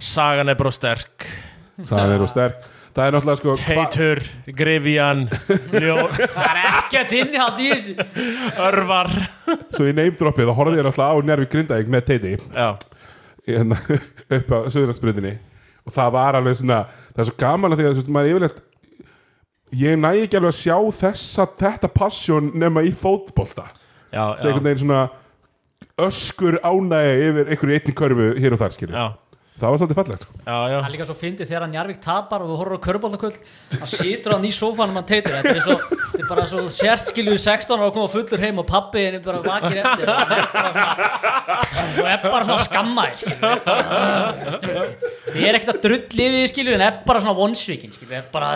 Speaker 3: Sagan er bara sterk
Speaker 1: Það er og sterk Það er náttúrulega sko hva-
Speaker 3: Teitur, Grifian Ljó,
Speaker 4: Það er ekkert innihald í þessu
Speaker 3: Örvar
Speaker 1: Svo í name droppið þá horfði ég náttúrulega á Nervi Grindavík með Teiti
Speaker 3: Já,
Speaker 1: hérna, upp á Suðurlandsbrytinni og það var alveg svona það er svo gaman að því að þú veist, maður er yfirleitt ég næ ekki alveg að sjá þessa þetta passjón nema í fótbolta það er
Speaker 3: já, já,
Speaker 1: einhvern veginn svona öskur ánægja yfir einhverju einni körfu hér og þar skilur
Speaker 3: já.
Speaker 1: það var svolítið fallegt sko.
Speaker 3: já, já,
Speaker 4: Það er líka svo fyndið þegar hann Jarvik tapar og þú horfur á körbóltaköll hann situr hann í sófanum hann teitur þetta er, svo, þetta er bara svo sért skiljuðu 16 ára og koma fullur heim og pappi henni bara vakir eftir og hann er bara svona þú er bara svona skammaði skiljuðu ég er ekkert að drulli við skiljuðu en er bara svona vonsvíkin skiljuðu er bara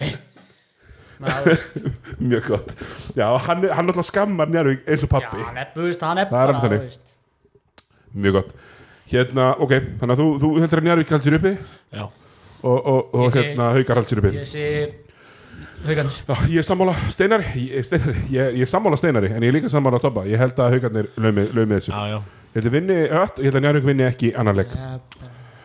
Speaker 4: eh, maður veist
Speaker 1: mjög gott sko. já, hann, er- hann alltaf skammar Njarvík eins og
Speaker 4: já,
Speaker 1: pappi
Speaker 4: hann er, þú veist, hann er
Speaker 1: Það er
Speaker 4: bara
Speaker 1: alveg þannig.
Speaker 4: þú veist.
Speaker 1: mjög gott hérna, ok, þannig að þú, þú heldur að Njarvík haldsir uppi
Speaker 3: já.
Speaker 1: og, og, og
Speaker 4: Ég sé-
Speaker 1: hérna haukar haldsir uppi
Speaker 4: ég sé haugandur
Speaker 1: Já, ég er sammála Steinari, ég, Steinari ég, ég er sammála Steinari en ég er líka sammála Tobba ég held að haugarnir laumi, laumi þessu
Speaker 3: já, já.
Speaker 1: ég held að vinni ött og ég held að Njarvík vinni ekki annan leik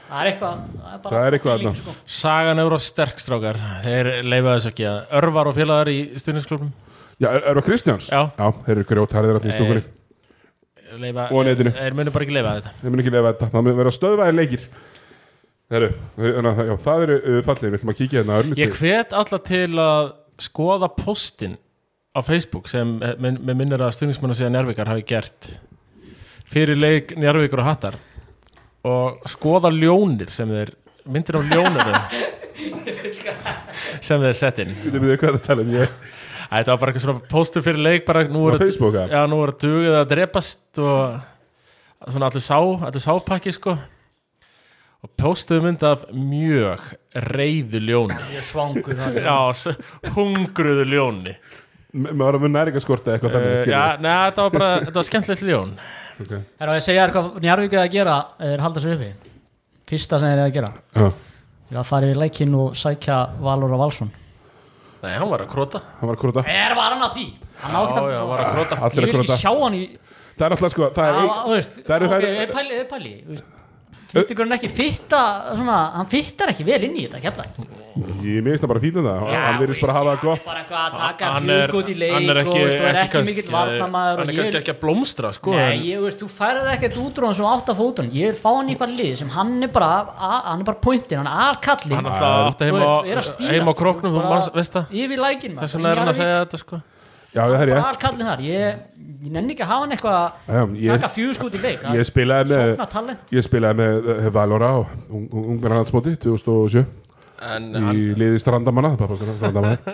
Speaker 4: það er eitthvað það er, bara
Speaker 1: Það er eitthvað
Speaker 4: feeling,
Speaker 1: þarna.
Speaker 4: sko.
Speaker 3: Sagan er of sterk strákar Þeir leifa þess ekki að örvar og félagar í stundinsklubbum
Speaker 1: Já, er, er það Kristjáns?
Speaker 3: Já.
Speaker 1: Já, þeir eru grjótarðir allir í stúkunni
Speaker 3: leifa,
Speaker 1: Og á netinu.
Speaker 3: Þeir munu bara ekki leifa þetta
Speaker 1: Þeir mun ekki lefa þetta, það mun vera stöðvæðir leikir Heru, það, já, það eru uh, fallið, við ætlum að kíkja hérna örlítið
Speaker 3: Ég hvet alla til að skoða postin á Facebook sem eh, minn- mig minnir að stundismanna síðan Njárvíkar hafi gert fyrir leik Njárvíkur og Hattar og skoða ljónið sem þeir myndir á ljónið sem þeir sett inn
Speaker 1: Við veitum hvað það tala um ég
Speaker 3: Æ, Þetta var bara eitthvað svona postur fyrir leik bara nú
Speaker 1: Á
Speaker 3: er
Speaker 1: Facebook, eða?
Speaker 3: Já, nú er að dugið að drepast og svona allir sá, allir sápakki sko og postuðu mynd af mjög reyðu ljóni
Speaker 4: ég er svangur það er-
Speaker 3: Já, s- hungruðu ljóni
Speaker 1: M- Maður var að mun næringaskorta eitthvað
Speaker 3: uh,
Speaker 1: þannig
Speaker 3: Já, neða, þetta var bara, þetta var skemmtilegt ljón
Speaker 4: Herra, ég segja þér hvað Njarvík er að gera er halda sér uppi Fyrsta sem þeir eru að gera
Speaker 1: já,
Speaker 4: er að fara í leikinn og sækja Valur og Valsson
Speaker 3: Nei, hann var að króta
Speaker 1: hann var að króta
Speaker 4: Er var hann að því? Hann á
Speaker 3: Já,
Speaker 4: ekkert
Speaker 3: já, hann var að króta
Speaker 4: Ég
Speaker 1: Allir að
Speaker 4: vil ekki
Speaker 1: króta
Speaker 4: sjá hann í
Speaker 1: Það er alltaf sko, það
Speaker 4: Á,
Speaker 1: er
Speaker 4: á, þú
Speaker 1: ein-
Speaker 4: veist,
Speaker 1: það eru- það
Speaker 4: ok,
Speaker 1: eru-
Speaker 4: er pæli, er pæli þú veist. Finnst ykkur hann ekki fitta svona, hann fittar ekki vel inn í þetta kemla
Speaker 1: Ég meðist það bara fílan það, hann virðist bara hafa það gott
Speaker 4: Bara eitthvað að taka
Speaker 3: Hann er-
Speaker 4: fjöskot í leik
Speaker 3: hann er
Speaker 4: og
Speaker 3: ekki,
Speaker 4: þú veist, þú er ekki
Speaker 3: kannski-
Speaker 4: mikill varnamaður
Speaker 3: Hann er
Speaker 4: og ég
Speaker 3: kannski ekki að blómstra sko
Speaker 4: Nei,
Speaker 3: en-
Speaker 4: ég veist, þú færið ekkert út úr hann svo átt af fótunum Ég er fá hann í eitthvað lið sem hann er bara a- hann er bara pointin, hann er allkallin
Speaker 3: Hann alltaf átti heima á- heima á króknum, þú manst- veist það.
Speaker 4: sko, Yfir lækin
Speaker 3: Þess vegna er hann að segja þetta sko
Speaker 1: Já, það er ég
Speaker 4: Allkallin þar, ég, ég nenni ekki að hafa hann eitthvað
Speaker 1: Já, ég-
Speaker 4: taka fjúskút í leik
Speaker 1: Ég spilaði
Speaker 4: Sopna
Speaker 1: með
Speaker 4: talent
Speaker 1: Ég spilaði með eh, Valora á Ungmennarlandsmóti 2007
Speaker 3: En hann,
Speaker 1: í liði strandamanna, pappa strandamanna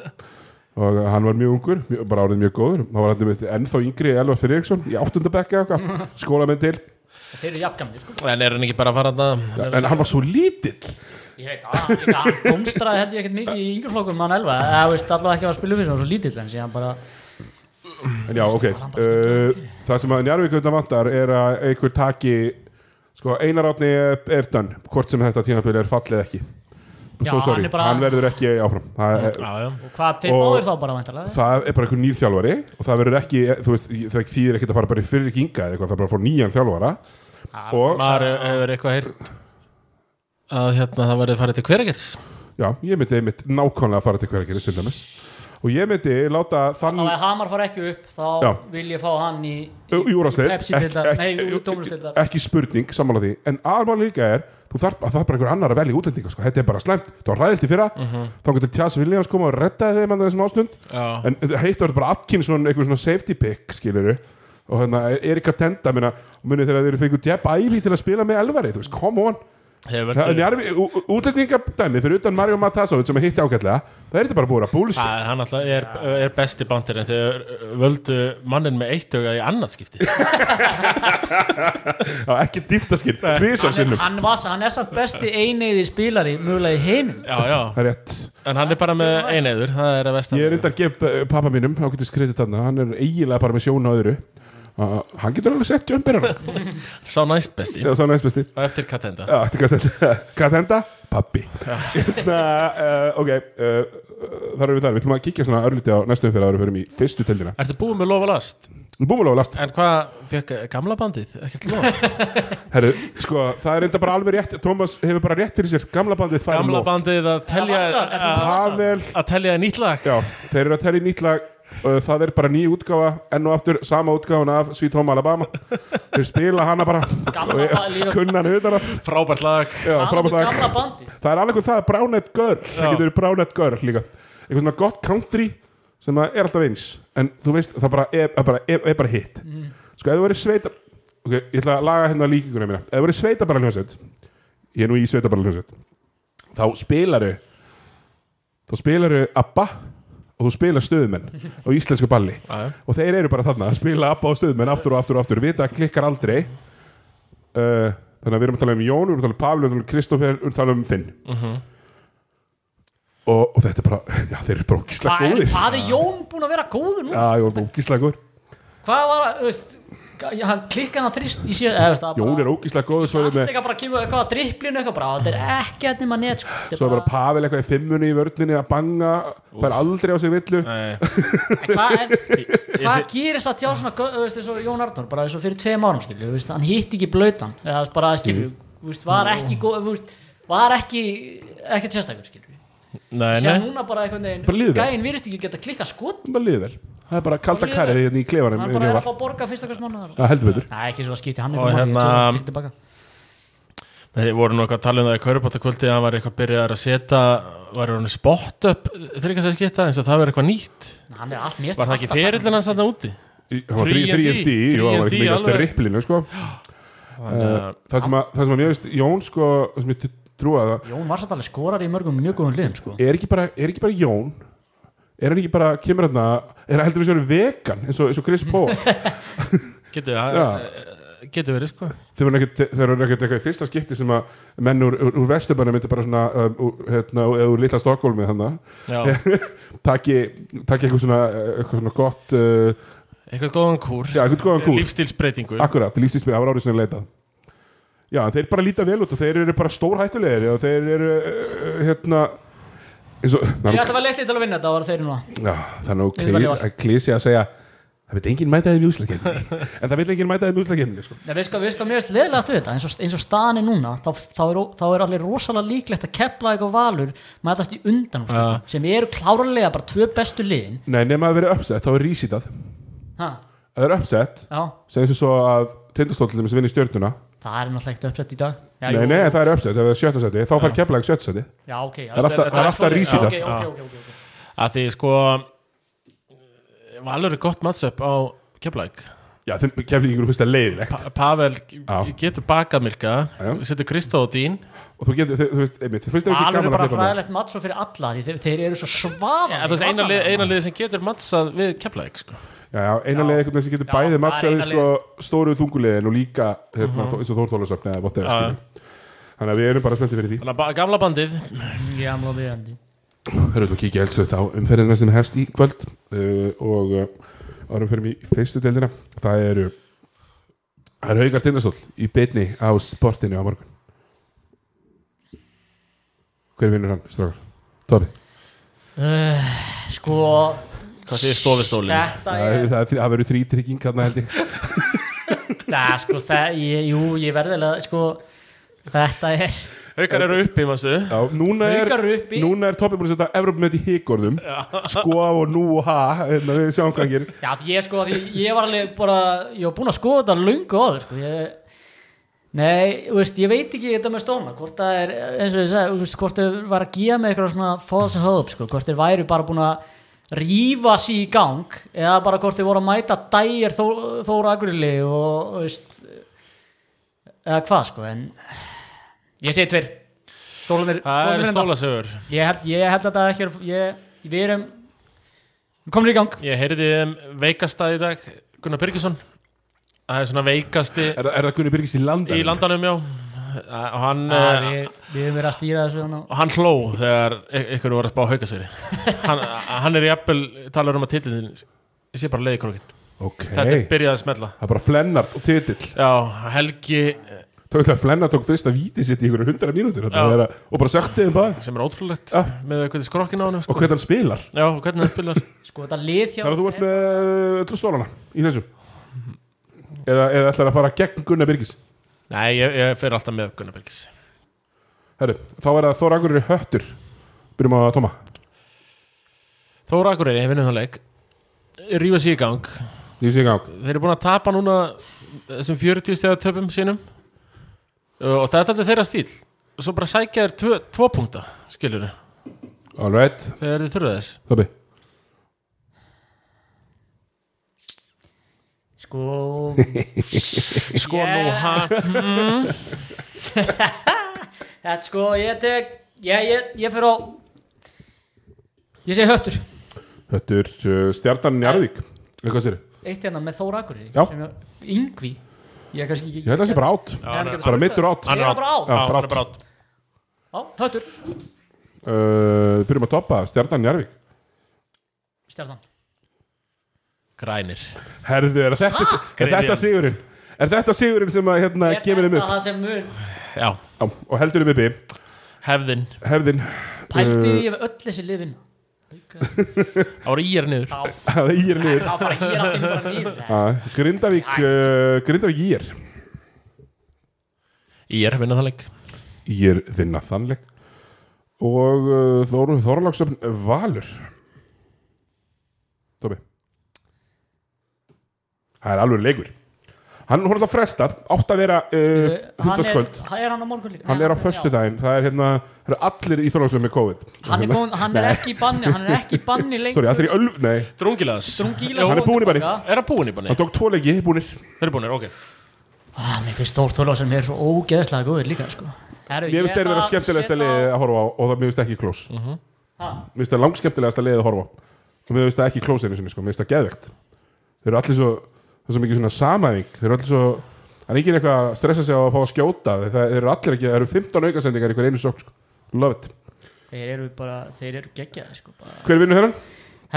Speaker 1: og hann var mjög ungur mjög, bara árið mjög góður, þá var hann einmitt ennþá yngri Elvar Friðriksson í áttundabekki eða eitthvað, skóla minn til
Speaker 4: Þeir eru jafngamli, sko
Speaker 3: en er hann ekki bara að fara þetta
Speaker 1: en hann var svo lítill
Speaker 4: Ég veit að hann- líka hann komstraði held ég ekkert mikið í yngur flokkum hann elva Það veist allavega ekki að spila fyrir hann var svo lítill en síðan bara
Speaker 1: en já, ok, uh, það sem að Njarvík auðvitað vantar er að einhver taki sko, Einar Átni er dönn hvort sem þetta tímabili er fallið ekki
Speaker 4: Já,
Speaker 1: svo
Speaker 4: hann
Speaker 1: sorry,
Speaker 4: er
Speaker 1: hann,
Speaker 4: bara-
Speaker 1: verður ekki áfram það er,
Speaker 3: Já, já
Speaker 4: Og hvað þeir
Speaker 1: Og-
Speaker 4: báðir þá bara væntanlega
Speaker 1: það er bara einhver nýr þjálfari og það verður ekki, þú veist, það þýðir ekkert að fara bara í fyrir kinga eða eitthvað, það er bara að fá nýjan þjálfara og
Speaker 3: Maður hefur eitthvað heyrt að hérna það verið farið til hverjargels
Speaker 1: Já, ég myndi einmitt nákvæmlega að fara til hverjargeris til dæmis og ég myndi láta þann
Speaker 4: Þannig að Hamar fara ekki upp þá
Speaker 1: Já.
Speaker 4: vil ég fá hann í
Speaker 1: í úrvarsleik,
Speaker 4: Pepsi tildar,
Speaker 1: ekki-
Speaker 4: nei,
Speaker 1: ekki-
Speaker 4: dómarastildar
Speaker 1: ekki spurning sammála því, en alveg líka er þú þarf að það er bara einhver annar að velja útlendinga sko. þetta er bara slæmt, það var ræðilt í fyrra
Speaker 4: Mhm.
Speaker 1: þá getur Tjás Viljáns koma og reddaði þeim andan þessum ástund,
Speaker 3: Já.
Speaker 1: en heitt var bara Atkinson, einhver svona safety pick skilur og þannig að Erika Tenda minna, muni þegar þeir fengu Jeb Ævi til að spila með elvari, þú veist, come on
Speaker 3: Hefur
Speaker 1: Það- en
Speaker 3: verið
Speaker 1: Jarvi- ú- ú- útlendingadæmi fyrir utan Mario Matasovic sem hitti ágætlega, það er þetta bara búið að búlsa
Speaker 3: Það, hann alltaf er, er besti bandir en þau völdu mannin með eitt auga í annað skipti
Speaker 1: Já, ekki dýftaskinn, tvísar sinnum
Speaker 4: Hann, var, hann er samt besti eineiði spilari mögulega í heiminum
Speaker 3: Já, já,
Speaker 1: Það er rétt
Speaker 3: en hann er bara með eineiður það er að vestan
Speaker 1: Ég er reyndar að gefa eh, pappa mínum ákveðtis kredit hann, hann er eiginlega bara með sjón á öðru uh, Hann getur alveg sett jömbirana
Speaker 3: Sá næst besti,
Speaker 1: Eða svo næst besti Ah,
Speaker 3: og eftir Katenda
Speaker 1: Já, eftir Katenda, Katenda, pappi Hérna, uh, ok uh, Þar erum við þar, við ætlum að kíkja svona örlítið á næstu umfyrir að við förum í fyrstu tildina
Speaker 3: Ertu búið með lofa last?
Speaker 1: Búmulega last,
Speaker 3: En hvað fekk gamla bandið? Ekkert lof?
Speaker 1: herru, sko, það er reyndar bara alveg rétt Thomas hefur bara rétt fyrir sér, gamla bandið fær
Speaker 3: gamla
Speaker 1: lof.
Speaker 3: bandið að telja
Speaker 4: Vassar, er það
Speaker 3: að-
Speaker 1: Pavel
Speaker 3: að telja nýtt lag
Speaker 1: Já, þeir eru að telja í nýtt lag uh, Það er bara ný útgáfa, enn og aftur Sama útgáfan af Sweet Home Alabama Þeir spila hana bara
Speaker 4: Gamla bandið.
Speaker 1: Kunnan utan að
Speaker 3: Frábært lag
Speaker 1: Já, frábært lag.
Speaker 4: Gamla bandi
Speaker 1: Það er alveg það, Brownhead Girl Það getur verið Brownhead Girl líka Eitthvað svona gott country sem að er alltaf eins En þú veist, það bara er, er, bara, er, er bara
Speaker 4: Mm.
Speaker 1: hitt Sko, ef þú verið sveita Ok, ég ætla að laga hérna líkinguna mína Ef þú verið sveita bara hljóðsett ég er nú í sveitabaraljónsett þá spilaru þá spilaru ABBA og þú spilar stöðumenn á íslensku balli
Speaker 3: Já, já.
Speaker 1: og þeir eru bara þarna að spila ABBA og stöðumenn aftur og aftur og aftur, vita að klikkar aldrei uh, þannig að við erum að tala um Jón, við erum að tala um Pavli, við erum að tala um Kristoffer við erum að tala um Finn og, og þetta er bara, já þeir eru bara ógislega
Speaker 4: Hvað er,
Speaker 1: góðir
Speaker 4: hvað er Jón búin að vera góður nú?
Speaker 1: já, Jón er ógislega góður
Speaker 4: Hvað var að, þú veist hann klikkaði hann þrist í síðan eða, veist, það
Speaker 1: Jón
Speaker 4: bara-
Speaker 1: er ógislega góður, svo
Speaker 4: allt
Speaker 1: er með
Speaker 4: eitthvað bara kemur eitthvað að dripplinu eitthvað bara, þetta er ekki að nema net sko. Þetta
Speaker 1: Svo er bara Pavel eitthvað í fimmunni í vörninni að banga, fær aldrei á sig villu
Speaker 3: Nei,
Speaker 4: hvað, en,
Speaker 3: ég
Speaker 4: hvað
Speaker 3: sé-
Speaker 4: gerist það tjá svona gau- þú veist, eins og Jón Arnór, bara eins og fyrir tveim árum skilju, þú veist, hann hitti ekki blautan eða þú veist, bara skilju, þú veist, var ekki góð, þú veist, var ekki ekkert sérstakur skilju,
Speaker 3: nei,
Speaker 4: sem
Speaker 3: nei.
Speaker 4: núna bara einhvern
Speaker 1: Bara líður
Speaker 4: veginn,
Speaker 1: vel.
Speaker 4: gæinn virðist ekki geta klikka skot,
Speaker 1: það líður vel, það er bara kalda
Speaker 4: líður
Speaker 1: karið
Speaker 4: vel.
Speaker 1: hérna í klefanum
Speaker 4: hann
Speaker 1: hérna
Speaker 4: bara
Speaker 1: í
Speaker 4: er
Speaker 1: Val.
Speaker 4: að fá borga fyrsta hvers mánuð
Speaker 1: Það heldur betur
Speaker 4: Nei, ekki svo að skipti hann
Speaker 3: Og
Speaker 4: ykkur máli, ég
Speaker 3: hérna-
Speaker 4: tók- tek tilbaka.
Speaker 3: Þeir voru nú eitthvað að tala um það í Kaurubáttakvöldi að hann var eitthvað byrjaðar að setja var hann spott upp þryggansarskita eins og það var eitthvað nýtt
Speaker 4: Hann er allt sko. mest
Speaker 3: Var það ekki ferillin hans þarna úti?
Speaker 1: Í- Það var
Speaker 3: 3D,
Speaker 1: 3D, jú, það var ekki
Speaker 3: 3D
Speaker 1: mikið á
Speaker 3: alveg.
Speaker 1: dripplinu, sko Eh,
Speaker 3: Þannig að
Speaker 1: Það sem að, það sem að mér veist, Jón, sko, sem ég trúa að
Speaker 4: Jón var satt alveg skorar í mörgum mjög góðum liðum sko.
Speaker 1: er ekki bara, er ekki bara Jón er hann ekki bara, kemur hann er hann heldur við sér vegan, eins og, eins og Chris Paul
Speaker 3: getur
Speaker 1: Já.
Speaker 3: það getur verið sko
Speaker 1: þeir eru ekkert þeir voru ekkert eitthvað í fyrsta skipti sem að menn úr, úr, úr vesturbænum myndi bara svona um, úr, hérna, úr, úr litla Stokkólmi þannig
Speaker 3: Já,
Speaker 1: taki, taki eitthvað svona, eh, eitthvað svona gott uh,
Speaker 3: eitthvað góðan kúr
Speaker 1: já, eitthvað góðan kúl
Speaker 3: lífstilsbreytingu
Speaker 1: akkurat, lífstísmið, það var árið sem leitað já, en þeir bara líta vel út og þeir eru bara stórhættulegir og þeir eru uh, hérna eins og
Speaker 4: Ég
Speaker 1: þannig
Speaker 4: ætla að vera leitt til að vinna þetta, það voru þeir núna Ég
Speaker 1: að
Speaker 4: var í
Speaker 1: nú
Speaker 4: val.
Speaker 1: kli- klísi að segja það veit enginn mæta þeim í úslakenninni en það vil enginn mæta þeim í úslakenninni sko.
Speaker 4: Nei, við sko, við sko, mér veist leðilegast við þetta eins og, eins og staðan er núna þá, þá, er, þá er alveg rosalega líklegt að kepla eitthvað valur mætast í undan
Speaker 3: Ja.
Speaker 4: sem eru klárlega bara tvö bestu liðin
Speaker 1: nei, nema að vera uppsett, þá er rísitað
Speaker 4: ha,
Speaker 1: það er uppsett
Speaker 4: já,
Speaker 1: segjum sem svo að tindastóllum sem vinni stjórnuna
Speaker 4: það er náttúrulega ekkert uppsett í dag já,
Speaker 1: nei,
Speaker 4: jú.
Speaker 1: nei, það er uppsett, ef það er sjötta seti þá fær keflaðið sjötta seti
Speaker 4: já, ok, já,
Speaker 1: Það er alltaf- það er alltaf
Speaker 4: svoleiðis.
Speaker 1: rísi það.
Speaker 4: Já, ok, ok, ok, ok, ok.
Speaker 3: að því sko Valur er gott mattsöp á Keflæk
Speaker 1: já, þeim keflingur finnst það leiðilegt
Speaker 3: pa Pavel
Speaker 1: Já.
Speaker 3: getur bakað Milka
Speaker 1: Já, já.
Speaker 3: setur Kristó á dýn
Speaker 1: og þú getur, þau- þú veist, einmitt, þú finnst það ekki
Speaker 4: Valur er
Speaker 1: gaman að
Speaker 4: bara
Speaker 1: hlaupa með
Speaker 4: fræðilegt mattsó fyrir alla því þeir, þeir eru svo svaða
Speaker 3: eða þú veist eina lið, eina lið sem getur mattsað við Keflæk sko.
Speaker 1: já, já, eina
Speaker 4: Já.
Speaker 1: leið eitthvað sem getur
Speaker 4: Já, það
Speaker 1: bæði
Speaker 4: er
Speaker 1: mattsaði
Speaker 4: eina Mhm.
Speaker 1: sko, stóru þungulegin og líka hérna, þó- eins og Þórþólasöfn eða whatever
Speaker 3: Já.
Speaker 1: skilur. þannig að við erum bara spenntið fyrir því
Speaker 3: þannig að ba- gamla bandið
Speaker 4: lið
Speaker 1: Hörðum við kíkja helst þetta á umferðina sem hefst í kvöld uh, og uh, árum fyrir mig í fyrstu deildina það eru það eru haugar tindastól í beinni á sportinu á morgun Hver vinnur hann, strákar? Tóbi?
Speaker 4: uh, sko
Speaker 3: hvað séu stofistólin
Speaker 4: þetta
Speaker 1: Það,
Speaker 4: er
Speaker 1: það, það, það verður þrý trygging hérna held ég
Speaker 4: Nei, sko, það, ég, jú, ég verðilega, sko, þetta er,
Speaker 3: haukar eru uppi manstu
Speaker 1: Já, núna er,
Speaker 4: Haukar eru uppi.
Speaker 1: núna er Tóbi búin að setja Evrópumönd í higgorðum sko og nú og ha hérna, við sjáum hvað hann gerir
Speaker 4: já, ég sko, því, ég var alveg bara, ég var búinn að skoða þetta löngu áður, sko, ég, nei, þú veist, ég veit ekki þetta með stóna, hvort það er, eins og ég segi, þú veist, hvort þau var að gíja með eitthvað svona false hope, sko, hvort þau væri bara búin að rífa sér í gang, eða bara hvort þau voru að mæta dægir þó, Þóra Akurili og, þú veist, eða hvað, sko, en ég segi tveir, stólanir,
Speaker 3: það
Speaker 1: hérna.
Speaker 3: eru stólasögur
Speaker 4: Ég held, ég held að það ekki er- ég, Við erum Við komum í gang
Speaker 3: ég heyrði þeim veikasta í dag Gunnar Byrgisson það er svona veikasti
Speaker 1: Er, er það Gunni Byrgis í landan?
Speaker 3: í landanum já og hann,
Speaker 1: Ah,
Speaker 4: Að
Speaker 3: eh,
Speaker 4: Við við höfum verið að stýra þessu hérna. þannig
Speaker 3: og hann hló þegar y- ykkur voru að spá haukasýri hann, hann er í appel talar um að titlinn sé bara leiði krókin
Speaker 1: Ok,
Speaker 3: þetta er
Speaker 1: það
Speaker 3: byrjað að smella
Speaker 1: er bara flennart og titill
Speaker 3: já, Helgi eh,
Speaker 1: Tók það Flennar tók fyrsta víti sitt í ykkur hundra mínútur þetta
Speaker 3: Já.
Speaker 1: er að- og bara sökti þeim bara
Speaker 3: sem er ótrúlegt
Speaker 1: Já.
Speaker 3: með hvernig skrokkin á hann
Speaker 1: og
Speaker 3: sko.
Speaker 1: hvernig hann spilar
Speaker 3: já, og hvernig hann spilar
Speaker 4: Sko þetta lið hjá
Speaker 1: þannig að þú ert með uh, öllu stólana í þessu eða, eða ætlar að fara gegn Gunnar Byrgis
Speaker 3: nei, ég, ég fer alltaf með Gunnar Byrgis
Speaker 1: Herru, þá er það Þóra Akureyri höttur byrjum á að tóma
Speaker 3: Þóra Akureyri, ég vinnum það leik rífa sig í gang
Speaker 1: því sé gang
Speaker 3: þeir eru búin að tapa núna þessum 40 stegar töpum sínum Uh, og þetta er alltaf þeirra stíl og svo bara sækja þeir tvo, tvo punkta skilur þeir,
Speaker 1: all right
Speaker 3: þegar þeir þurfa þess
Speaker 1: Tóbi
Speaker 4: Sko
Speaker 3: sko nú,
Speaker 4: Yeah.
Speaker 3: ha,
Speaker 4: Þetta sko, ég tek Ég, ég, ég fyrir á Ég segi höttur
Speaker 1: Þetta er uh, stjarnan Njarðvík Eitthvað sér
Speaker 4: Eitt hérna með Þór Akureyri
Speaker 1: Já.
Speaker 4: sem er Yngvi Ég er kannski ekki
Speaker 1: Ég held að það sé bara átt
Speaker 3: Já, hann er-
Speaker 1: Bara mittur átt
Speaker 3: Hann er
Speaker 4: Ég er bara á.
Speaker 3: átt
Speaker 1: Já,
Speaker 3: Já,
Speaker 1: bara
Speaker 3: hann er
Speaker 1: átt.
Speaker 3: bara átt
Speaker 4: Já, höttur
Speaker 1: uh, Byrjum að toppa stjarnan Njarðvík
Speaker 4: Stjarnan
Speaker 3: Grænir
Speaker 1: Herðu, er þetta, er þetta
Speaker 3: Grifjan.
Speaker 1: sigurinn? Er þetta sigurinn sem að hérna
Speaker 4: Er
Speaker 1: gefur þeim
Speaker 4: þetta
Speaker 1: upp?
Speaker 4: það sem mun
Speaker 3: Já,
Speaker 1: Já, og heldur þeim uppi
Speaker 3: hefðin
Speaker 1: Hefðin
Speaker 4: Pæltu í
Speaker 1: Uh,
Speaker 4: ef öll þessi liðin
Speaker 3: Það voru íjar niður
Speaker 4: Já,
Speaker 1: Það í er niður
Speaker 4: þá fara ég alltaf bara nýður
Speaker 1: Ah, Grindavík uh, Grindavík í er
Speaker 3: Íjar vinna það leik
Speaker 1: Í er þinna þannleik Og uh, Þóru Þorláksöfn Valur Tóbi Það er alveg leikur Hann hún er alltaf frestað Átt að vera uh,
Speaker 4: Hann er,
Speaker 1: hundasköld
Speaker 4: hann er hann á morgun líka
Speaker 1: Hann er á
Speaker 4: Já.
Speaker 1: föstudaginn Það er hérna það eru Allir í Þorláksöfn með COVID
Speaker 4: Hann er,
Speaker 1: Hérna-
Speaker 4: góð, hann er
Speaker 1: Nei,
Speaker 4: ekki í banni Hann er ekki í banni lengur
Speaker 1: Sorry, allir í ölv Nei,
Speaker 3: Drungilas
Speaker 4: Drungilas
Speaker 1: hann er búinn í banni.
Speaker 3: Er það búin í banni?
Speaker 1: hann tók tvo leiki Búnir
Speaker 3: Þeir eru búinir, ok
Speaker 4: Ah, mér finnst Þór Þorlásen mér svo ógeðslega góður líka sko. Heru,
Speaker 1: Mér finnst þeir vera skemmtilegasta liðið að horfa á Og það mér finnst ekki klós
Speaker 4: liði
Speaker 1: Mér finnst það langskemmtilegasta leiðið að horfa á. og mér finnst það ekki klósinu sinni sko, mér finnst það geðvegt þeir eru allir svo, það er svo mikið svona samæðing þeir eru allir svo, það er ekki eitthvað að stressa sig á að fá að skjóta þeir, þeir eru allir ekki, það eru 15 aukasendingar í hver einu sók sko. love it,
Speaker 4: Þeir eru bara, þeir eru geggjaði sko, bara.
Speaker 1: hver vinnur hérna?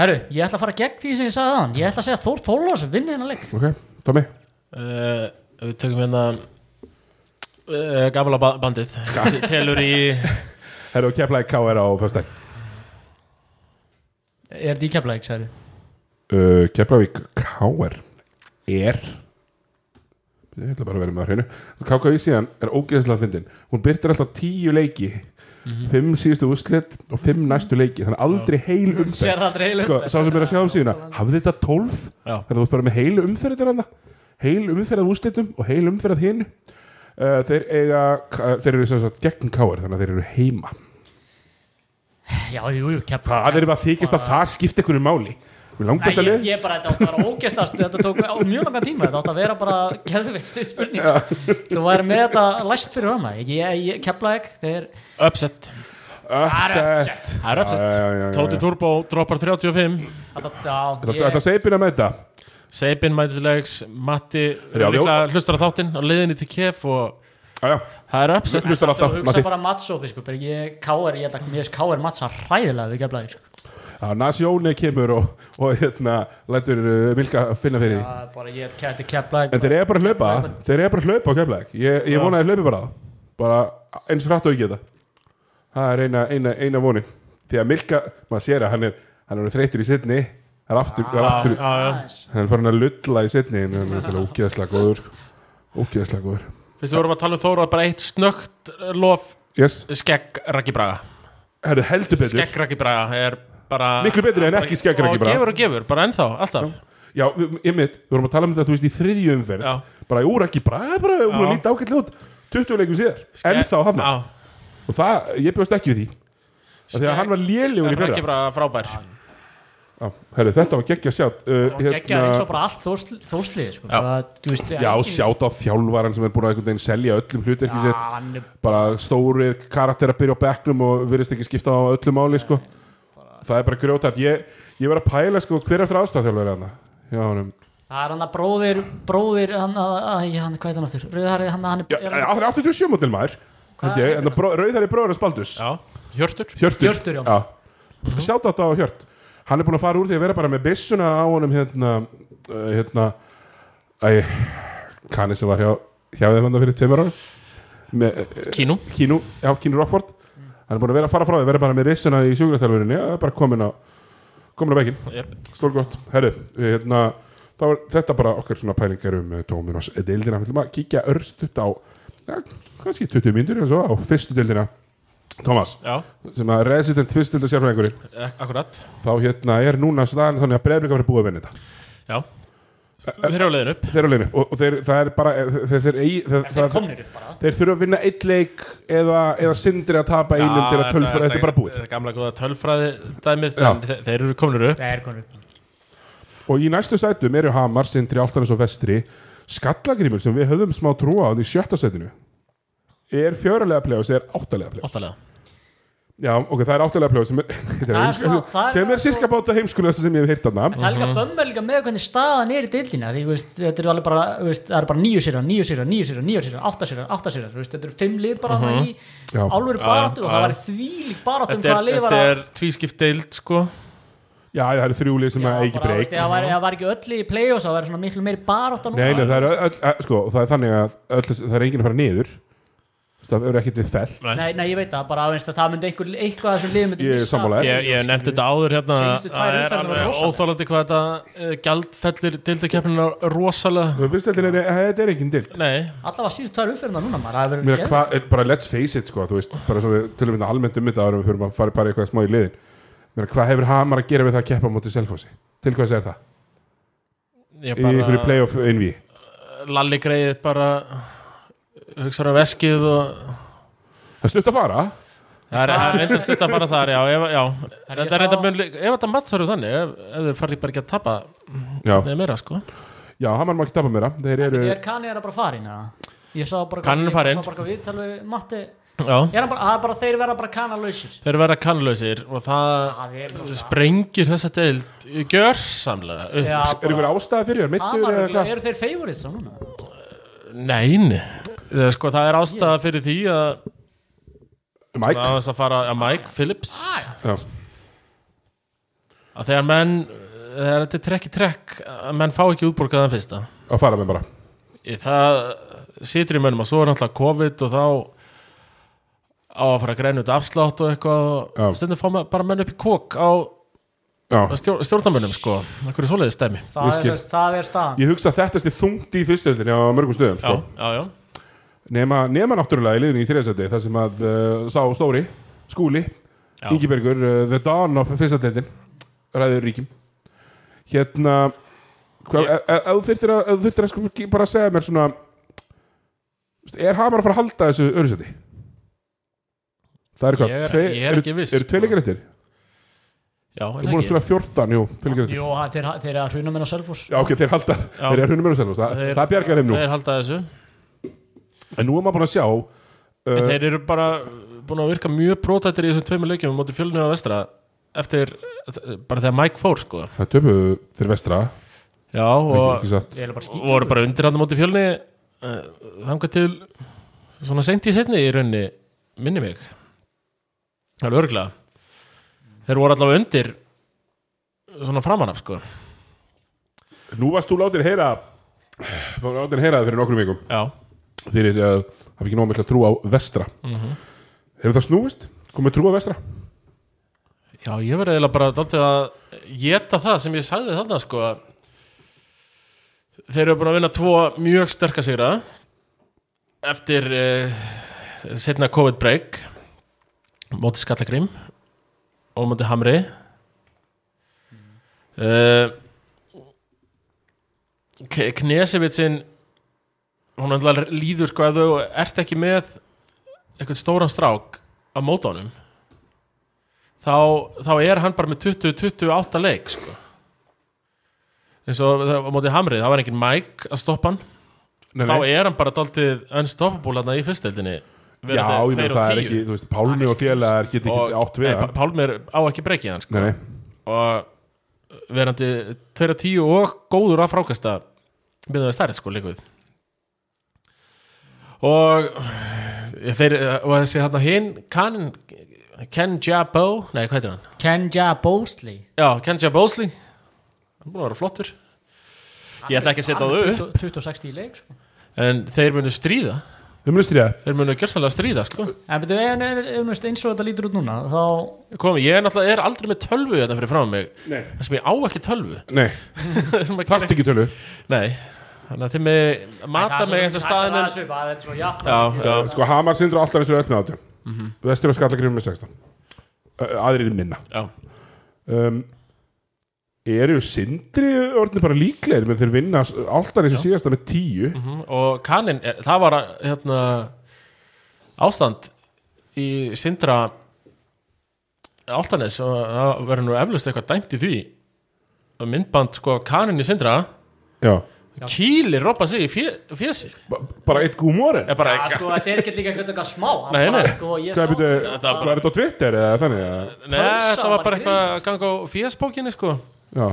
Speaker 4: Herru, ég ætla að fara gegn því sem ég sagði þann Ég ætla að segja að Þór Þorlásen vinni hennar leik
Speaker 1: ok, Tommy
Speaker 3: uh, Við tökum hérna uh, Gamla ba bandið Telur í
Speaker 1: herru og keflaði KR á fyrstæn
Speaker 4: Er þetta í keflæk, sagði
Speaker 1: uh, Keflavík KR er ég ætla bara að vera með það á hreinu KKV síðan er ógeðslega fyndin hún byrtir alltaf tíu leiki fimm síðustu úslit og fimm næstu leiki þannig aldrei heil umferð
Speaker 4: Sér aldrei heil
Speaker 1: sko, sá sem er að sjá um síðuna hafði þetta 12
Speaker 3: Já.
Speaker 1: þannig að þú ert bara með heil umferð til hann heil umferð af úrslitum og heil umferð af hinn uh, þeir eiga uh, þeir eru sem sagt gegn káir þannig að þeir eru heima
Speaker 4: Já, jú, jú, keflæk
Speaker 1: það er bara þykist að það skipti einhverju máli við
Speaker 4: Nei,
Speaker 1: langbæsta
Speaker 4: ég,
Speaker 1: lið
Speaker 4: ég bara, þetta átti að vera ógeðslega stu- Þetta tók á mjög langan tíma Þetta átti að vera bara geðveitt stuð spurning sko. Þú væri með þetta læst fyrir hana Ég, ég keflæk, þeir
Speaker 3: Upset
Speaker 1: upset
Speaker 3: Það er
Speaker 1: Já, já, já, já,
Speaker 3: upset
Speaker 1: já.
Speaker 3: Tóti Turbo droppar 35
Speaker 4: Þetta
Speaker 1: Þetta ætla að segja byrja með þetta
Speaker 3: Seibin mætilegs Matti
Speaker 1: Já,
Speaker 3: líklega hlustar á þáttinn á leiðinni til KF og
Speaker 1: Já, já,
Speaker 3: það er upset
Speaker 1: hlustar
Speaker 4: Þú
Speaker 1: alltaf,
Speaker 4: hugsa
Speaker 1: Matti
Speaker 4: bara mattsófi sko, bara ég káir, ég ætla mér finnst káir mattsa hræðilega við geflaði sko.
Speaker 1: Já, Nasjóni kemur og, og hérna, lætur uh, Milka finna fyrir því
Speaker 4: Það er bara ég kæti keflaði
Speaker 1: En þeir eiga bara að hlaupa, þeir eiga bara að hlaupa á keflæk Ég, ég vona að þeir hlaupi bara Bara eins hratt og ég geta Það er eina, eina, eina vonin Því að Milka, maður sér að hann er Hann er þreytur í sittni Það er aftur, það er aftur
Speaker 3: Já, já.
Speaker 1: Hann er farin að lulla í sittni En hann er bara ógeðslega góður sko. Ógeðslega góður
Speaker 3: Fyrst við vorum að tala um Þóra bara eitt snögt lof
Speaker 1: Yes,
Speaker 3: skegg Raggi Braga
Speaker 1: herru heldur betur
Speaker 3: Skegg Raggi Braga er bara
Speaker 1: Miklu betri en ekki skegg Raggi Braga.
Speaker 3: Og gefur og gefur, bara ennþá, alltaf
Speaker 1: Já, við- einmitt, við vorum að tala um þetta, þú veist, í þriðju umferð
Speaker 3: Já.
Speaker 1: Bara, jú, ekki bara, eh, bara, hún er
Speaker 3: Já.
Speaker 1: lítið ágætlega út 20 leikum síðar,
Speaker 3: Skegg-
Speaker 1: ennþá hann
Speaker 3: Já,
Speaker 1: Og það, ég bjóst ekki við því Af Því að
Speaker 3: Skegg-
Speaker 1: hann var lélegur í
Speaker 3: Raggi
Speaker 1: fyrra
Speaker 3: Braga frábær
Speaker 1: Já, herru, þetta var geggja sjátt uh,
Speaker 4: og geggja eins og bara allt þórsl- þórslið sko.
Speaker 3: Já.
Speaker 4: bara, þú veist,
Speaker 1: Já,
Speaker 4: engin-
Speaker 1: sjátt á þjálfaran sem er búin að einhvern veginn selja öllum hlutverki
Speaker 4: Já,
Speaker 1: sitt
Speaker 4: hann er
Speaker 1: Bara stórir karakter að byrja á bekknum og virðist ekki skipta á öllu máli, sko Það er bara grjótart Ég, ég var að pæla, sko, hver er eftir aðstafþjálfari hann Já, honum
Speaker 4: það er hann að bróðir bróðir, hann að, æ, hann, hvað er hann aftur Rauðhari, hann, hann
Speaker 1: Já,
Speaker 4: er, er
Speaker 1: það er 87 mútil maður held ég,
Speaker 4: heitir
Speaker 1: en það bró- Rauðhærði bróður hans Baldurs
Speaker 3: Já, Hjörtur
Speaker 1: Hjörtur,
Speaker 4: Hjörtur, já. Mhm.
Speaker 1: Sjátt á þetta á Hjört Hann er búin að fara úr því að vera bara með byssuna á honum hérna uh, hérna Æ, kanni sem var hjá hjá þeim hann fyrir tveimur árum með uh,
Speaker 3: Kínum
Speaker 1: Kínu, já, Kínu Rockford Hann er búin að vera að fara frá því, vera bara með byssuna í sjúkraþjálfurinni, já, bara komin á komin á bekkin,
Speaker 3: yep.
Speaker 1: stór gott Herru, við, hérna, þá er þetta bara okkar svona pælingar um Dóminos deildina, við ætlum að kíkja örstutt á ja, kannski 20 myndur eða svo á fyrstu deildina Thomas,
Speaker 3: Já,
Speaker 1: sem að resident fyrstu deildar sérfræðingurinn
Speaker 3: ak- akkurat
Speaker 1: þá hérna er núna staðan þannig að breyðblika verið búið að vinna þetta
Speaker 3: Já Þeir eru á leiðin upp
Speaker 1: þeir eru á leinu og, og þeir, það er bara eh, þeir, þeir, eigi- þeir,
Speaker 4: þeir
Speaker 1: það,
Speaker 4: komnir upp bara
Speaker 1: þeir þurfa að vinna eitt leik eða, eða sindri að tapa einum til að tölfra þetta er bara búið
Speaker 3: er Gamla góða tölfræði dæmið
Speaker 1: Já.
Speaker 3: en þe- Þeir eru kominir upp
Speaker 4: það er konur upp
Speaker 1: og í næstu sætum eru Hamar, sindri, Altanes og Vestri Skallagrimur sem við höfðum smá trúa á þarna í sjötta sætinu er fjörulega playoffs eða er áttalega playoffs
Speaker 3: áttalega
Speaker 1: já, ok, það er áttalega playoffs sem er, þetta
Speaker 4: Það er
Speaker 1: heimsku-
Speaker 4: svona- Mhm. það er-
Speaker 1: sem er cirka báta heimskulega sem ég hef heyrt þarna
Speaker 4: En það er líka bömmel líka með hvernig staðan er í deildina því, þú veist, þetta eru alveg bara, þú veist, það eru bara nýju sérar, nýju sérar, nýju sérar, nýju sérar, átta sérar, átta sérar, þú veist, þetta eru fimm lið bara uh í
Speaker 1: Já.
Speaker 4: álfur baráttu
Speaker 3: Já,
Speaker 4: og
Speaker 3: já.
Speaker 4: það var því lík baráttu um
Speaker 3: þetta er,
Speaker 4: hvaða lið var
Speaker 3: þetta
Speaker 4: að-
Speaker 3: er tvískipt deild sko
Speaker 1: já, það eru þrjúlið sem
Speaker 4: Já,
Speaker 1: að
Speaker 4: bara,
Speaker 1: eigi
Speaker 4: þú veist,
Speaker 1: breyk
Speaker 4: ef Það var, ef það var ekki öll í play-offs þá var svona miklu meiri baráttu
Speaker 1: nei, nei, það er, öll, öll, sko, það er þannig að öll, það er enginn að fara niður það eru ekkert við fell
Speaker 4: Nei, nei, ég veit það, bara aðeins að það myndi einhver, eitthvað af þessum liðum myndi
Speaker 1: Ég er
Speaker 4: missa.
Speaker 1: sammála þér.
Speaker 3: ég, ég hef nefnt þetta áður hérna
Speaker 4: Seinustu tvær
Speaker 3: það er
Speaker 4: umferðirnar voru
Speaker 3: alveg
Speaker 4: rosalegar.
Speaker 3: óþálandi hvað þetta uh, gjaldfellir deildakeppnina rosalega
Speaker 1: þú veist, þetta er, þetta er enginn dild
Speaker 3: nei,
Speaker 4: Alla var síðust tvær umferðina núna maður, það hefur
Speaker 1: Mér,
Speaker 4: verið
Speaker 1: hva, bara let's face it sko, þú veist, bara svo við tölum þetta almennt um þetta árum við fyrir að fara bara eitthvað smá í liðin Mér, hvað hefur Hamar að gera við það að keppa á móti Selfossi? Til hvers er það?
Speaker 3: ég
Speaker 1: Í einhverju
Speaker 3: bara
Speaker 1: playoff einví
Speaker 3: lalli greiðið bara eh, hugsaður af eskið og
Speaker 1: Það er stutt að fara
Speaker 3: það er- það er reyndar stutt að fara þar já, ef, já.
Speaker 4: Herri, ég
Speaker 3: þetta er
Speaker 4: sá-
Speaker 3: reyndar mjög lík- ef þetta matts eru þannig ef, ef þau farið bara ekki að tapa það
Speaker 1: Já,
Speaker 3: er meira sko
Speaker 1: já Hamar má ekki tapa meira Þeir eru,
Speaker 4: Ég er kannið er að bara farin að Ég sá bara
Speaker 3: Kaninn er
Speaker 4: ég
Speaker 3: farinn.
Speaker 4: sá bara hvað viðtal við Matti
Speaker 3: já.
Speaker 4: Er hann bara, það er bara, þeir verða bara kanalausir
Speaker 3: þeir verða kannlausir og það
Speaker 4: Það er bara
Speaker 3: sprengir þessa deild gjörsamlega upp
Speaker 4: Já,
Speaker 1: er einhver
Speaker 4: bara-
Speaker 1: ástæða fyrir þér? Mittur
Speaker 4: Hamar,
Speaker 1: eða
Speaker 4: örugglega-
Speaker 1: hvað?
Speaker 4: Eru þeir favorites þá núna?
Speaker 3: Nein Það, sko, það er ástæða fyrir því að að
Speaker 1: Mike?
Speaker 3: þess að fara að Mike Phillips
Speaker 1: Já,
Speaker 3: að þegar menn þegar þetta er trekk í trekk að menn fá ekki útborgaðan fyrsta
Speaker 1: að fara með bara
Speaker 3: Í það situr í mönnum og svo er náttúrulega COVID og þá á að fara að greina út afslátt og eitthvað
Speaker 1: Já.
Speaker 3: og stundum fá ma- bara menn upp í kók á
Speaker 1: Já,
Speaker 3: stjór, stjórnarmönnum sko einhverju svoleiðið stæmi
Speaker 1: Ég
Speaker 4: Það
Speaker 1: skil.
Speaker 4: er, það- það er staðan
Speaker 1: ég hugsa að þetta stið þungt í fyrstöldinni á mörgum stöðum
Speaker 3: Já,
Speaker 1: sko.
Speaker 3: já, já
Speaker 1: nema, nema náttúrulega í liðinu í þriðasæti þar sem að uh, sá Stóri, Skúli
Speaker 3: Já.
Speaker 1: Ingibergur, uh, The Dawn of fyrstadeitin ræður ríkjum hérna hva,
Speaker 3: Ég-
Speaker 1: yeah. ef þú þurftir að, ef þú þyrftir að sko, ekki bara segja mér svona þú veist, er Hamar að fara að halda þessu öðursæti? það er hvað,
Speaker 3: Ég er-
Speaker 1: tvei-
Speaker 3: ég er
Speaker 1: eru-
Speaker 3: ekki viss,
Speaker 1: eru tvei
Speaker 3: sko.
Speaker 1: leikir eftir?
Speaker 3: Já,
Speaker 1: þú
Speaker 3: er það
Speaker 1: búin að
Speaker 3: ekki?
Speaker 1: spila 14, jú, tvei leikir eftir
Speaker 4: Jú, ha- þeir, þeir eru að hruna menn á Selfoss
Speaker 1: já ok, þeir halda,
Speaker 3: Já.
Speaker 1: þeir eru húnum verið að
Speaker 3: Þeir-
Speaker 1: selja það bjargar þeim nú,
Speaker 3: Þeir halda þessu
Speaker 1: en nú er maður búin að sjá
Speaker 3: En
Speaker 1: uh,
Speaker 3: þeir eru bara búin að virka mjög brotættir í þessum tveimur leikjum á móti fjölunni á vestra eftir, bara þegar Mike fór sko
Speaker 1: það töpuðu fyrir vestra
Speaker 3: já og
Speaker 1: ekki satt
Speaker 4: Þeir eru bara skítið
Speaker 3: voru bara undir hann á móti fjölunni þangað til svona seint í setni í rauninni minni mig alveg örgulega þeir voru allavega undir svona framan af sko
Speaker 1: Nú varst þú látin heyra Þú látin heyra það fyrir nokkrum vikum
Speaker 3: já,
Speaker 1: Fyrir að hafa ekki nóg mikla trú á vestra
Speaker 3: Mhm.
Speaker 1: Hefur það snúist? Komið trú á vestra?
Speaker 3: já ég verði eiginlega bara dálítið að geta það sem ég sagði þarna sko að þeir eru búin að vinna tvo mjög sterka sigra eftir uh, setna COVID break móti Skallagrím og móti Hamri uh, Knesevitsin hún alltaf líður sko að þau ert ekki með eitthvað stóran strák að móta honum þá, þá er hann bara með 20-28 leik sko eins og það- á móti Hamri, það var engin Mike að stoppa hann
Speaker 1: Nei,
Speaker 3: þá er hann bara daldið unstoppable hann í fyrsteldinni
Speaker 1: Já, ég meina það er ekki, þú veist, Pálmi og félagar get ekki átt við hann
Speaker 3: Pálmir á ekki breykið hann sko.
Speaker 1: Nei, nei,
Speaker 3: og verandi 2-10 og góður að frákasta með það stærð sko líkuð og eh, þeir, og þessi hann hinn Ken, Ken Jabo nei, hvað heitir hann?
Speaker 4: Kenja Bósley
Speaker 3: Já, Kenja Bósley hann er búin að vera flottur ég ætla ekki að setja það upp
Speaker 4: 26 í leik sko
Speaker 3: en þeir munu stríða
Speaker 1: við munum stríða
Speaker 3: þeir munu gjörsanlega stríða sko.
Speaker 4: En betur við, en en- en- veist, eins og þetta lítur út núna þá,
Speaker 3: Komi, ég er náttúrulega er aldrei með tölvu þetta fyrir frá mig
Speaker 1: Nei.
Speaker 3: þess að ég á ekki tölvu
Speaker 1: Nei, þarft ekki tölu
Speaker 3: Nei, þannig að þið með mata mig eins og staðinu
Speaker 4: Það er svo- það er svo jafn
Speaker 3: Já, já,
Speaker 1: Sko, Hamar sindra alltaf þessu öll með átján
Speaker 3: Mhm.
Speaker 1: Vestur og skallagriðum með 16 Ö, Aðrir minna
Speaker 3: já
Speaker 1: um, Eru sindri orðin bara líklegir menn þeir vinna alltaf þessu síðasta með 10
Speaker 3: mhm, Og kaninn, eh, það var hérna ástand í Sindra Altanes og það verður nú eflaust eitthvað dæmt í því og myndband sko kaninn í Sindra
Speaker 1: Já,
Speaker 3: kýlir Robba sig í fjessi
Speaker 1: Ba- bara eitt gúmórin
Speaker 3: eða bara
Speaker 4: Já, sko, þetta er ekki líka eitthvað eitthvað smá Hann
Speaker 3: Nei,
Speaker 4: bara,
Speaker 3: nei.
Speaker 4: Sko, ég
Speaker 1: hvað er
Speaker 4: sá
Speaker 1: byrju,
Speaker 3: Þetta var
Speaker 1: hvað er þetta á Twitter eða þannig að,
Speaker 3: Nei,
Speaker 4: Pulsa
Speaker 3: þetta var
Speaker 4: var
Speaker 3: bara
Speaker 4: í
Speaker 3: eitthvað að ganga á fjesbókinni sko á
Speaker 1: já,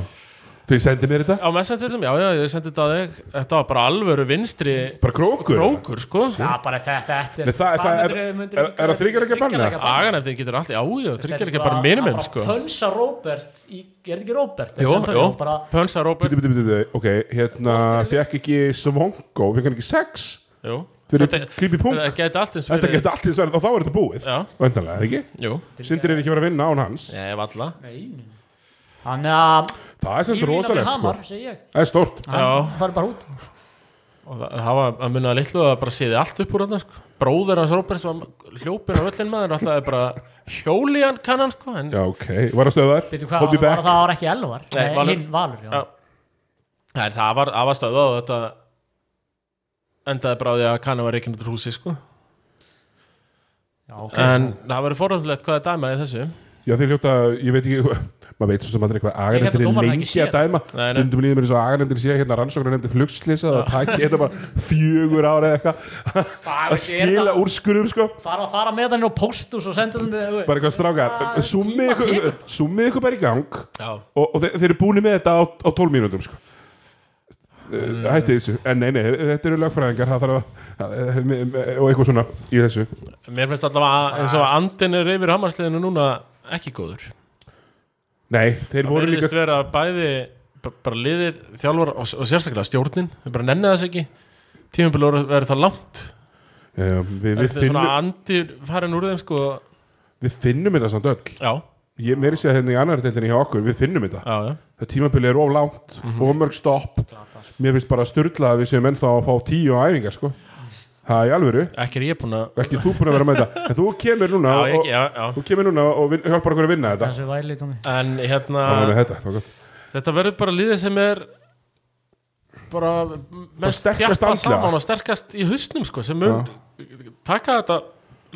Speaker 1: þið sendið mér þetta
Speaker 3: messendurðum, já, já, ég sendi þetta að þig þetta var bara alvöru vinstri
Speaker 1: bara krókur
Speaker 3: krókur sko
Speaker 4: Já, bara þetta, þetta
Speaker 1: Nei, það er-
Speaker 4: hvað
Speaker 1: það er-
Speaker 4: myndirðu- myndirðu-
Speaker 1: er- er það þriggjareikja bann, eða?
Speaker 3: aganefndin getur allir, já, já, tryggjar ekki bara minni minn sko
Speaker 4: Bara pönsa Robert í, Er þetta ekki Robert?
Speaker 3: Jó,
Speaker 4: Þetta er
Speaker 3: jó,
Speaker 4: bara,
Speaker 3: pönsa Robert
Speaker 1: Bíddu, bíddu, bíddu, bíddu, ok, hérna fekk ekki Svongo, fekk hann ekki sex
Speaker 3: Jú,
Speaker 1: fyrir
Speaker 3: Þetta-
Speaker 1: creepy punk
Speaker 3: þetta geti allt eins
Speaker 1: þetta
Speaker 3: verið-
Speaker 1: geta allt í sverð og þá er þetta búið
Speaker 3: Já,
Speaker 1: vöndanlega, ekki?
Speaker 3: jú,
Speaker 1: Sindir er ekki verið að vinna án hans
Speaker 3: ég hef alla
Speaker 4: nei Þannig að
Speaker 1: það er sem
Speaker 4: Írvína fyrir
Speaker 1: rosalegt sko,
Speaker 4: Hamar, segi ég
Speaker 1: það er stórt
Speaker 3: Já,
Speaker 4: Það er bara út
Speaker 3: og það það var að munna litlu að bara séði allt upp úr hann sko. bróður hans Róberts var hljópin á öllin maður alltaf er bara hjóli hann kann hann sko, en
Speaker 1: já, ok, var að stöðar
Speaker 4: Veitum hvað,
Speaker 1: hold me
Speaker 4: var, var,
Speaker 1: back,
Speaker 4: það var ekki Elvar
Speaker 3: Nei,
Speaker 4: Nei,
Speaker 3: Valur.
Speaker 4: hinn Valur, já,
Speaker 3: Já. Nei, það var, það var stöðað og þetta endaði bara á því að kannan var reikin út úr húsi sko.
Speaker 4: já ok
Speaker 3: en það verið forhaldlegt hvað það dæmaði þessu
Speaker 1: já þið hljóta, ég veit ekki maður veit svo sem aldrei hvað
Speaker 4: Ég held að
Speaker 1: agarnefndir er
Speaker 4: dómarinn hafi ekki
Speaker 1: lengi
Speaker 4: séð
Speaker 1: að dæma
Speaker 3: Nei, nei.
Speaker 1: stundum líður mér eins og agarnefndir sé hérna rannsóknar nefndi flugslýsa það takk ég þetta hérna bara fjögur ára eða eitthvað að skila úr skurum sko
Speaker 4: Fara, fara með þannig á póstus og senda þeim
Speaker 1: bara eitthvað strákar, summið ykkur summið ykkur bara í gang
Speaker 3: já,
Speaker 1: og, og þeir, þeir eru búinir með þetta á, á 12 mínútum sko. mm. hætti þessu en nei, nei, þetta eru lögfræðingar það þarf að, að, og eitthvað svona í þessu
Speaker 3: mér finnst allavega að- eins og að andin er yfir hamarsliðinu núna ekki góður
Speaker 1: nei, þeir
Speaker 3: það
Speaker 1: voru
Speaker 3: verðist
Speaker 1: líka
Speaker 3: vera bæði b- bara liðið, þjálfar og, og sérstaklega stjórnin þau bara nenni þess ekki tímabili verður það langt
Speaker 1: já, við, við,
Speaker 3: þetta er svona
Speaker 1: finnum,
Speaker 3: andi farin úr þeim sko
Speaker 1: við finnum þetta samt öll
Speaker 3: já,
Speaker 1: ég meiri séð hérna í annar deildinni hjá okkur við finnum þetta,
Speaker 3: já, já
Speaker 1: það tímabili er of langt
Speaker 3: Mhm.
Speaker 1: of mörg stopp mér finnst bara styrla að við séum ennþá að fá tíu æfingar sko, það er í alvöru
Speaker 3: ekki er ég búin að
Speaker 1: ekki þú búin að vera með þetta en þú kemur núna
Speaker 3: já, ég,
Speaker 1: og,
Speaker 3: já, já.
Speaker 1: þú kemur núna og vin, hjálpar okkur að vinna þetta
Speaker 4: Þessu væli tómi
Speaker 3: en hérna
Speaker 1: Það var þetta, það var gott.
Speaker 3: þetta verður bara liðið sem er bara mest
Speaker 1: sterkast
Speaker 3: þjappað
Speaker 1: andlega.
Speaker 3: saman og sterkast í hausnum sko, sem mun taka þetta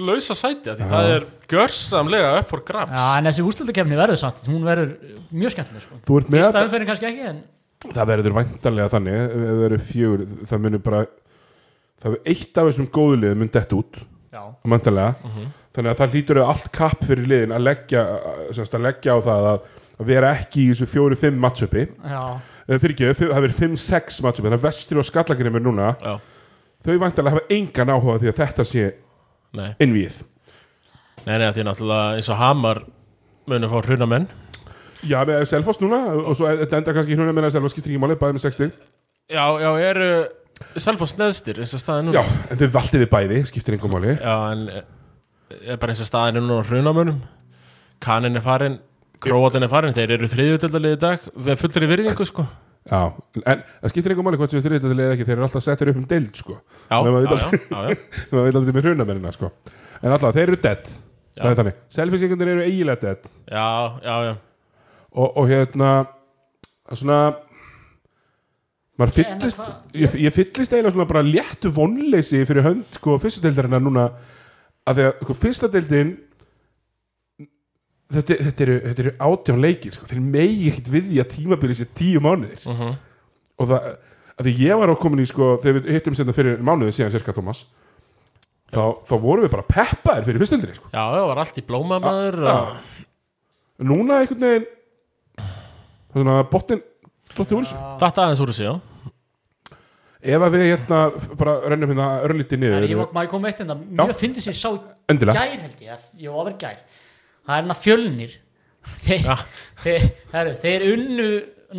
Speaker 3: lausa sæti af því það er görsamlega upp for grabs
Speaker 4: Já, en þessi úrslutakefni verður samt Hún verður mjög skemmtileg sko.
Speaker 1: Þú ert með
Speaker 4: Fyrsta
Speaker 1: þetta
Speaker 4: umferðin kannski ekki en
Speaker 1: það verður væntanlega þannig ef það verður fjögur, það munir bara það verður eitt af þessum góðu liðum mun dett út,
Speaker 4: Já,
Speaker 1: væntanlega þannig að það hlýtur að allt kapp fyrir liðin að leggja, semst að leggja á það að, að vera ekki í þessu fjóru-fimm matchupi
Speaker 4: já
Speaker 1: Eh, fyrirgefðu, fyr- það verður fimm-sex matchupi þannig að vestri og skallagrimur núna
Speaker 3: já,
Speaker 1: þau væntanlega hafa engan áhuga á því að þetta sé
Speaker 3: nei,
Speaker 1: innvíð
Speaker 3: nei, nei, af því náttúrulega eins og Hamar munir fá hruna menn
Speaker 1: Já, með Selfoss núna og svo e- þetta endar kannski húnna með að Selfoss skiptir ekki máli, bæði með 60
Speaker 3: já, já, eru Selfoss neðstir eins og staðin
Speaker 1: Já,
Speaker 3: núna
Speaker 1: en þau valdið við bæði, skiptir engum máli
Speaker 3: já en eh, er bara eins og staðin núna á hruna mönnum Kanin er farin, Króatin er farin þeir eru þriðjutildalið í dag við fullri virðingu sko
Speaker 1: Já, en það skiptir einhver máli hvort sem þriðið eða ekki, þeir eru alltaf settir upp um deild sko, Nei,
Speaker 3: já, já,
Speaker 1: maður veit
Speaker 3: já, já, já.
Speaker 1: það veit aldrei með hrunamennina sko en alltaf, þeir eru dead,
Speaker 3: Já.
Speaker 1: það er þannig selfisingundir eru eiginlega dead
Speaker 3: Já, já, já
Speaker 1: og, og hérna það er svona maður
Speaker 4: en
Speaker 1: fyllist
Speaker 4: hvað-
Speaker 1: ég, ég fyllist eiginlega svona bara léttu vonleysi fyrir hönd sko fyrstu deildarinnar núna að þegar sko fyrsta deildin þetta, þetta, eru, þetta eru átján leikir sko, þeir megi ekkit við því að tímabilið sér tíu mánuðir
Speaker 3: Mhm.
Speaker 1: og það að því ég var á komin í sko þegar við hittum sérna fyrir mánuði síðan sérska Thomas þá, þá vorum við bara peppaðir fyrir fyrstu deildinni sko
Speaker 3: Já, já, var allt í blóma maður og...
Speaker 1: núna einhvern veginn það er svona botnin dottið úr þessu
Speaker 3: Þetta aðeins úr þessu, já
Speaker 1: ef að við hérna f- bara rennum hérna örlítið
Speaker 4: En
Speaker 1: niður
Speaker 4: ég má- má ég koma með eitt enda Mjög fyndi sem ég sá
Speaker 1: endilega
Speaker 4: gær held ég að- Jó, að vera gær Það er hennar fjölnir Þeir,
Speaker 3: Já.
Speaker 4: þeir, heru, þeir unnu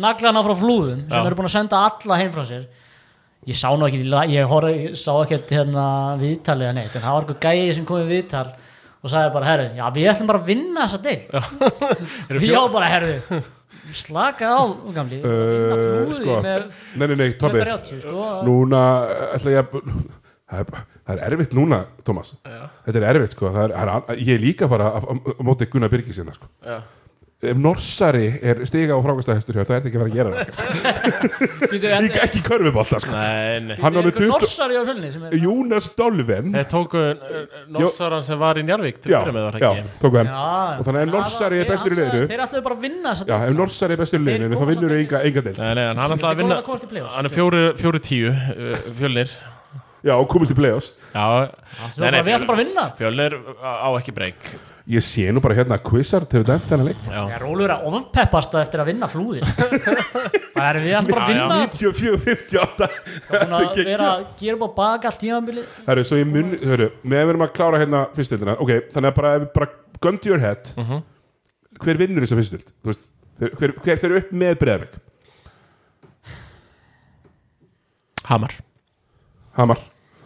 Speaker 4: naglana frá flúðum sem
Speaker 3: Já.
Speaker 4: eru búin að senda alla heim frá sér ég sá nú ekki, ég, horf, ég sá ekkert hérna viðtalið eða neitt en það var eitthvað gæi sem kom í viðtal og sagði bara, herru, já við ætlum bara að vinna þessa deil
Speaker 3: Eru
Speaker 4: já
Speaker 3: fjó...
Speaker 4: bara, herru, slaka á gamli,
Speaker 1: Uh,
Speaker 4: vinna flúði
Speaker 1: sko,
Speaker 4: með
Speaker 1: nei, nei, nei, Tobi
Speaker 4: 30 sko,
Speaker 1: núna eh, ætla ég að það er, það er erfitt núna, Thomas þetta er erfitt sko það er, það er, ég er líka bara á á- á móti Gunnar Birgis hérna sko
Speaker 3: Já.
Speaker 1: ef norsari er stiga og frákastahestur hjá þér, það er þetta ekki að vera að gera það sko.
Speaker 4: Býtu, en,
Speaker 1: Ekki- ekki í körfubólta sko.
Speaker 3: Nei, nei
Speaker 1: hann var með
Speaker 4: einhver
Speaker 1: 20
Speaker 4: norsari á fjölni sem er
Speaker 1: Júnas Dolven
Speaker 3: Þeir tóku norsaran sem var í Njarvík til
Speaker 1: já,
Speaker 3: að byrja með var
Speaker 1: já,
Speaker 3: það ekki
Speaker 1: tóku hann
Speaker 4: Já,
Speaker 1: og þannig að ef
Speaker 4: en
Speaker 1: norsari
Speaker 4: það-
Speaker 1: er bestur í
Speaker 4: hann sagði-
Speaker 1: leiru
Speaker 4: Þeir ætluðu bara að vinna þess
Speaker 1: já, ef norsari er bestur í
Speaker 4: Þeir
Speaker 1: leiru þá
Speaker 4: komast
Speaker 1: vinnur
Speaker 4: samt
Speaker 1: enga, enga deild
Speaker 3: Nei, nei, en hann ætlaði að
Speaker 4: Þeir komast
Speaker 3: vinna
Speaker 4: að komast í playoffs.
Speaker 3: Hann er fjóri, fjóri tíu, eh, fjölnir
Speaker 1: já, og komist í playoffs
Speaker 3: Já, nei, nei,
Speaker 4: Við ætlum bara að vinna
Speaker 3: fjölnir á ekki breyk
Speaker 1: ég sé nú bara hérna að Quizard hefur dæmt þennan leik
Speaker 3: Já,
Speaker 4: Ég er rólur að ofpeppast á eftir að vinna flúðir Það er við ætlum bara að
Speaker 3: Já, já.
Speaker 4: vinna
Speaker 1: 94-58
Speaker 4: Búin
Speaker 1: Þetta er
Speaker 4: að vera
Speaker 1: geggjað.
Speaker 4: að gera upp á baka allt tímabili
Speaker 1: Herru, svo ég mun, hörru, meðan við erum að klára hérna fyrstildina, ok, þannig að bara, ef við bara gun to your head,
Speaker 3: Mhm.
Speaker 1: hver vinnur þessa fyrstild? Þú veist, hver- hver, hver fer upp með Breðavík?
Speaker 3: Hamar
Speaker 1: Hamar.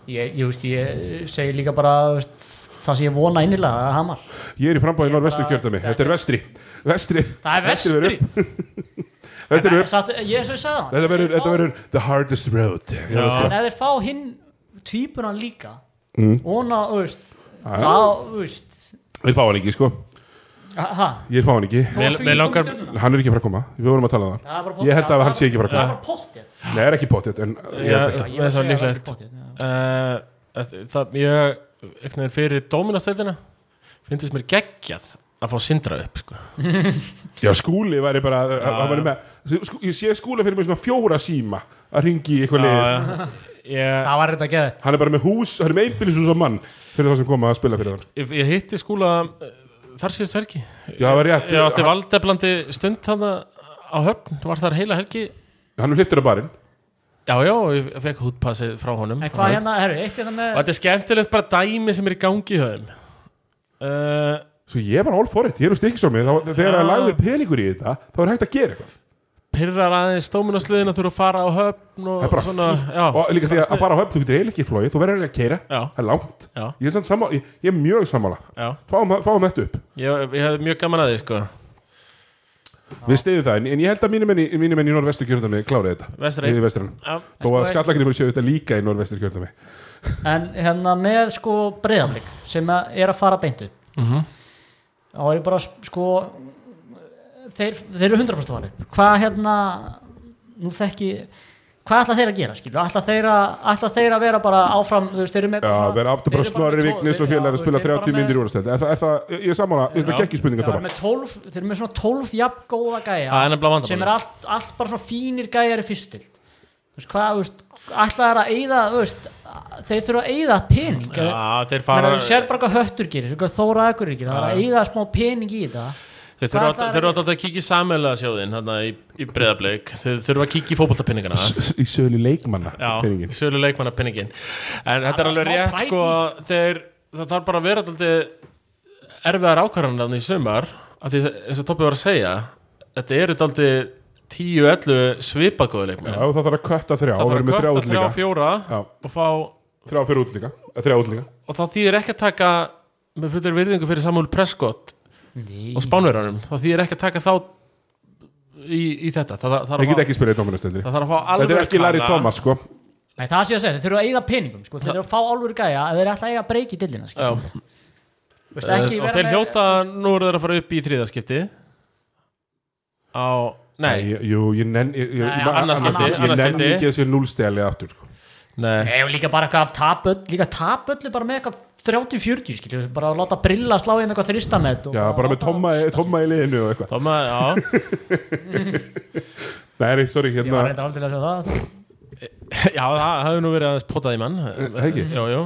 Speaker 4: Ég, ég, veist, ég segi líka bara þú veist, það sem ég vona innilega að hamar
Speaker 1: Ég er í frambáði í norðvestu kjördami,
Speaker 4: þetta-
Speaker 1: þetta er vestri. Vestri.
Speaker 4: Það er
Speaker 1: Vestri verður
Speaker 4: vestri
Speaker 1: upp. Vestri verður upp.
Speaker 4: Satt, Ég er svo ég sagði
Speaker 1: Þetta verður, þetta verður the hardest road. Já.
Speaker 4: En
Speaker 1: Vestra.
Speaker 4: ef þeir fá hinn tvíburan líka mm. Vona, þú veist Þá, þú veist
Speaker 1: Ég fá hann ekki, sko.
Speaker 4: Aha,
Speaker 1: Ég fá hann ekki.
Speaker 3: Mér- mér langar-
Speaker 1: Hann er ekki frá að koma, við vorum að tala um
Speaker 4: Já, bara
Speaker 1: það.
Speaker 4: pottþétt.
Speaker 1: Ég held að hann sé ekki frá að
Speaker 4: Það er
Speaker 1: koma.
Speaker 4: bara pottið
Speaker 1: Nei, er ekki potið, en ég
Speaker 3: Já,
Speaker 1: held ekki.
Speaker 3: það er svo líklegt Eh, það- Það, ég, einhvern veginn fyrir Dóminastöldina finnst mér geggjað að fá sindra upp, sko
Speaker 1: Já, skúli væri bara hann væri með, skú, Ég sé skúli fyrir mig svona fjóra síma að ringi í eitthvað lið
Speaker 3: Ég,
Speaker 4: Það var þetta að geða þetta
Speaker 1: Hann er bara með hús, hann er með einbýlishús á mann fyrir þá sem koma að spila fyrir þann
Speaker 3: ég, ég hitti skúla eh, þar síðust helgi
Speaker 1: Já, það var rétt,
Speaker 3: Ég átti
Speaker 1: hann,
Speaker 3: valdeflandi stund þarna á höfn, var þar heila helgi
Speaker 1: hann er hliftur af barinn
Speaker 3: Já, já, og ég fekk hútpassið frá honum
Speaker 4: En hvað hérna, herru, eitt hérna
Speaker 3: Og
Speaker 4: með
Speaker 3: þetta er skemmtilegt bara dæmi sem er í gangi í höfum uh,
Speaker 1: Svo ég er bara all for it, ég er úr stikkisómi Þegar að lagður peningur í þetta, þá er hægt að gera eitthvað
Speaker 3: Pirrar aðeins dóminasliðin að þurfa að fara á höfn
Speaker 1: Það
Speaker 3: og
Speaker 1: er bara
Speaker 3: svona
Speaker 1: fínt.
Speaker 3: já,
Speaker 1: Og líka því að, að fara á höfn, þú getur eiginlega ekki flóið Þú verður eiginlega að keira,
Speaker 3: Já.
Speaker 1: það er langt
Speaker 3: Já.
Speaker 1: Ég er, samt sammála- ég, ég er mjög sammála
Speaker 3: já,
Speaker 1: Fáum, fáum þetta upp,
Speaker 3: ég, ég hefði mjög gaman að því sko.
Speaker 1: við steyðum það En, en ég held að mínum enn í, mínum enn í norvestu kjörndami kláraði þetta
Speaker 3: Vestri. sko,
Speaker 1: Í vestrann
Speaker 3: já,
Speaker 1: Þó að skallagrimur séu þetta líka í norvestu kjörndami
Speaker 4: En hérna með sko breyðanleik sem að er að fara beintu mm
Speaker 3: Mhm.
Speaker 4: -hmm. þá er ég bara sko þeir, þeir eru 100% að fara upp. hvað hérna nú þekki, hvað ætla þeir að gera skilur, ætla þeir að, ætla þeir að vera bara áfram, þú veist, þeir eru með
Speaker 1: Já,
Speaker 4: svona-
Speaker 1: vera aftur bara
Speaker 4: þeir eru
Speaker 1: snorri
Speaker 4: með tólf-
Speaker 1: vignis og
Speaker 4: já,
Speaker 1: félagar
Speaker 4: þú
Speaker 1: að
Speaker 4: veist,
Speaker 1: spila
Speaker 4: þeir eru bara
Speaker 1: 30
Speaker 4: með-
Speaker 1: myndir í úrstætt Er það, er það, ég er sammála, ég
Speaker 3: Já.
Speaker 1: stakki ekki spurninga
Speaker 4: Já,
Speaker 1: tóma
Speaker 4: með 12, þeir eru með svona 12 jafngóða gæja
Speaker 3: Það er nefnilega vandamálið.
Speaker 4: sem er allt, allt bara svona fínir gæjar í fyrstild þú veist hvað, þú veist alltaf er að eyða, þú veist þeir þurfa að eyða pening
Speaker 3: já, þeir fara
Speaker 4: Menna, þú sér bara hvað höttur gerir, svo hvað þóra aðgur gerir, það er að eyða smá pening í þetta
Speaker 3: Þeir
Speaker 4: Hvað
Speaker 3: þurfa
Speaker 4: ætlaðu að
Speaker 3: þeir þurfa alltaf að kíkja í samheilaða sjóðin þarna í, í breyðablauk Þeir þurfa að kíkja í fótbollapinningana
Speaker 1: Í sölu leikmanna
Speaker 3: Já,
Speaker 1: peningin.
Speaker 3: sölu leikmanna pinningin En þetta er
Speaker 4: var
Speaker 3: alveg
Speaker 4: smá
Speaker 3: rétt
Speaker 4: pride
Speaker 3: sko
Speaker 4: í
Speaker 3: þeir, Það þarf bara að vera alltaf erfiðar ákvarðanarni í sumar af Því það- eins og Toppi var að segja Þetta eru alltaf 10-11 svipagóðu leikmenn
Speaker 1: Já, það þarf að kötta þrjá
Speaker 3: Það
Speaker 1: og verður
Speaker 3: þarf
Speaker 1: með
Speaker 3: að
Speaker 1: þrjá útlíka
Speaker 3: kvörta 3-4
Speaker 1: Já.
Speaker 3: og fá og
Speaker 1: Þrjá fyrir útlíka, þrjá útlíka
Speaker 3: það þýðir ekki að taka með fullir virðingu fyrir Samuel Prescott
Speaker 4: Nei.
Speaker 3: og Spánverjanum það þýðir ekki að taka þá í, í þetta það,
Speaker 1: Ég
Speaker 3: það, þarf
Speaker 1: get
Speaker 3: að,
Speaker 1: ekki spilað í tómanastöndinni
Speaker 3: það þarf að fá alveg
Speaker 1: Þetta er ekki Larry Thomas, sko
Speaker 4: Nei, það sé ég að segja, þeir þurfa að eyða peningum sko. þeir þurfa að fá álfur gæja ef þeir ætla að eiga breyki í dildina sko.
Speaker 3: Já,
Speaker 4: Veist, ekki
Speaker 3: Eh, og
Speaker 4: vera
Speaker 3: þeir
Speaker 4: með-
Speaker 3: hljóta nú eru þeir að fara upp í þriðaskipti á, nei,
Speaker 1: Ég- Jú, ég nenn ég- ég-
Speaker 4: Nei,
Speaker 1: ég-
Speaker 3: annað
Speaker 1: annað-
Speaker 3: skipti,
Speaker 1: Ég
Speaker 3: annað
Speaker 1: nenn
Speaker 3: skipti.
Speaker 1: ekki þessi núlstæli aftur, sko
Speaker 3: nei
Speaker 4: Nei, og líka bara eitthvað tapöll líka tapöllu bara með eitthvað 30-40 skiljum, bara að láta brilla slá inn eitthvað þristamett og
Speaker 1: Já, bara með
Speaker 4: láta-
Speaker 1: tomma, tomma í liðinu og eitthvað
Speaker 3: Tóma, já,
Speaker 1: Nei, sorry,
Speaker 4: Ég
Speaker 1: hérna
Speaker 4: var reyndar aldrei að segja það sko.
Speaker 3: já, það hafði nú verið aðeins potað í mann
Speaker 1: Eh, ekki?
Speaker 3: Jú, jú,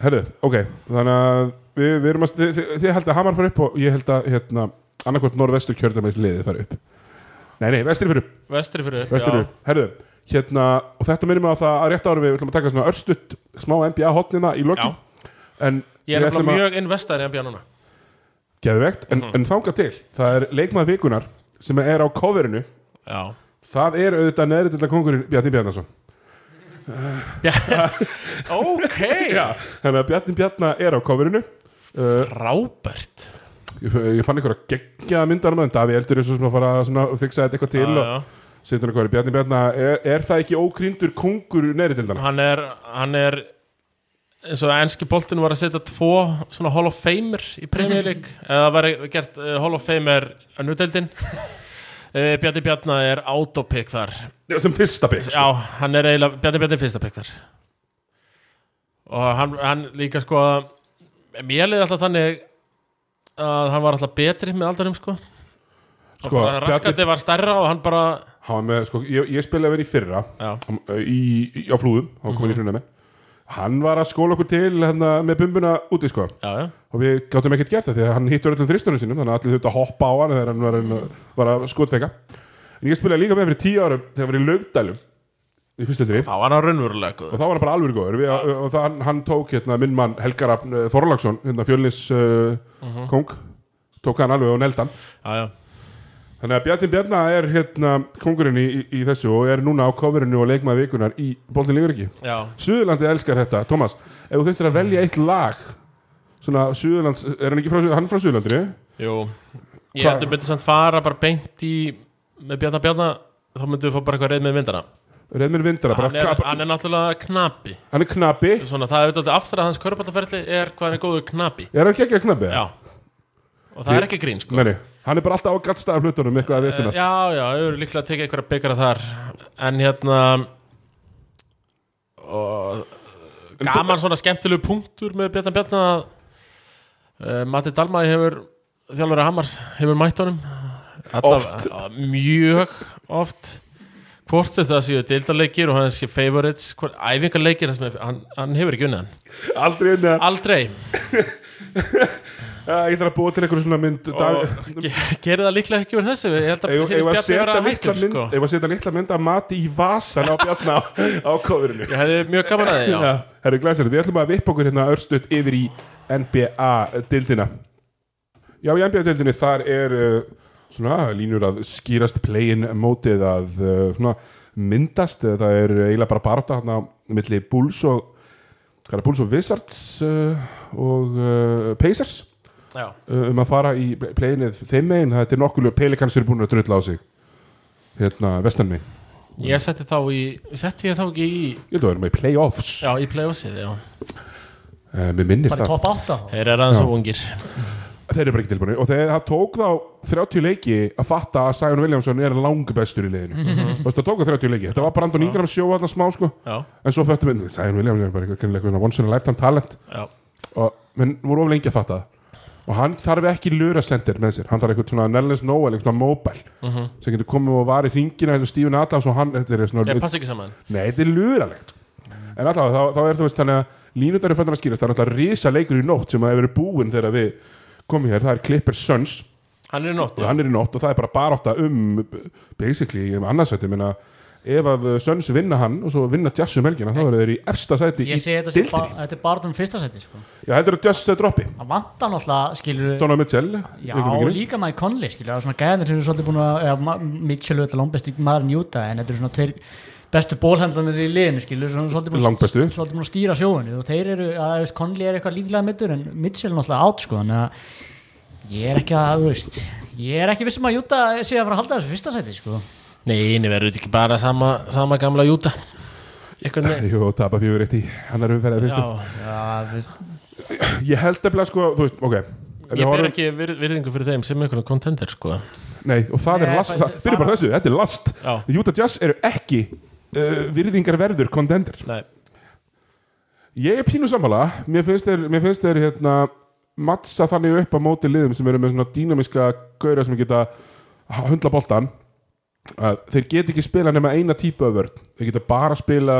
Speaker 1: Herru, ok, þannig að við, við erum að, þið, þið, þið held að Hamar fara upp og ég held að hérna, annarkvort norðvestur kjördamæs liðið fara upp Nei, nei, vestri fyrir upp,
Speaker 3: vestri fyrir upp
Speaker 1: vestri
Speaker 3: já.
Speaker 1: fyrir upp, herru hérna, og þetta minnum að það að rétt ára við ætlum að taka svona örstutt smá NBA hotnina í
Speaker 3: Já,
Speaker 1: lokin en
Speaker 3: ég er
Speaker 1: við
Speaker 3: nefnilega
Speaker 1: ætlum að
Speaker 3: mjög Mhm. investar í NBA núna
Speaker 1: geðvegt, en, en þanga til það er leikmað vikunar sem er á coverinu
Speaker 3: Já,
Speaker 1: það er auðvitað neðri til að kongurinn Bjarni Bjarnason
Speaker 3: ok
Speaker 1: Já, þannig að Bjarni Bjarna er á coverinu uh,
Speaker 3: Rábert
Speaker 1: ég, ég fann einhverja geggjaða myndar en Davi Eldur er svo sem að fara svona, að fixa þetta eitthvað til
Speaker 3: Já,
Speaker 1: og
Speaker 3: já.
Speaker 1: Sittur einhverju, Bjarni Bjarnar, er, er það ekki ókryndur kongur neðri dildana?
Speaker 3: hann er, hann er eins og enski boltin var að setja tvo svona Hall of Famer í Premier League eða var gert uh, Hall of Famer önnudeldin uh, Bjarni Bjarna er autopick þar
Speaker 1: Já, sem fyrsta bygg
Speaker 3: já, hann er eiginlega Bjarni Bjarni er fyrsta pick þar og hann, hann líka sko mér leði alltaf þannig að hann var alltaf betri með aldarum sko, sko
Speaker 1: Sko,
Speaker 3: bara
Speaker 1: Bjarni
Speaker 3: raskandi var stærra og hann bara
Speaker 1: hann var með, sko, ég, ég spilaði verið í fyrra
Speaker 3: já,
Speaker 1: um, í, í, á flúðum, hann
Speaker 3: Mhm.
Speaker 1: kom inn í hruna með hann var að skóla okkur til hérna, með bumbuna úti sko
Speaker 3: já, já
Speaker 1: og við gáttum ekkert gert það því að hann hittur öllum þristunum sínum þannig að allir þurftu að hoppa á hann þegar hann var, að- var að skotfeka en ég spilaði líka með fyrir tíu árum þegar hann var í lögdælum í fyrstu drif
Speaker 3: þá var hann raunverulega
Speaker 1: og
Speaker 3: góður
Speaker 1: þá var hann bara alveg góður við, og það, hann- hann tók hérna, minn mann Helgarafn Þorlagsson hérna, fjölnis uh,
Speaker 3: Mhm.
Speaker 1: kong tók hann alveg og neldan
Speaker 3: já, já
Speaker 1: þannig að Bjartin Bjarna er hérna, kongurinn í, í, í þessu og er núna á coverinu og leikmaði vikunar í Bóltin Lífuriki
Speaker 3: Já,
Speaker 1: Suðurlandið elskar þetta, Tómas ef þú þurftir að velja eitt lag svona Suðurlands, er hann ekki frá, Suð- hann er frá Suðurlandri
Speaker 3: jú Ég
Speaker 1: Hva-
Speaker 3: held að myndi samt fara bara beint í með Bjarna Bjarna þá myndum við fá bara eitthvað reyð með vindana
Speaker 1: Reðmir Vindara, bara,
Speaker 3: hann er,
Speaker 1: hann er,
Speaker 3: hann er náttúrulega knapi
Speaker 1: hann er knabi
Speaker 3: Svona, það er auðvitað aftur að hans körbáttaferli er hvað hann er góður knapi
Speaker 1: er hann ekki ekki knabi?
Speaker 3: Já Og það er ekki grín sko
Speaker 1: Nei, nei, hann er bara alltaf á gattstæða hlutunum eitthvað að
Speaker 3: Já,
Speaker 1: vesinast
Speaker 3: já, þau eru líklega að tekið einhverja byggara þar En hérna og
Speaker 1: Um
Speaker 3: gaman svona skemmtilegu punktur með Bjarna Bjarna að uh, Matti Dalmæ hefur þjálfur að Hamars hefur mætt honum
Speaker 1: Oft.
Speaker 3: að, Mjög oft Hvort þetta séu deildarleikir og hann séu favorites hvort- Æfingarleikir, það sem er- hann, hann hefur ekki unnið hann
Speaker 1: aldrei inn að
Speaker 3: Aldrei
Speaker 1: ég þarf að búa til einhverju svona mynd
Speaker 3: og ge- gerir það líklega ekki verið þessu ég held að
Speaker 1: Ef ef að
Speaker 3: Bjarni verið
Speaker 1: setja
Speaker 3: að
Speaker 1: litla
Speaker 3: hættum
Speaker 1: mynd
Speaker 3: sko.
Speaker 1: Ef að setja litla mynd að mati í vasan á Bjarna á, á kofurinu
Speaker 3: ég hefði mjög gaman að því já.
Speaker 1: Herru glæsir, við ætlum að vippa okkur hérna örstuðt yfir í NBA-dildina Já, í NBA-dildinni þar er uh, svona línur að skýrast play-in mótið að uh, svona myndast eh, það er eiginlega bara barátta hérna á milli Bulls og hvað er Bulls og Wizards uh, og uh, Pacers
Speaker 3: Já.
Speaker 1: uh, um að fara í play-inið þeim megin, þetta er nokkulega Pelikans eru búin að drulla á sig hérna, vestan megin
Speaker 3: ég setti þá í setti ég þá ekki í
Speaker 1: ég held að vera með play-offs
Speaker 3: já, í playoffsið já.
Speaker 1: uh, mér minnir það
Speaker 4: bara í top 8 þá.
Speaker 3: þeir eru aðeins og ungir
Speaker 1: Þeir eru bara ekki tilbúinir og þegar það tók þá 30 leiki að fatta að Sion Williamson er langbestur í leiðinu
Speaker 4: Mhm.
Speaker 1: Þú veist, það tók það 30 leiki, þetta var bara Andon Ingram sjó alltaf smá sko,
Speaker 3: já,
Speaker 1: en svo föttum við Sion Williamson er bara eitthvað kennilega eitthvað svona once in a lifetime talent
Speaker 3: já,
Speaker 1: og menn voru of lengi að fatta það og hann þarf ekki lura sendir með sér hann þarf eitthvað svona Nellis Noel, eitthvað svona mobile
Speaker 4: Mhm.
Speaker 1: sem getur komið og var í ringina eins og Steven Adams og hann, þetta er svona
Speaker 3: þeir passa ekki saman
Speaker 1: Nei, þetta er luralegt En alltaf, þá, þá er þú veist þannig að línundar er fættan að skýrast, það er alltaf risa leikur í nótt sem að hefur verið búinn þegar við komum hér, það er Clippers Suns
Speaker 3: hann er í nótt
Speaker 1: og hann er í nótt og það er bara barátta um basically um annarsætti, menna ef að Suns vinna hann og svo vinna Jazz um helgina, þá eru þeir í efsta sæti
Speaker 4: ég
Speaker 1: í
Speaker 4: segi þetta sem
Speaker 1: dildinni.
Speaker 4: ba- þetta er bara um fyrsta seti sko.
Speaker 1: Já, heldur að Jazz sæti droppi
Speaker 4: það vantar náttúrulega skilur
Speaker 1: Donald Mitchell
Speaker 4: Já,
Speaker 1: augnablikinu.
Speaker 4: líka Mike Conley skilur, það er svona gæðir sem eru svolítið búin að eða, Ma- Mitchell er alltaf langbest í maður njúta en þetta eru svona tveir bestu bólhendlanir í liðinu skilur, svona svolítið búin,
Speaker 1: Langbestu.
Speaker 4: að, svolítið búin að stýra sjóinu og þeir eru, að þú veist, Conley er eitthvað líklega mittur en Mitchell er náttúrulega átt sko þannig að ég er ekki að, þú veist ég er ekki vissum að Júta sé að fara að halda þessu fyrsta sæti sko
Speaker 3: nei, nei, verður þetta ekki bara sama, sama gamla júta eitthvað nei
Speaker 1: Jú, tapa fjögur eitt í annar umferðar
Speaker 3: já,
Speaker 1: fyrstu.
Speaker 4: Já, þú veist,
Speaker 1: Ég held að blei sko, þú veist, ok Ef við
Speaker 3: ég ber
Speaker 1: horfum-
Speaker 3: ekki vir- virðingu fyrir þeim sem einhvern kontender sko
Speaker 1: Nei, og það
Speaker 4: Nei,
Speaker 1: er last,
Speaker 4: bara-
Speaker 1: það, fyrir bara
Speaker 4: bara-
Speaker 1: þessu, þetta er last
Speaker 3: Já.
Speaker 1: Utah Jazz eru ekki uh, virðingarverður kontender
Speaker 3: nei,
Speaker 1: Ég er pínu sammála, mér finnst þeir, mér finnst þeir hérna, mattsa þannig upp á móti liðum sem eru með svona dýnamiska gauðra sem geta hundla boltan að þeir geta ekki spila nema eina típu af vörn, þeir geta bara spila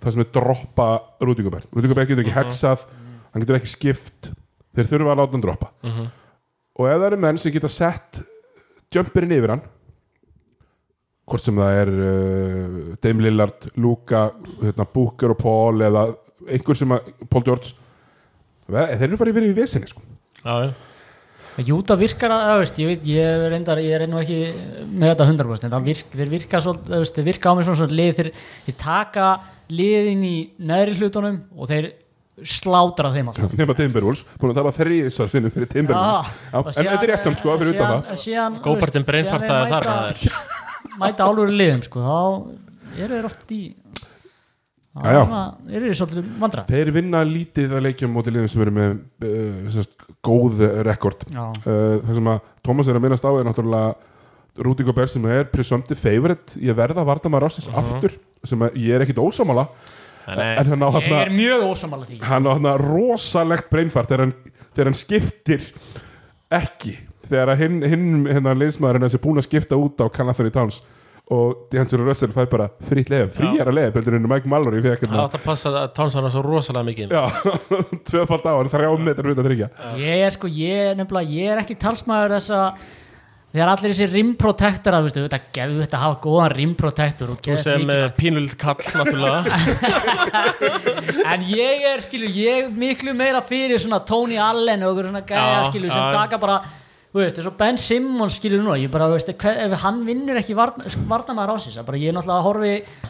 Speaker 1: það sem er droppa Rúdingubær Rúdingubær getur ekki hexað hann getur ekki skipt, þeir þurfa að láta hann droppa og ef það eru menn sem geta sett jumperinn yfir hann hvort sem það er uh, Dame Lillard, Luka hérna, Booker og Paul eða einhver sem að, Paul George Ve- þeir eru farið fyrir í vesinni sko.
Speaker 3: já, já
Speaker 4: Júta virkar að, þú veist, ég veit, ég reyndar, ég reynd nú ekki með þetta 100% en það virk, þeir virka svolítið, þú veist, þeir virka á mig svona svona lið, þeir, þeir taka liðin í neðri hlutunum og þeir slátra þeim alltaf. Ah,
Speaker 1: nema Timberwolves, búin að tapa þriðisvar sinnum fyrir Timberwolves Já,
Speaker 4: og
Speaker 1: en
Speaker 4: síðan-
Speaker 1: þetta er rétt samt sko, fyrir utan
Speaker 4: síðan-
Speaker 1: það
Speaker 4: Síðan, þú veist,
Speaker 3: Gópartinn
Speaker 4: síðan
Speaker 3: breinfartaði
Speaker 4: þeir
Speaker 3: þar
Speaker 4: mæta-
Speaker 3: maður.
Speaker 4: Mæta álur liðum, sko, þá eru þeir oft í Það
Speaker 1: Já,
Speaker 4: var
Speaker 1: já.
Speaker 4: svona- Þeir eru svolítið vandra
Speaker 1: Þeir vinna lítið að leikjum móti liðum sem eru með uh, sérst, góð rekord uh,
Speaker 4: Já,
Speaker 1: Það sem að Thomas er að minnast á er náttúrulega Rúti Gobert sem er presumptive favorite ég verða að varta maður ásins aftur sem að ég er ekkit ósámála en hann á
Speaker 4: ég er
Speaker 1: hann
Speaker 4: mjög ósamála því
Speaker 1: hann á hann rosalegt breynfart þegar hann, þegar hann skiptir ekki þegar að hinn hin, hérna liðsmaðurinn hans er búin að skipta út á Calathony Towns og D'Angelo Russell fær bara frýtt leif, frýjara leif heldur en Mike Mallory fekk
Speaker 3: Það
Speaker 1: hérna
Speaker 3: átt að passa að Townsend er svo rosalega mikið
Speaker 1: Já, tvöfald á hann, þrjá metrar út að tryggja
Speaker 4: Ég er sko, ég er nefnilega, ég er ekki talsmaður þess að þegar allir þessi rimprotektora, veistu, þetta gefðu þetta að hafa góðan rimprotektor og
Speaker 3: Þú
Speaker 4: geðveikt
Speaker 3: sem
Speaker 4: mikilvægt.
Speaker 3: eh, pínulegt kall náttúrulega
Speaker 4: En ég er, skilju, ég er miklu meira fyrir svona Tony Allen og okkur svona gæja,
Speaker 3: Já,
Speaker 4: skilju,
Speaker 3: já,
Speaker 4: sem
Speaker 3: já.
Speaker 4: taka bara þú veist, eins og Ben Simmons, skilju, núna ég bara, veistu, hver, ef hann vinnur ekki varna, varna maður ásins, það bara, ég er náttúrulega að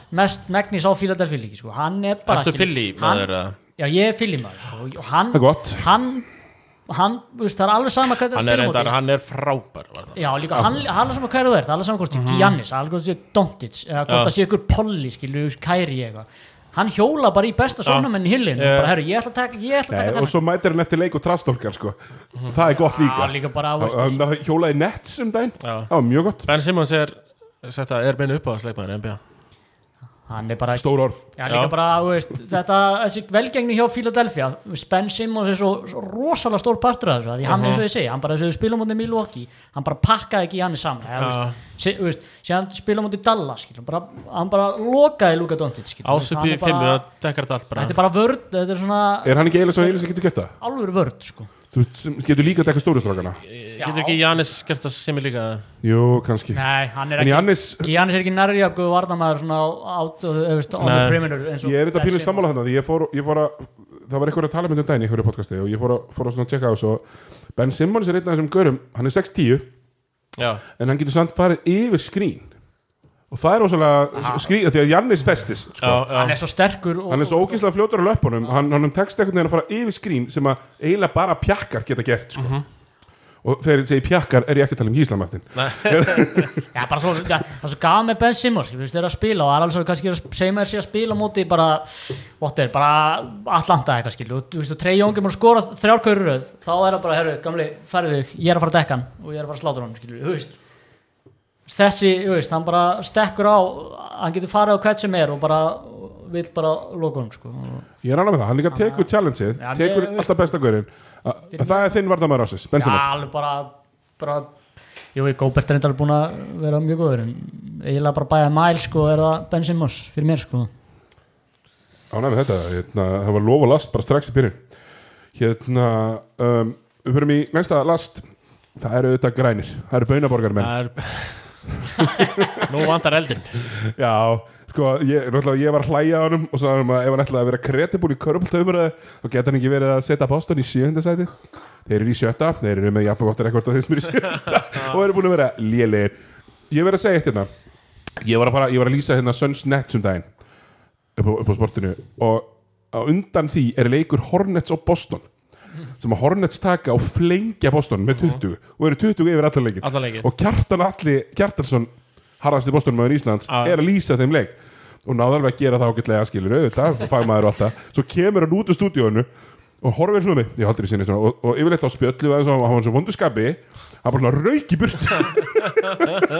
Speaker 4: horfi mest megnis á Philadelphia líki, sko hann er bara,
Speaker 3: Ertu
Speaker 4: skilju,
Speaker 3: fylli
Speaker 4: hann-
Speaker 3: maður að
Speaker 4: Já, ég er Philly maður, sko, og- og hann
Speaker 1: Það er gott.
Speaker 4: Hann, hann, þú veist, það er alveg sama hvernig
Speaker 3: Hann er
Speaker 4: móti.
Speaker 3: reyndar, hann er frábær var það.
Speaker 4: Já, líka, hann, hann er saman hverju þú ert, það er saman hvort sé Giannis, hann er hvort sé Dontic, eða hvort
Speaker 3: Já.
Speaker 4: það sé ykkur Polly, skilu, Kairi eitthvað. Hann hjóla bara í besta sónamenn í hillinu,
Speaker 3: Já.
Speaker 4: bara, herru, ég ætla að taka, ég ætla að
Speaker 1: Nei,
Speaker 4: taka
Speaker 1: Og
Speaker 4: þennan.
Speaker 1: svo mætir hann eftir leik og trastólkar sko. Það er gott líka
Speaker 4: Mhm. Já, líka bara,
Speaker 1: Hann-
Speaker 4: veist,
Speaker 1: Hann hann hjólaði nets um daginn
Speaker 3: Já.
Speaker 1: Það var mjög gott
Speaker 3: Ben Simmons er Þetta er minn uppáðsleikmaður í NBA
Speaker 4: hann er bara,
Speaker 1: Stór orð
Speaker 4: já, líka
Speaker 3: Já.
Speaker 4: bara, þú veist, þetta, þessi velgengni hjá Philadelphia, Ben Simmons er svo, svo rosalega stór partur af þessu, af því hann, eins og ég segi, hann bara, þessu spilum mútið Milwaukee, hann bara pakkaði ekki hann saman, eða, þú
Speaker 3: Já.
Speaker 4: veist, sé- þú veist, síðan spilum mútið Dallas, skilum, bara, hann bara lokaði Luka Doncic, skilum.
Speaker 3: Ásupi í fimmu, það dekkar þetta allt bara
Speaker 4: Þetta er bara vörð, þetta er svona
Speaker 1: Er hann ekki eiginlega svo eiginlega sem getur gett það?
Speaker 4: alveg vörð sko.
Speaker 1: Þú veist, sem getur líka að dekka stóru strákana
Speaker 3: Getur ekki Jannis gert það sem ég líka
Speaker 1: Jú, kannski
Speaker 4: Nei, hann er
Speaker 1: En
Speaker 4: ekki
Speaker 1: Jannis,
Speaker 4: Giannis er ekki nærri að guða varnamæður svona át, auðvist, on the
Speaker 3: Nei.
Speaker 4: perimeter eins og
Speaker 1: ég er þetta
Speaker 4: Ben
Speaker 1: pílinn
Speaker 4: Simmons.
Speaker 1: sammála þannig að Ég fór, ég fór að Það var eitthvað að tala með um daginn í hverju podcasti og ég fór að, fór að svona tjekka á þessu og Ben Simmons er einn af þessum görum, hann er 6'10
Speaker 3: Já,
Speaker 1: en hann getur samt farið yfir skrín og það er ósælega skrín því að Jannis festist sko.
Speaker 3: já,
Speaker 4: Hann
Speaker 3: já
Speaker 4: er svo sterkur og,
Speaker 1: hann er svo ógeðslega fljótur á löpunum hann, hann tekst einhvern veginn að fara yfir skrín sem að eiginlega bara pjakkar geta gert sko. og þegar ég segi pjakkar er ég ekki að tala um híslamættin
Speaker 4: ja, bara svo, ja, það er svo gaf með Ben Simmons við þeir eru að spila og það er alveg svo kannski að segja sér að spila á móti bara whatever, bara Atlanta eitthvað skil og þú veist þú, Trey Young er múin að skora þrjárkaur röð þá er það bara, herru, gamli, færðu þig ég er að fara að dekka hann og ég er að fara að slátur hann skil þú veist þessi, þú veist, hann bara stekkur á hann getur farið á hvert sem er og bara vill bara loka hann sko og
Speaker 1: ég er annað með það, hann líka tekur challengeið
Speaker 4: Já,
Speaker 1: tekur
Speaker 4: ég-
Speaker 1: alltaf besta gaurinn A- a- það er þinn vardamæður ásins, Ben
Speaker 4: Já,
Speaker 1: Simmons
Speaker 4: alveg bara, bara Jú, ég Góbert er reyndar búin að vera mjög góður en eiginlega bara bæða mæl sko er það Ben Simmons fyrir mér sko
Speaker 1: ánæg með þetta, hérna, það var lof og last bara strax í byrjun hérna, um, við fyrir í næsta last það eru auðvitað grænir það eru baunaborgar menn
Speaker 3: Það er Nú vantar eldin
Speaker 1: Já, sko, ég, náttúrulega ég var að hlæja á honum og sagði hann að ef hann ætlaði að vera kretibúl í körbultaumræði þá geta hann ekki verið að setja Boston í sjöndasæti Þeir eru í sjötta, þeir eru með jafn og gott rekord á þeir sem eru í sjötta og eru búin að vera lélegir Ég verið að segja eitt hérna Ég var að, fara, ég var að lýsa hérna Suns Nets um daginn upp á, upp á sportinu og á undan því er leikur Hornets og Boston sem að Hornets taka og flengja Boston með 20 og eru 20 yfir allar leikin
Speaker 3: Alla leiki.
Speaker 1: og Kjartan Alli Kjartansson harðasti Boston maður Íslands
Speaker 3: Já.
Speaker 1: er að lýsa þeim leik og náði alveg að gera það ágætlega skilur auðvitað, fagmaður og alltaf svo kemur hann út úr stúdíónu og horfir svona á mig, ég haldur í sinni svona, og, og yfirleitt á spjöllu og hann var svo vonduskapi hann bara svona rauk í burt það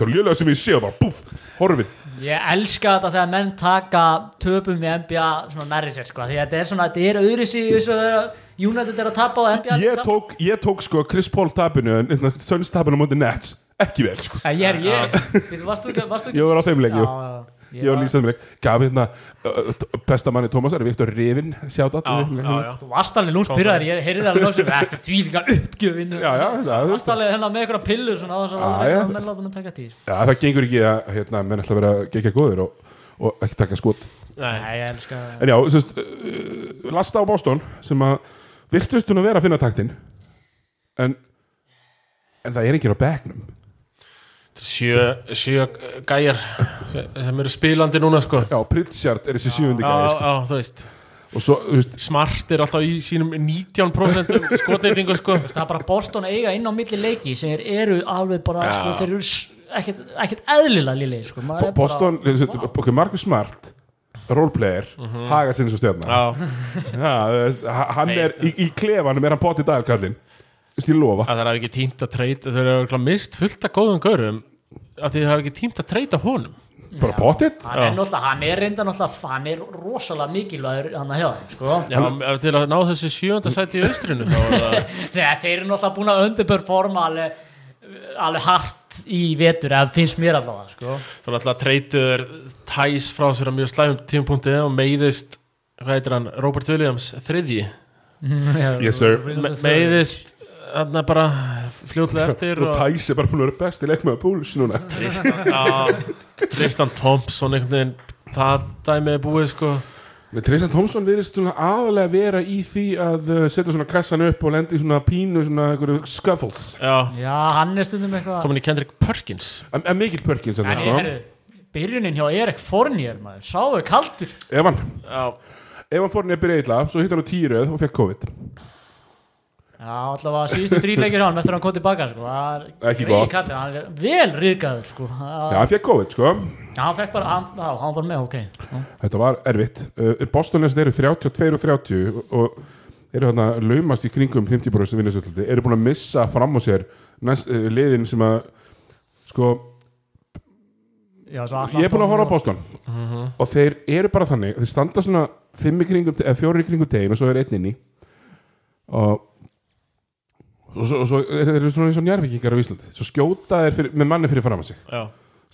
Speaker 1: var ljölega sem ég sé og bara búf, horfir
Speaker 4: Ég elska þetta þegar menn taka töpum í NBA svona nærri sér sko því að þetta er svona, þetta er öðru sig eins og þegar United er að tapa og NBA
Speaker 1: ég tók, ég tók sko Chris Paul tapinu en- en Suns tapinu á móti Nets ekki vel sko
Speaker 4: Ég er, ég, við, varstu ekki, varstu ekki
Speaker 1: Ég var á þeim leik, jú.
Speaker 4: já,
Speaker 1: ég var lýsað mér gaf hérna uh, t- besta manni Tómasar Viktor Rivin sjátt að
Speaker 3: Já, já, já
Speaker 4: Þú varst alveg lúns pyrraður, ég heyrði það alveg á þessu Þetta er tvílíka uppgjöfin
Speaker 1: já, já, það, þú veist
Speaker 4: Varst
Speaker 1: það.
Speaker 4: alveg hérna með einhverja pillur svona og svo
Speaker 1: Já,
Speaker 4: að
Speaker 1: já.
Speaker 4: menn láta mig taka tíð sko.
Speaker 1: Já, það gengur ekki að hérna, menn ætla að vera gegja góður og, og ekki taka skot
Speaker 3: Nei,
Speaker 4: Nei, ég elska það
Speaker 1: en já, sérst, uh, lasta á Boston sem að virtust hún að vera að finna taktin en en það er ekki á bekknum
Speaker 3: þetta er sjö, sjö gæjar sem sem eru spilandi núna sko
Speaker 1: já, Pritchard er þessi sjöfundi
Speaker 3: Já,
Speaker 1: gæði sko.
Speaker 3: já, þú veist
Speaker 1: og svo, þú veist,
Speaker 3: Smart er alltaf í sínum 19% skotneitingu sko
Speaker 4: það er bara Boston eiga inn á milli leiki sem þeir eru alveg bara
Speaker 3: Já.
Speaker 4: sko, þeir eru s- ekkert, ekkert eðlilega lili sko. Maður er bara-
Speaker 1: Boston, wow. ok, Marcus Smart roleplayer haga sinni svo stjarnar
Speaker 3: Já,
Speaker 1: hann er í, í klefanum er hann potið dælkallin ég lofa
Speaker 3: að það er ekki tímt að treyta Þau eru örugglega mist fullt af góðum gaurum Af því þau eru ekki tímt að treyta honum
Speaker 1: bara potið
Speaker 4: hann er náttúrulega, hann er reynda náttúrulega hann er rosalega mikilvægur hann að hjá þeim sko.
Speaker 3: Já, ef til að ná þessu sjöönda sæti í austrinu þá er það
Speaker 4: Nei, þeir eru náttúrulega búin að underperforma alveg, alveg hart í vetur eða finnst mér allavega sko.
Speaker 3: Þú náttúrulega treytur tæs frá sér á mjög slæfum tímapunkti og meiðist, hvað heitir hann, Robert Williams þriðji,
Speaker 1: Yes, sir.
Speaker 3: Me meiðist hann er bara fljótlega eftir
Speaker 1: og
Speaker 3: og
Speaker 1: Tæs er bara búin að vera besti leikmaður púls núna
Speaker 3: Tristan, já, Tristan Thompson einhvern veginn, það dæmi er búið sko,
Speaker 1: Men Tristan Thompson virðist svona aðalega vera í því að uh, setja svona kassan upp og lendi í svona pínu svona einhverju scuffles
Speaker 3: já,
Speaker 4: Já, hann er stundum eitthvað
Speaker 3: komin í Kendrick Perkins
Speaker 1: en, en Mikil Perkins en
Speaker 4: Nei,
Speaker 1: það sko.
Speaker 4: heyrðu, Byrjunin hjá Erik Fornier maður, sáu kaldur
Speaker 1: sko ef hann
Speaker 3: já,
Speaker 1: ef hann fór nýja að byrja illa svo hitt hann á týröð og fekk COVID
Speaker 4: Já, allavega síðustu þrýleikir hann eftir að hann kom tilbaka sko. Það er
Speaker 1: Ekki
Speaker 4: veginn
Speaker 1: gott.
Speaker 4: kallinn, hann er vel riðgæður sko. Það-
Speaker 1: já hann fekk COVID sko
Speaker 4: Já, hann fekk bara, hann, já, hann var bara með, ok
Speaker 1: þetta var erfitt uh, Bostonins eru 32 og 30 og eru þarna laumast í kringum 50% vinnusvöldi eru búin að missa fram á sér næst, uh, liðin sem að sko
Speaker 4: já, svo
Speaker 1: ég er búin að horfa á
Speaker 4: Atlanta- Mhm.
Speaker 1: Boston og þeir eru bara þannig þeir standa svona fimm í kringum eða fjóri í kringum tegin og svo er einn inn í og og svo, og svo er þeir eru svona eins og njárvíkingar á Íslandi svo skjóta þeir fyrir, með manni fyrir fram að sig
Speaker 3: já,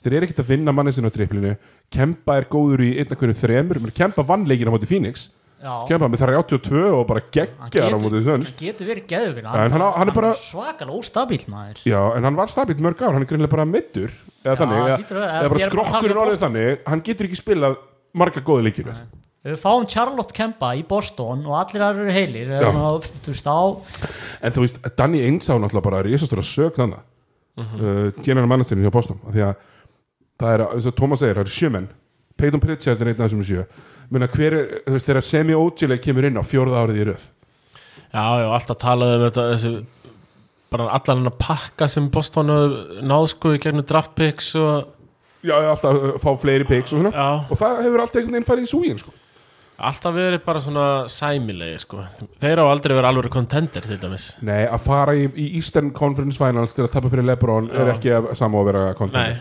Speaker 1: þeir eru ekkert að vinna manni sinna á triplinu Kempa er góður í einna hverju þremur menn Kempa vann leikina á móti Phoenix
Speaker 4: Já,
Speaker 1: Kempa með þar 82 og bara
Speaker 4: hann
Speaker 1: geggjar á móti
Speaker 4: getur,
Speaker 1: Suns
Speaker 4: hann getur verið geðugin
Speaker 1: En hann á- hann er bara-
Speaker 4: svakalega óstabíl maður
Speaker 1: Já, en hann var stabilt mörg ár, hann er greinlega bara mittur eða þannig,
Speaker 4: það
Speaker 1: eða,
Speaker 4: hlýtur að vera.
Speaker 1: eða bara
Speaker 4: Ég er bara að tala
Speaker 1: skrokkurinn
Speaker 4: um
Speaker 1: orðið þannig hann getur ekki spilað marga góði leikir
Speaker 4: Ef Við fáum Charlotte Kempa í Boston og allir aðra eru heilir
Speaker 1: Já.
Speaker 4: eða, þú veist þá
Speaker 1: En þú veist, Danny Ings á náttúrulega bara risastur að sög þannig mm
Speaker 3: Mhm.
Speaker 1: -hmm. uh, General Managerin hjá Boston af Því að það er, eins og Thomas segir, það eru sjömenn Peyton Pritchard er einn af þessum sjö Menna hver er, þú veist, þegar Semi Ojeley kemur inn á fjórða árið í röð
Speaker 3: já, já, alltaf talaðu um þetta, þessu bara allan hann að pakka sem Boston hefur náð sko í gegnum draft picks og
Speaker 1: Já, já, alltaf uh, fá fleiri picks og svona
Speaker 3: Já.
Speaker 1: Og það hefur alltaf einhvern veginn farið í súgin, sko
Speaker 3: Alltaf verið bara svona sæmilegir sko Þeir á aldrei verið alveg kontender til dæmis
Speaker 1: Nei, að fara í, í Eastern Conference Finals til að tapa fyrir Lebron er ekki að samá að vera
Speaker 3: Nei
Speaker 1: kontendur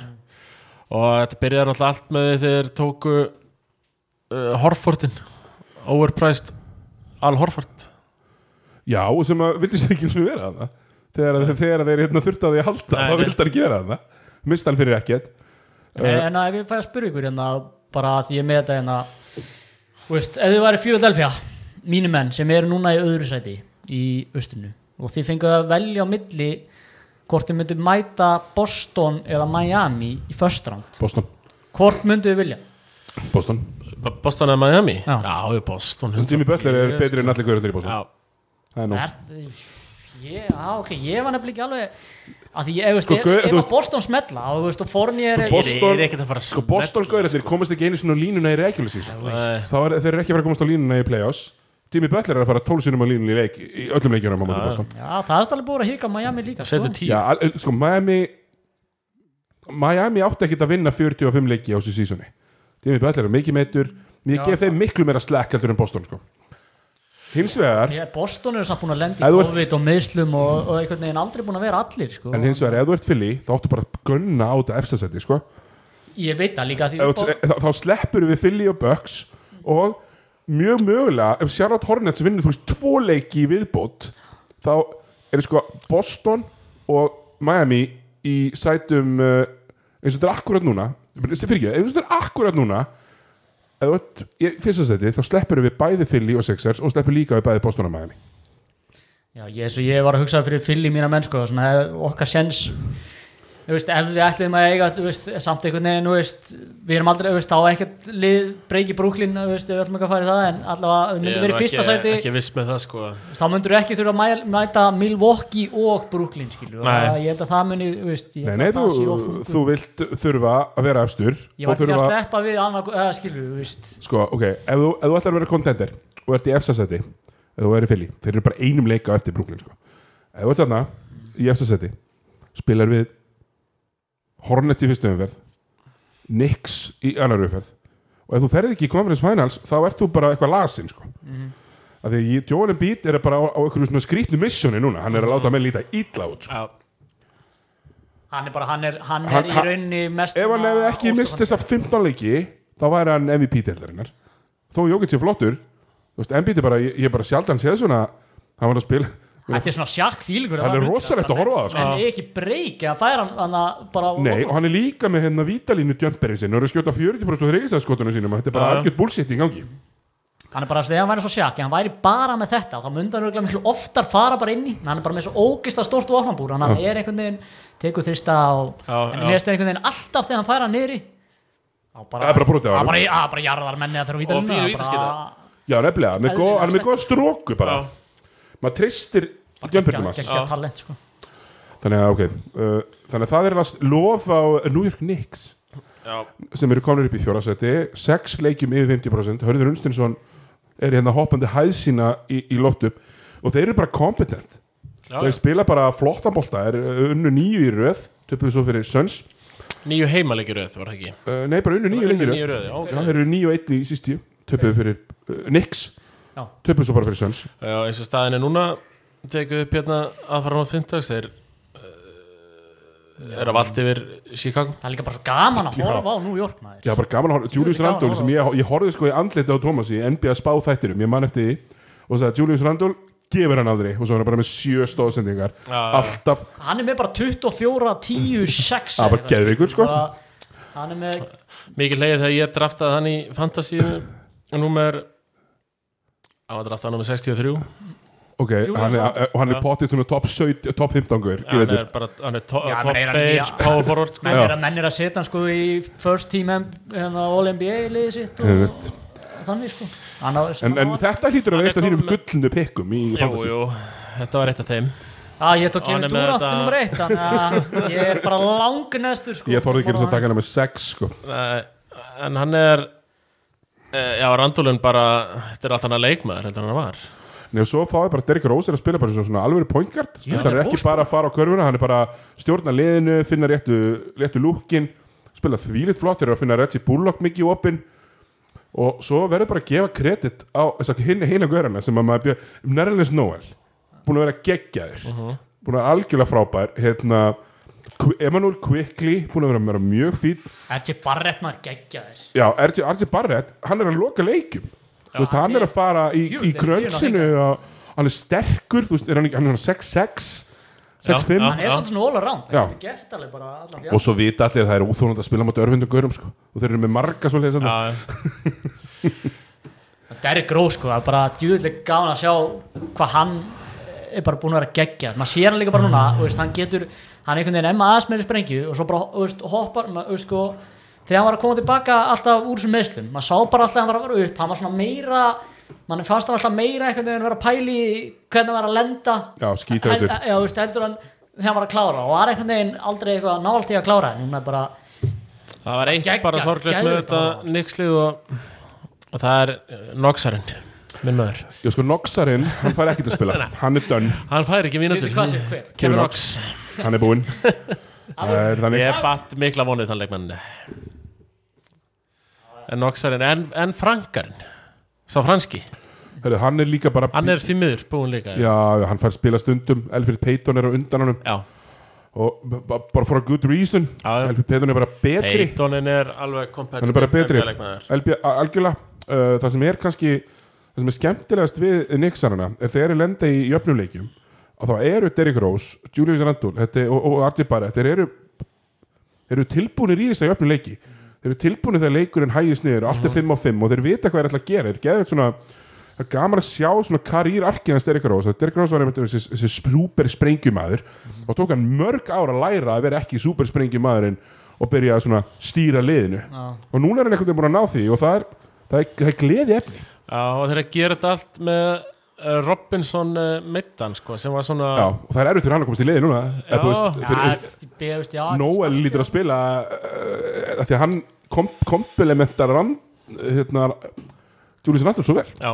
Speaker 3: Og þetta byrjaði náttúrulega allt með því þeir tóku uh, Horfordin Overpriced Al Horford
Speaker 1: Já, sem að vildist ekki eins og vera þarna Þegar, þegar þeir hérna þurftu að því að halda
Speaker 3: Nei,
Speaker 1: þá
Speaker 3: nei.
Speaker 1: vildi hann ekki vera þarna Mist hann fyrir ekkert Eh.
Speaker 4: en en að ef ég fæði að spyrja ykkur hérna bara að því ég er með þetta hérna þú veist, ef þið væri Philadelphia mínu menn sem eru núna í öðru sæti í austrinu og þið fenguðu að velja á milli hvort þið myndu mæta Boston eða Miami í first round
Speaker 1: Boston,
Speaker 4: hvort myndu þið vilja
Speaker 1: Boston
Speaker 3: B- Boston eða Miami?
Speaker 4: Já.
Speaker 3: já ég Boston 100.
Speaker 1: Jimmy Butler er
Speaker 3: Ég,
Speaker 1: betri en allir gaurundir í Boston
Speaker 3: Já,
Speaker 1: Það er nú
Speaker 4: Er, ég, á, ok, ég var nefnilega ekki alveg að því ég,
Speaker 1: Sko,
Speaker 4: ef, sko,
Speaker 1: gau-
Speaker 4: ef,
Speaker 1: þú
Speaker 4: ef
Speaker 1: veist-
Speaker 4: að Boston smella og, þú veist, og Fournier er
Speaker 1: Boston-
Speaker 3: Ég er ekkert að fara að
Speaker 1: Sko Boston gaurundir komast ekki einu sinni á línuna í regular season
Speaker 3: Nei.
Speaker 1: Þá er, þeir eru ekki að fara að komast á línuna í playoffs Jimmy Butler er að fara tólsunum á línuna í, leik, í öllum leikjunum á móti Boston
Speaker 4: Já, það er alveg búið að hika Miami líka sko.
Speaker 3: Setu tíu
Speaker 1: Já, al- sko Miami Miami átti ekkert að vinna 45 leiki á þessu sísoni Jimmy Butler er mikið meittur Ég gef þeim miklu meira slack heldur en Boston sko. Hins vegar
Speaker 4: Ég, Boston eru samt búin að
Speaker 1: Ef
Speaker 4: lenda í
Speaker 1: þú ert-
Speaker 4: COVID og meðslum og, og einhvern veginn aldrei búin að vera allir sko.
Speaker 1: En hins vegar, ef þú ert fylli, þá áttu bara að gunna á þetta efstasæti, sko.
Speaker 4: Ég veit það líka því
Speaker 1: Ef þú- Þá, þá sleppur við fylli og Bucks og mjög mögulega, ef Charlotte Hornets vinnur, þú veist, tvo leiki í viðbót, þá eru sko Boston og Miami í sætum uh, eins og þetta er akkurat núna, sem fyrir ekki, eins og þetta er akkurat núna, ef þú ert í fyrstasæti, þá sleppur við bæði fylli og Sixers og sleppur líka við bæði Boston og Miami.
Speaker 4: Já, ég, svo ég var að hugsa fyrir fyll í mína menn sko, svona, hef- okkar sens þú veist, ef við ætlum að eiga þú veist, samt einhvern veginn, þú veist, við erum aldrei þú veist, á ekkert lið, breyki brúklin þú veist, við ætlum ekki að fara í það, en allavega við myndum verið í fyrsta
Speaker 3: ekki,
Speaker 4: sæti,
Speaker 3: ekki viss með það sko
Speaker 4: þú veist, þá myndur ekki þurfa að mæ- mæta Milwaukee og brúklin skilu,
Speaker 3: Nei.
Speaker 4: ég held að það muni þú veist, ég
Speaker 1: Nei,
Speaker 4: held
Speaker 1: nei,
Speaker 4: að það sé
Speaker 1: þú,
Speaker 4: of þungur.
Speaker 1: þú vilt þurfa að vera efstur og
Speaker 4: ég var ekki að
Speaker 1: þurfa-
Speaker 4: sleppa við annað, uh, skilu, þú veist
Speaker 1: Sko, ok, ef þú, ef þú ætlar að vera contender og ert í EFSA-seti eða þú er í Philly, þeir eru bara einum leika á eftir Brooklyn, sko. Ef þú ert þarna í EFSA-seti, spilar við Hornets í fyrstu umferð Knicks í annar umferð og ef þú ferð ekki í Conference Finals þá ert þú bara eitthvað lasin sko. mm -hmm. að því ég- Joel Embiid er bara á, á einhverju svona skrýtnu missioni núna hann er að láta menn líta illa út sko.
Speaker 3: Já,
Speaker 4: Hann er bara, hann er, hann
Speaker 1: Hann-
Speaker 4: er í
Speaker 1: hann-
Speaker 4: raunni mest
Speaker 1: ef hann
Speaker 4: svona
Speaker 1: hefði ekki
Speaker 4: óstofan-
Speaker 1: mist þess að 15 leiki þá væri hann MVP deildarinnar þó Jókic sé flottur þú veist, Embiid er bara, ég, ég bara sjaldan séð svona hann var að spila
Speaker 4: Þetta er svona sjakk fílingur
Speaker 1: Hann er rosalegt að horfa á það, sko.
Speaker 4: sko En ekki breyk að færa hann hann að bara
Speaker 1: Nei, og hann er líka með hérna vítalínu djömperinn sinn og er að skjóta 40% reikistæðskotunum sínum og þetta er bara
Speaker 3: Já.
Speaker 1: algjörð bullshit í gangi
Speaker 4: Hann er bara, þegar hann væri svo sjakk En hann væri bara með þetta Þá myndi hann örgulega miklu oftar fara bara inn í En hann er bara með svo ógista stort vopnabúr Þannig að hann er einhvern veginn Tekur þrista og
Speaker 3: Já,
Speaker 4: En
Speaker 3: já.
Speaker 4: nefnst einhvern veginn alltaf þegar hann færa hann niðri á
Speaker 1: Það er bara brotið á
Speaker 4: á
Speaker 1: honum.
Speaker 4: bara, á, bara jarðar menni að þeirra víta
Speaker 3: Og fínu vítaskylda.
Speaker 1: Já, nefnilega, hann er góð- hann er með
Speaker 4: Eðlilega.
Speaker 1: góða stróku bara
Speaker 3: sko. já.
Speaker 1: maður tristir djömperinn hans
Speaker 4: Gengja talent sko
Speaker 1: Þannig að, ok, uh, þannig að það er last lof á New York Knicks
Speaker 3: já.
Speaker 1: sem eru komin upp í fjórasæti sex leikjum yfir 50% Hörður Unstinsson er hérna hoppandi hæð sína í, í loftu upp og þeir eru bara competent
Speaker 3: Já,
Speaker 1: þeir
Speaker 3: já.
Speaker 1: spila bara flottan bolta er uh, unnu nýju í röð töpuðu svo fyrir Suns
Speaker 3: Nýju heimaleikiröð var það ekki
Speaker 1: uh, nei, bara unnu nýju
Speaker 3: Unnu
Speaker 1: lengi
Speaker 3: níu í
Speaker 1: röð
Speaker 3: röð, já, ok.
Speaker 1: þeir eru nýju og einni í sístíu töpuðu fyrir uh, Knicks
Speaker 4: Já.
Speaker 1: töpuðu svo bara fyrir Suns
Speaker 3: Já, eins og staðin er núna tekið upp hérna aðfara á fimmtags þeir uh, er að valda yfir Chicago
Speaker 4: Það er líka bara svo gaman að
Speaker 1: Já.
Speaker 4: horfa á New York maður
Speaker 1: Já, bara gaman að horfa, Julius
Speaker 4: gaman að
Speaker 1: Randall
Speaker 4: horfa.
Speaker 1: sem ég, ég horfði sko í andliti á Thomas í NBA spá þættinum, ég man eftir því og sagði Julius Randall gefur hann aldrei og svo er hann bara með sjö stóðsendingar
Speaker 3: já.
Speaker 1: alltaf,
Speaker 4: Hann er með bara 24, 10, 6
Speaker 1: Það er bara
Speaker 4: eitthvað, skilur.
Speaker 1: geðveikur, sko.
Speaker 4: Bara- Hann er með
Speaker 3: Mikið leiði þegar ég draftaði hann í Fantasíu númer hann var draftað númer 63
Speaker 1: ok, hann er, og hann er pottið svona top 17, top 15 gaur, ég
Speaker 3: hann
Speaker 1: veit
Speaker 3: er bara hann er to
Speaker 4: Já, hann
Speaker 3: top
Speaker 4: er
Speaker 3: 2
Speaker 4: nýja-
Speaker 3: power forward sko.
Speaker 4: menn
Speaker 1: Já.
Speaker 4: er, að, menn er að setja hann sko í first team em- hérna, All-NBA liðið sitt og,
Speaker 1: Einmitt.
Speaker 4: og þannig sko hann á,
Speaker 1: En, en þetta hlýtur að vera
Speaker 3: Hann er
Speaker 1: eitt af þínum
Speaker 3: komin með-
Speaker 1: gullnu pikkum í
Speaker 3: Jú,
Speaker 1: fantasy
Speaker 3: jú, þetta var eitt af þeim
Speaker 4: að ég tók
Speaker 3: hann
Speaker 4: Kevin
Speaker 3: er með
Speaker 4: Durant
Speaker 3: þetta-
Speaker 4: nummer eitt þannig að ég er bara langnæstur sko
Speaker 1: Ég þorði ekki einu sinni að
Speaker 4: Bara-
Speaker 1: taka hann með 6 sko
Speaker 3: uh, en hann er uh, já, Randolun bara þetta er allt hann að leikmaður heldur en hann var
Speaker 1: Nei og svo fáið bara Derrick Rose er að spila bara svona, svona alvöru pointgard Þannig að hann er ekki bara að fara á körfuna Hann er bara að stjórna liðinu, finna réttu, réttu lúkin Spila þvílitt flott, þeir eru að finna Reggie Bullock mikið í opinn Og svo verður bara að gefa kredit á þessa hinna hin gaurana sem að maður bjöð Nerlis Noel, búin að vera geggjaður Búin að vera algjörlega frábær hérna, Qu- Emmanuel Quickly, búin að vera, vera mjög fín
Speaker 4: RJ Barrett maður geggja þér
Speaker 1: Já, RG, RG Barrett, hann er að loka leikjum Þú veist, hann er að fara í,
Speaker 4: Jú,
Speaker 1: í
Speaker 4: þeir-
Speaker 1: grönsinu og hann er sterkur, þú veist, er hann, ekki- hann er svona 6-6 6-5
Speaker 4: hann er
Speaker 3: Já.
Speaker 4: svolítið svona all around
Speaker 1: Já.
Speaker 4: hann er gert alveg bara allan
Speaker 1: og
Speaker 4: fjall
Speaker 1: svo vita allir að það er úþólandi að spila mát örfindum gaurum sko. og þeir eru með marga svo leiðis
Speaker 3: já,
Speaker 4: Derrick Rose sko það er bara djúðileg gáðan að sjá hvað hann er bara búin að vera geggja maður sér hann líka bara núna þú veist, hann getur hann einhvern veginn emma aðeins meiri sprengju og svo bara þú veist, hoppar maður, þú veist, sko, þegar hann var að koma tilbaka alltaf úr þessum meðslum maður sá bara alltaf að hann var að vera upp hann var svona meira mann fannst hann alltaf meira einhvern veginn vera að pæli í hvernig hann var að lenda
Speaker 1: Já, skíthættur.
Speaker 4: Hel- já, þú veist, heldur hann þegar hann var að klára og var einhvern veginn aldrei eitthvað nált í að klára en núna er bara
Speaker 3: það var eitt
Speaker 4: Geggjað,
Speaker 3: bara sorglegt með
Speaker 4: geðveikt
Speaker 3: þetta
Speaker 4: hann var.
Speaker 3: Nixlið og, og það er eh, Noxarinn minn maður
Speaker 1: Já, sko, Noxarinn, hann fær ekkert að spila hann er dönn,
Speaker 3: hann fær ekki mínútur
Speaker 4: Veitir hvað sé, hver?
Speaker 3: Kevin
Speaker 1: Kevin
Speaker 3: Knox
Speaker 1: hann er búinn Það er þannig
Speaker 3: ég batt mikla vonið þann leikmann en Noxarinn en, en Frankarinn sá franski
Speaker 1: Heru, hann er líka bara
Speaker 3: hann er því miður búin líka
Speaker 1: Já, hann fær spila stundum, Elfrid Payton er á undan honum
Speaker 3: já.
Speaker 1: og b- b- bara for a good reason
Speaker 3: Já, já.
Speaker 1: Elfrid Payton er bara betri
Speaker 3: Peytonin er alveg kompetitiv
Speaker 1: hann er bara betri
Speaker 3: leikmaður
Speaker 1: LB, a- algjörlega, uh, það sem er kannski það sem er skemmtilegast við Nixarana er þegar þeir lenda í jöfnum leikjum og þá eru Derrick Rose, Julius Randall þetta, og, og Artie Barrett, þeir eru þeir eru tilbúinir í þess að jöfnum leiki þeir eru tilbúinir þegar leikurinn hægist niður og allt
Speaker 4: Mhm.
Speaker 1: er 5 á 5 og þeir vita hvað þeir ætla að gera þeir geða svona það er gaman að sjá svona karýr arkjans Derrick Rose að Derrick Rose var einmitt þessi, þessi super sprengjumæður
Speaker 4: Mhm.
Speaker 1: og tók hann mörg ára að læra að vera ekki super sprengjumæðurinn og byrja að svona stýra liðinu og núna er hann einhvern veginn búin að ná því og það er, það er, það er gleði efni
Speaker 3: já, og þeir gera þetta allt með eh, Robinson eh, meiddan sko, sem var svona
Speaker 1: já, og það er erfitt fyrir hann að komast í liði núna eða þú veist,
Speaker 4: Já,
Speaker 1: fyrir,
Speaker 4: ég veist, já,
Speaker 1: Noel lítur að spila uh, af því að hann kom, komplementar hann hérna Julius Randall svo vel
Speaker 3: já,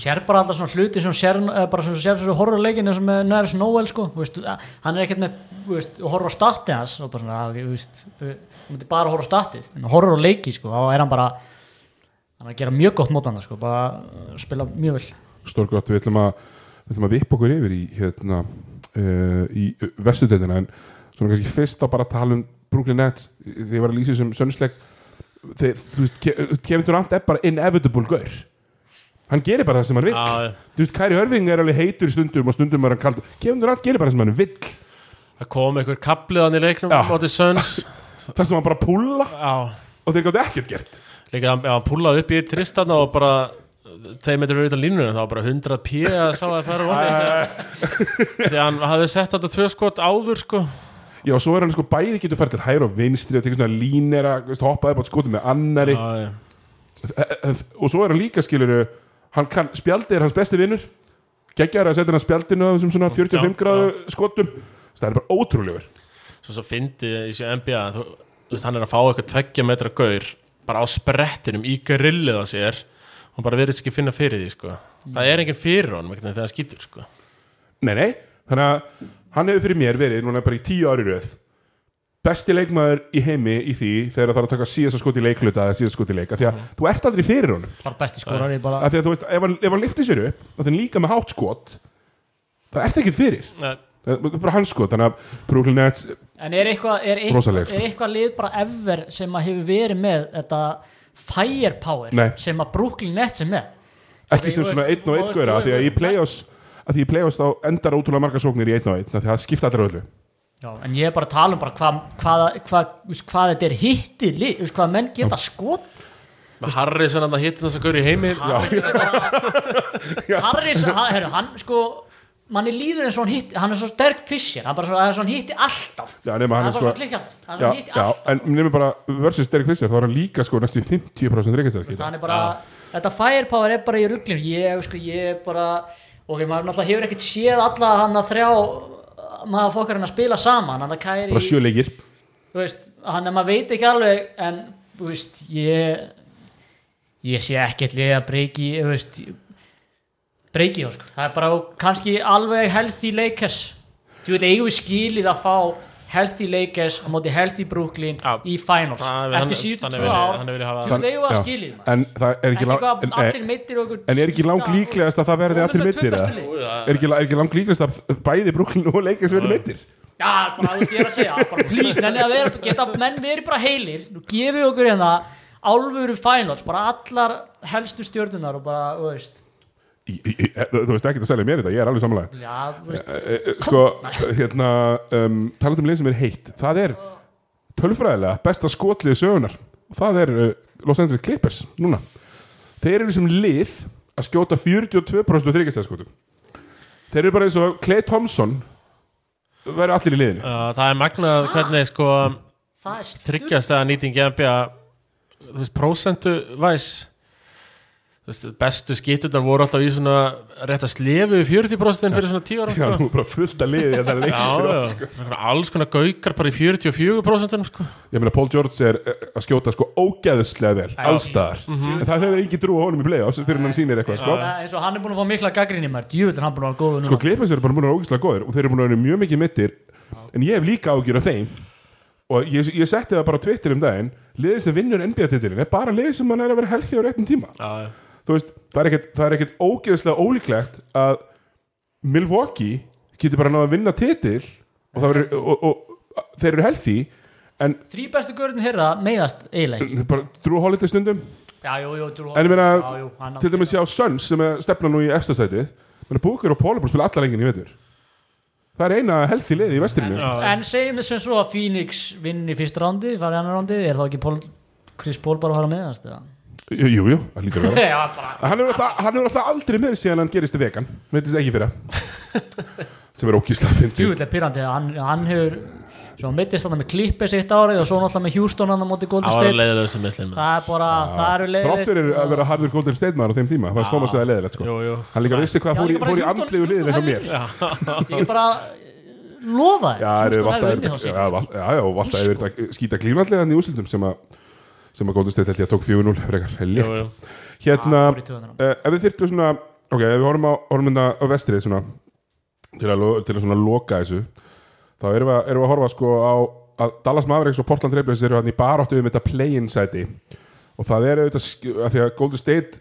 Speaker 4: sér bara alltaf svona hluti sem sér eh, bara sem sér þessu horrorleikin eins og með Næris Noel sko, þú veist, að- hann er ekkert með þú veist, horror statið "Ah, hans og bara svona, að, þú veist, eh, þú myndir bara horror statið en horror leiki sko, þá er hann bara hann er að gera mjög gott mót hann sko, bara uh, spila mjög vel
Speaker 1: stórgótt, við ætlum að við ætlum að vippa okkur yfir í hérna uh, í vestudetina en svona kannski fyrst að bara tala um Brooklyn Nets, þegar ég var að lýsa sem sönnsleg, þeir, þú veist Ke- Kevin Durant er bara inevitable gaur hann gerir bara það sem hann vill
Speaker 3: Já, já.
Speaker 1: þú veist, Kæri Hörfing er alveg heitur í stundum og stundum er hann kald, Kevin Durant gerir bara það sem hann vill
Speaker 3: það kom einhver kapliðan í leiknum
Speaker 1: Já.
Speaker 3: á móti Söns
Speaker 1: það sem hann bara púla
Speaker 3: já,
Speaker 1: og þeir gáttu ekkert gert
Speaker 3: líka hann- já, hann púlaði upp í Tristan og bara tveið metri verið utan línunum þá var bara 100 p að sá að færa voni því hann hafði sett þetta tvö skot áður sko
Speaker 1: Já, og svo er hann sko bæði getur farið til hægri og vinstri og tekur svona línera, þú veist, hoppaði bara skotum með annari
Speaker 3: já, já.
Speaker 1: eh, og svo er hann líka skilur hann kann, spjaldi er hans besti vinnur geggjar að setja hann að spjaldinu á þessum svona 45
Speaker 3: Já,
Speaker 1: gráðu skotum það er bara ótrúlegur
Speaker 3: svo svo fyndi í sér NBA þú, þú veist, hann er að fá eitthvað tveggja metra gaur bara á sprettinum í grillið á sér og bara verðist ekki finna fyrir því sko. það er enginn fyrir honum einhvern veginn, þegar hann skýtur sko.
Speaker 1: nei, nei, þannig að hann hefur fyrir mér verið núna bara í tíu ári röð besti leikmaður í heimi í því þegar það er að taka síðasta skot í leikluta eða síðasta skot í leik, af því að þú ert aldrei fyrir honum
Speaker 4: bara besti skórar ég bara
Speaker 1: af því að þú veist, ef hann, ef hann liftir sér upp og þannig líka með hátt skot það ert ekkert fyrir
Speaker 3: Nei,
Speaker 1: það er bara hans skot, þannig að Brooklyn Nets
Speaker 4: En er eitthvað, er eitthvað,
Speaker 1: Rosaleg, sko.
Speaker 4: er eitthvað lið bara ever sem að hefur verið með þetta firepower
Speaker 1: Nei.
Speaker 4: sem að Brooklyn Nets er með?
Speaker 1: ekki sem svona einn og einn góra því að ég play-offs að því ég play-offs þá endar ótrúlega marga sóknir í einn og einn af því að það skipta allir öllu
Speaker 4: Já, en ég er bara að tala um bara hvað, hvað, hvað, hvað, hvað þetta er hitti lið, þú veist, hvað menn geta skot
Speaker 3: með Harrison hann að hitta þess að gaur í heimi
Speaker 4: Harris, hann, heru, hann sko manni líður eins og hann hitti, hann er svo sterk fischer, hann bara svo, hann er svo hann hitti alltaf
Speaker 1: Já, nema hann er
Speaker 4: bara
Speaker 1: sko-
Speaker 4: svo klikkað, hann
Speaker 1: já,
Speaker 4: er svo hitti
Speaker 1: já,
Speaker 4: alltaf
Speaker 1: en nefnir bara versus Derek Fischer þá er hann líka sko næstu í 50%
Speaker 4: Veist,
Speaker 1: reikastæðskita
Speaker 4: hann er bara, þetta firepower er bara í rugglinu ég, sko, ég er bara ok, maður náttúrulega hefur ekkert séð alla hann að þrjá maður fokkar hann að spila saman hann að kæri,
Speaker 1: bara sjö leikir
Speaker 4: þú veist, hann að maður veit ekki alveg, en, þú veist ég, ég sé ekkert liða að breyki, þú veist breyki þá, sko, það er bara kannski alveg healthy leikers þú veit, eigum við skilið að fá healthy leikers á móti healthy Brooklyn
Speaker 3: Já.
Speaker 4: í finals,
Speaker 3: Hann-
Speaker 4: eftir síðustu
Speaker 3: þannig
Speaker 4: tvö
Speaker 3: vil ég-
Speaker 4: ár
Speaker 3: þannig vil ég hafa-
Speaker 4: þú veit, eigum við
Speaker 1: Já,
Speaker 4: að skilið maður
Speaker 1: en það er ekki,
Speaker 4: ekki
Speaker 1: lang-
Speaker 4: hvað
Speaker 1: en,
Speaker 4: allir
Speaker 1: en,
Speaker 4: meittir og okkur
Speaker 1: en er ekki lang
Speaker 4: skýta
Speaker 1: líklegast að það verði
Speaker 4: og-
Speaker 1: allir
Speaker 4: og með tvö
Speaker 1: meiddir,
Speaker 4: bestu
Speaker 1: eða?
Speaker 4: lið.
Speaker 1: er ekki, er ekki lang líklegast að bæði Brooklyn og leikast verði meittir
Speaker 4: já, bara þú veist ég er að segja bara please, nenni að vera, geta menn verið bara heilir nú gefið okkur hérna alvöru finals, bara allar helstu stjörnunar og bara, þú veist
Speaker 1: e- þú veist ekki að selja mér þetta, ég er alveg samanlega
Speaker 4: já, þú veist,
Speaker 1: sko, hérna um, talað um leið sem er heitt, það er tölfræðilega besta skotlið sögunar og það er uh, Los Angeles Clippers núna, þeir eru sem lið að skjóta 42% þryggjastæðskotum þeir eru bara eins og Clay Thompson væri allir í liðinu
Speaker 3: Uh, það er magnað hvernig sko
Speaker 4: það er stjörn
Speaker 3: þryggjast að nýtingi NBA þú veist, prósentu væs þú veist, bestu skýtturnar voru alltaf í svona rétt að slefu 40% fyrir svona 10 ára
Speaker 1: já,
Speaker 3: sko.
Speaker 1: nú er bara fullt að liði hérna þetta
Speaker 3: Já,
Speaker 1: leikst
Speaker 3: já, Svona alls konar gaukar bara í 44% sko.
Speaker 1: ég meina Paul George er uh, að skjóta sko ógæðislega vel, allstaðar
Speaker 3: Mhm.
Speaker 1: en það hefur ekki drú á honum í playoffs fyrir en hann sýnir eitthvað sko.
Speaker 4: Það er eins og hann er búin að fá mikla gaggrinni mér djúvill er hann búin að vera góðu
Speaker 1: Sko
Speaker 4: núna
Speaker 1: Clippers eru bara múin að vera ógeðslega góðir og þeir eru múin að vera mjög mikið mittir en ég hef líka ágjur af þeim og ég, ég setti það bara á Twitter um daginn liðið sem vinnur NBA-titilin er bara liðið sem mann er að vera helþið á réttum tíma
Speaker 3: já, já.
Speaker 1: þú veist, það er ekkert, það er ekkert ógeðslega ólíklegt að Milwaukee getur bara náða að vinna titil og, það verið, og, og, og þeir eru helþi en
Speaker 4: þrý bestu görðin herra meiðast eiginlega ekki.
Speaker 1: bara Drew Holiday stundum
Speaker 4: já, jú, jú, jú,
Speaker 1: En ég meina,
Speaker 4: já, jú, hann á-
Speaker 1: til dæmis ég á Suns sem er stefna nú í efstasætið menn að Booker og Paul er búin að spila alla lengin í vetur það er eina helþi liðið í vestrinu
Speaker 4: En segjum við sem svo að Phoenix vinni fyrst rándi, fari annar rándi er þá ekki Paul, Chris Paul bara að fara með hans
Speaker 1: Jú, jú, jú, það lítur að vera
Speaker 4: Já, bara
Speaker 1: Hann hefur alltaf, hann hefur alltaf aldrei með síðan hann gerist í vegan Meitist ekki fyrir það Sem er ókíslega fyndið
Speaker 4: djúvillega pyrrandi hann, hann hefur, svo hann meittist þarna með Clippers eitt árið og svo náttúrulega með Houston hann á móti Golden
Speaker 3: Það var
Speaker 4: State
Speaker 3: leiðilegust sem mislið
Speaker 4: Það er bara, það eru leiðist
Speaker 1: Þráttur er að vera harður Golden State maður á þeim tíma Það stóma sig að leðilegt sko
Speaker 3: Jú, jú.
Speaker 1: Hann líka vissi hvað
Speaker 4: Já,
Speaker 1: fór í,
Speaker 4: líka bara
Speaker 1: fór í
Speaker 4: Houston-
Speaker 1: andlegu liðin eitthvað
Speaker 4: Houston
Speaker 1: mér Já,
Speaker 4: Ég er bara lofa þér,
Speaker 1: það eru
Speaker 4: Houston
Speaker 1: valda
Speaker 4: hefur
Speaker 1: yfir
Speaker 4: unnið þá
Speaker 1: Já,
Speaker 4: sig
Speaker 1: val- já, já, og valda yfir
Speaker 4: Sko.
Speaker 1: þetta skýta klíflandlega Þannig í úsildum sem að sem að Golden State held ég að tók 4-0 frekar létt.
Speaker 3: Já,
Speaker 1: Hérna,
Speaker 4: Ah, fór í
Speaker 1: uh,
Speaker 4: taugarnar á
Speaker 1: ef við þyrftum svona Ok, ef við horfum á, horfum hérna á vestrið svona til að, lo- til að svona loka þessu þá erum við, að- hérna erum við að horfa sko á að Dallas Mavericks og Portland Trailblazers eru hann í baráttu um þetta play-in sæti og það er auðvitað sk- af því að Golden State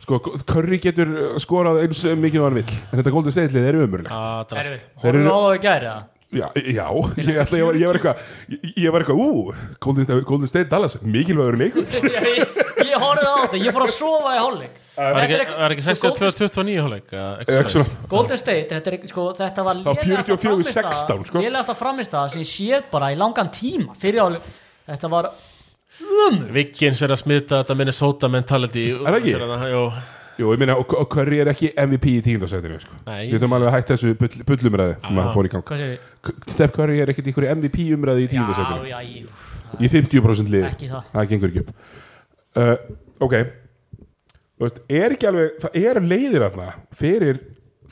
Speaker 1: sko, Curry getur uh, skorað eins mikið og hann vill, en þetta Golden State lið er umurlegt
Speaker 3: Ah, drast.
Speaker 4: Erfið,
Speaker 1: Þeir eru-
Speaker 4: horfum á það í gæri
Speaker 1: Já, já ég, ætla, ég, var, ég var eitthvað ég- ég var eitthvað, ú, Golden State, Golden State Dallas, mikilvægur leikur
Speaker 4: Ég, ég horfði á þetta, ég fór að sofa í hálfleik
Speaker 3: Var
Speaker 4: Þetta er
Speaker 3: ekki,
Speaker 4: eitthvað-
Speaker 3: var ekki
Speaker 4: sko, Golden-
Speaker 3: 62-29 hálfleik? eða
Speaker 1: Eh,
Speaker 3: Ah, eitthvað svoleiðis?
Speaker 1: svona.
Speaker 4: Golden State, þetta, er, ekki- sko, þetta var
Speaker 1: var 44 í 16, sko.
Speaker 4: lélegasta framistæða sem ég sé bara í langan tíma fyrir áli, þetta var
Speaker 3: Vikins er að smita þetta Minnesota mentality
Speaker 1: Er það ekki?
Speaker 3: Jó,
Speaker 1: Jú, ég meina, og, og Curry er ekki MVP í tíundarsætinu, sko
Speaker 3: Nei.
Speaker 1: Við þurfum alveg að hætta þessu bull, bullumræði sem að fór í gang
Speaker 4: hvað segir við?
Speaker 1: K- Steph Curry er ekkert í einhverju MVP umræði í tíundarsætinu
Speaker 4: Ah. Já, já, ég,
Speaker 1: í 50% liði
Speaker 4: Ekki það.
Speaker 1: gengur ekki upp uh, ok Þú veist, er ekki alveg, það er leiðir aðna fyrir,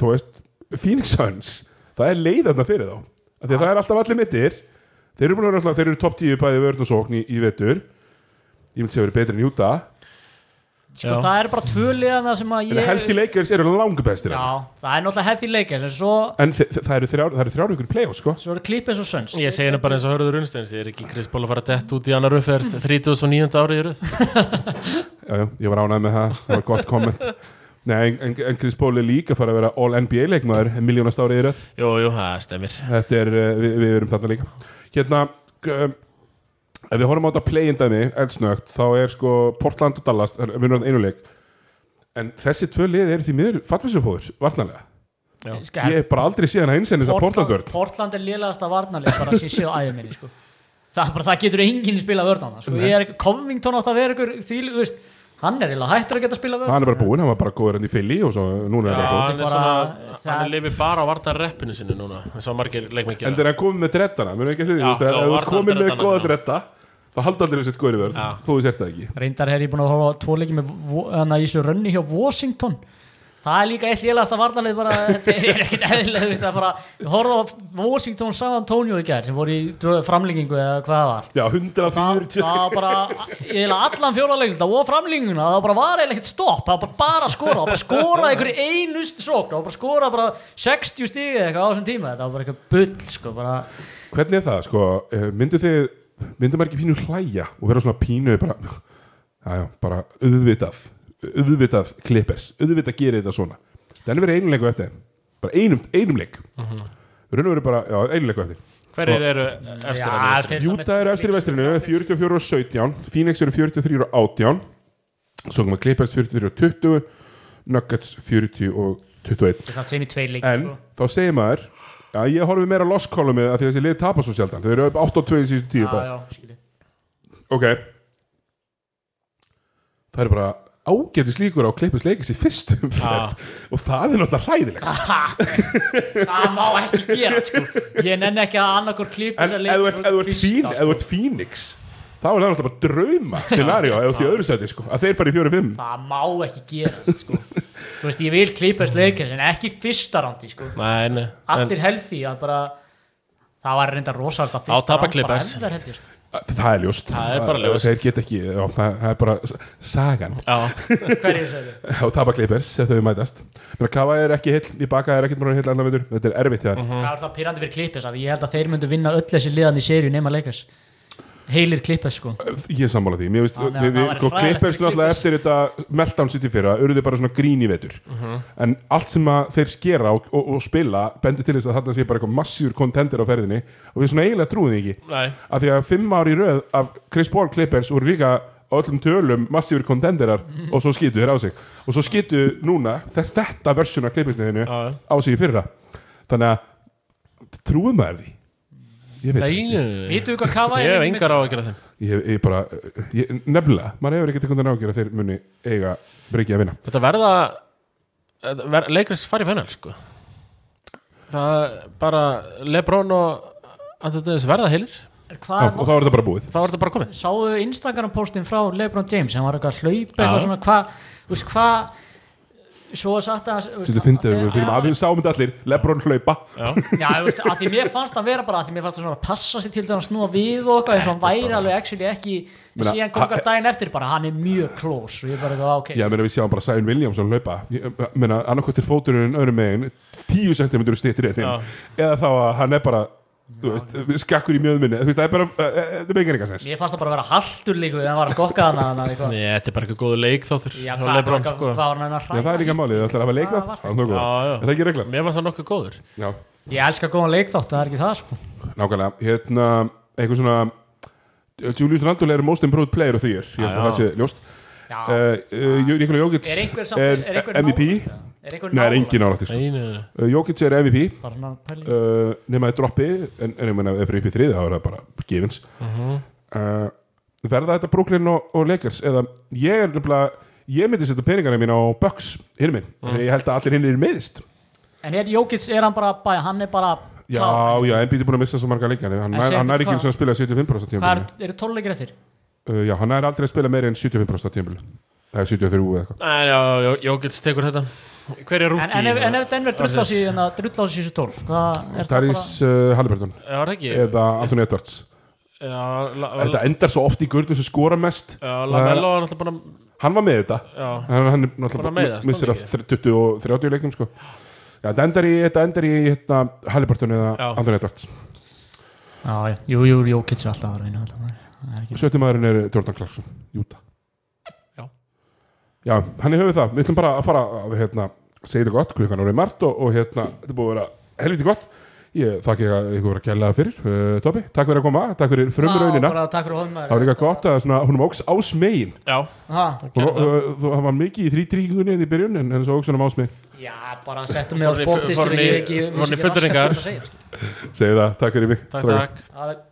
Speaker 1: þú veist Phoenix Suns, það er leið aðna fyrir þá af því að það er alltaf allir mittir þeir eru búin að vera alltaf, þeir eru top 10 bæði vörn og sókn í, í vetur ég myndi segja að vera betri en Júta
Speaker 4: sko,
Speaker 3: Já.
Speaker 4: það er bara tvöliðana sem að
Speaker 1: en
Speaker 4: ég
Speaker 1: helfi leikers eru langbestir
Speaker 4: Já, það er náttúrulega hefði leikir en svo,
Speaker 1: en þe- þe- það eru þrjár, það eru þrjár ykkur play-offs sko
Speaker 4: svo eru klippins og sönns
Speaker 3: ég segi henni bara eins og hörður unnsteins Ég er ekki Chris Paul að fara dett út í annar uppferð 39. árið í röð
Speaker 1: já, já, ég var ánægð með það, það var gott komment Nei, en, en Chris Paul er líka fara að vera All-NBA leikmaður, miljónast árið í röð
Speaker 3: Jú, jú, það stemir
Speaker 1: Þetta er, uh, við, við erum þarna líka Hérna um, Ef við horfum á þetta play-in dæmi, eldsnögt Þá er sko Portland og Dallas er- Við erum þarna einu leik En þessi tvö lið eru því miður fattmissufóður Varnarlega,
Speaker 4: Ska,
Speaker 1: ég hef bara aldrei séð hann að einsenni þess að Portland vörn
Speaker 4: Portland er lélegasta varnarleik bara sem ég sé á æðum minni sko. það, er bara, það getur enginn spila vörn á það sko. Ég er, Covington átt að vera ykkur því, þú veist, hann er eiginlega hættur að geta spila vörn
Speaker 1: Hann er bara búinn, hann var bara góður enn í Philly Og svo núna er
Speaker 3: Já,
Speaker 1: hann bara góður
Speaker 3: hann er
Speaker 4: Bara-
Speaker 3: svona,
Speaker 4: það-
Speaker 3: hann er lifið bara á vartarreppinu sinu núna eins og margir leikmenn
Speaker 1: En
Speaker 3: gera
Speaker 1: þegar hann komið með dreddana, mér ekki að því þú
Speaker 3: Já,
Speaker 1: veist, Ef
Speaker 3: já,
Speaker 1: þú
Speaker 3: varnar-
Speaker 1: ert komið með
Speaker 3: dreddana,
Speaker 1: góða
Speaker 3: já.
Speaker 1: dredda Þá halda allir þessi góður í vörn
Speaker 3: Já.
Speaker 1: Þú sért það ekki
Speaker 4: Reyndar er ég búin að horfa á tvo leiki með Vo- hana, í þessu rönni hjá Washington Það er líka eitt lélast að varnarlið bara, þetta er ekkert eðlilega, þú veist, það er bara, við horfum á Washington San Antonio í gær sem voru í dvö- framlengingu eða hvað það var.
Speaker 1: Já,
Speaker 4: Það
Speaker 1: 140
Speaker 4: það var bara, eiginlega allan fjólarleikta og framlenginguna, það var bara var eiginlega ekkert stopp, það var bara bara að skora, það var bara að skora einhverju einust sókn, það var bara að skora bara 60 stíði eða eitthvað á þessum tíma, þetta var bara eitthvað bull, sko, bara,
Speaker 1: Hvernig er það, sko, eh, myndu þið myndu maður ekki pínu hlæja og vera svona pínu bara, aðja, bara auðvitað, auðvitað klippers, auðvitað gerir þetta svona það er verið einum leiku eftir, þeim. bara einum, einum leik mm
Speaker 3: Mhm.
Speaker 1: raun og verið bara, já, einum leiku eftir
Speaker 3: Hverjir eru efstir að
Speaker 4: já,
Speaker 3: lista?
Speaker 4: þeir
Speaker 1: Júta eru eftir í vestrinu, 44 og 17 Phoenix eru 43 og 18 svo komum við klippers 43 og 20 Nuggets 40 og 21
Speaker 4: það er sem í tveir leiki,
Speaker 1: En
Speaker 4: sko.
Speaker 1: þá segir maður að ég horfi meira loss kolumið af því að þessi lið tapar svo sjaldan þau eru upp 8 og 2 í síðustu tíu
Speaker 4: Já, já, skilji.
Speaker 1: ok það eru bara ágætis líkur á klippis leikis í fyrstu umferð og það er náttúrulega hræðilegt
Speaker 4: það má ekki gera sko. ég nenni ekki að annarkur klípa
Speaker 1: en ef þú ert- ef þú ert Phoen-
Speaker 4: sko.
Speaker 1: ef þú ert Phoenix þá er það náttúrulega bara drauma scenario ef þú ert í öðru seti sko að þeir fara í 4-5
Speaker 4: það má ekki gera sko. þú veist ég vil klípa sleikins en ekki fyrsta rándi sko.
Speaker 3: Nei, nei, en
Speaker 4: allir healthy að bara það var reynda rosalega fyrsta
Speaker 3: Á tapa
Speaker 4: round bara
Speaker 3: Clippers.
Speaker 4: endaði healthy, sko.
Speaker 1: það er ljóst
Speaker 3: Það er bara ljóst.
Speaker 1: þeir get ekki já, það það er bara s- sagan
Speaker 3: Já,
Speaker 4: hverju þessu
Speaker 1: á tapaklippers ef þau mætast menn að kafa er ekki hill í baka er ekkert bara hill allan veitur þetta er erfitt hjá þeim
Speaker 4: það var það pyrrandi fyrir klípis að ég held að þeir myndu vinna öll þessi liðan í sériu nema leikas heilir klípis sko
Speaker 1: Ég er sammála því, mér veist,
Speaker 4: Þannig að
Speaker 1: við,
Speaker 4: það
Speaker 1: við,
Speaker 4: væri
Speaker 1: sko,
Speaker 4: hræðilegt
Speaker 1: Clippers
Speaker 4: fyrir
Speaker 1: náttúrulega
Speaker 4: Clippers.
Speaker 1: eftir þetta Meltdown City fyrra, urðu bara svona grín í vetur En allt sem að þeir skera og, og, og spila, bendir til þess að þarna sé bara eitthvað massífur kontender á ferðinni Og við svona eiginlega trúum því ekki
Speaker 3: nei
Speaker 1: Af því að fimm ár í röð af Chris Paul Clippers voru líka á öllum tölum massífur kontenderar
Speaker 3: Mhm.
Speaker 1: Og svo skýtu þeir á sig Og svo skýtu núna þess þetta versjun af Clippersniðinu
Speaker 3: Já, já.
Speaker 1: á sig í fyrra Þannig að trúum maður því Ég veit
Speaker 3: Nei, nei, nei.
Speaker 4: vitu hvað kafa
Speaker 3: Ég hef engar á að gera þeim
Speaker 1: ég, hef- ég bara, ég, nefnilega maður hefur ekkert einhvern veginn ágjör að þeir muni eiga breykið að vinna
Speaker 3: Þetta verða þetta ver, Leikris fari fennel sko Það bara Lebron og Anthony Davis verða heilir
Speaker 1: Já, og
Speaker 4: hvað
Speaker 1: þá er þetta bara búið
Speaker 3: Þá er þetta bara komið
Speaker 4: sáðu Instagram postin frá Lebron James hann var eitthvað að hlaupa
Speaker 3: Já.
Speaker 4: eitthvað svona hvað þú veist hvað svo satt að þú veist,
Speaker 1: þetta finnst við fyrir að við sáum þetta allir Lebron hlaupa
Speaker 3: Já,
Speaker 4: já, þú veist, að því mér fannst að vera bara að því mér fannst að svona passa sig til þess að snúa við og eitthvað eins og hann væri alveg actually ekki en
Speaker 1: Meina,
Speaker 4: síðan
Speaker 1: ha-
Speaker 4: kongar daginn eftir bara hann er mjög close og ég bara eitthvað ok
Speaker 1: já, menna við sjáum bara Sæun Williamson hlaupa Ég- menna annarkvæmt er fóturinn öðrum megin tíu sentimentur stýttir inn
Speaker 3: Já.
Speaker 1: eða þá að hann er bara þú veist, skakkur í mjöðu minni þú veist, það er bara, eh, eh, það meikir eitthvað sens
Speaker 4: Mér fannst það bara að vera haldur líku en hann var að gokka hana hana eitthvað
Speaker 3: Nei, þetta er bara eitthvað góðu leik þáttur
Speaker 4: Já,
Speaker 3: hjá
Speaker 4: hvað
Speaker 3: LeBron,
Speaker 4: hvað-
Speaker 3: sko.
Speaker 4: hvað var hann að
Speaker 1: Já, það er líka málið, það ætlar að hafa leiknátt
Speaker 4: var
Speaker 1: Það er nokkuð
Speaker 3: Já,
Speaker 1: það.
Speaker 3: já.
Speaker 1: Er það ekki reglan?
Speaker 3: Mér fannst það nokkuð góður
Speaker 1: Já,
Speaker 4: Ég elska góðan leikþátt, það er ekki það sko
Speaker 1: nákvæmlega Hérna, eitthvað svona Julius Randall er most improved player og því er Ég held að
Speaker 3: Já,
Speaker 1: það sé ljóst
Speaker 4: Já,
Speaker 1: Eh, eh, Nikola Jokic
Speaker 4: er einhver samt
Speaker 1: er MVP
Speaker 4: nálægt það? Er einhver
Speaker 1: Nei, það er
Speaker 4: nálægt?
Speaker 1: engin álætti
Speaker 3: Nei, nei, nei.
Speaker 1: sko. Eh, Jokic er MVP
Speaker 4: Bara svona pæling
Speaker 1: uh, nema í droppi en, en ég meina ef það er upp í þriði þá er það bara gefins
Speaker 4: Mhm.
Speaker 1: uh, verða þetta Brooklyn og, og Lakers eða ég er nefnilega ég myndi setja peningana mín á Bucks hinn minn,
Speaker 4: Mhm.
Speaker 1: ég held að allir hinn er meðist
Speaker 4: En hér Jókits er hann bara bæ, hann er bara
Speaker 1: já,
Speaker 4: klár.
Speaker 1: já, Embiid er búin að missa svo marga leikja hann,
Speaker 4: En
Speaker 1: nær-
Speaker 4: segðu
Speaker 1: hann er
Speaker 4: mér
Speaker 1: ekki eins og að spila 75%
Speaker 4: Hvað er,
Speaker 1: tímabili
Speaker 4: eru tóluleikir eftir?
Speaker 1: uh, já, hann er aldrei að spila meira en 75% tímabili eða 73 eða eitthvað
Speaker 3: En já, Jókils tekur þetta Hver er
Speaker 4: En,
Speaker 3: rúki?
Speaker 4: en, ef, en ef Denver drull á
Speaker 3: Orðins.
Speaker 4: sig drull á sig þessu tólf Hvað er það bara?
Speaker 1: Darius uh, Halliburton
Speaker 3: Já, var það ekki
Speaker 1: eða Anthony Edwards
Speaker 3: Já, la,
Speaker 1: þetta endar svo oft í gurnu sem skora mest Eh,
Speaker 3: já Lamello er náttúrulega bara
Speaker 1: hann var með þetta
Speaker 3: Já,
Speaker 1: hann, hann er
Speaker 3: Bara
Speaker 1: náttúrulega
Speaker 3: með það,
Speaker 1: mi- missir af
Speaker 3: stóð
Speaker 1: 20 og 30 leikum sko. Já, þetta endar í, þetta endar í hérna, Halliburton eða
Speaker 3: Já.
Speaker 1: Anthony Edwards
Speaker 4: Já, já, jú, jú, Jókits er alltaf að vinna þetta maður. Það er ekki
Speaker 1: sjötti maðurinn er Jordan Clarkson Júta
Speaker 3: Já.
Speaker 1: Já, hann er höfuð það, við ætlum bara að fara að hérna, segja þetta gott, klukkan orðið margt og, og hérna, þetta er búið að vera helviti gott ég þakki að ykkur að kella fyrir uh, Tobi, takk fyrir að koma, takk fyrir frumraunina
Speaker 4: Já, bara takk fyrir að hóðum
Speaker 1: það var líka gott að svona, hún óks ás megin
Speaker 3: já
Speaker 4: Ha,
Speaker 1: hún,
Speaker 3: Gerðu það.
Speaker 1: uh, þú- það var mikið í þrítryggingunni en í byrjun en, en svo óks hann um ás megin
Speaker 4: já, bara settum mig á
Speaker 3: Fór hann í-
Speaker 4: spotti
Speaker 3: fór hann í- fór hann í fullyrðingar?
Speaker 1: segi það, takk fyrir mig
Speaker 3: Takk, takk
Speaker 4: Það er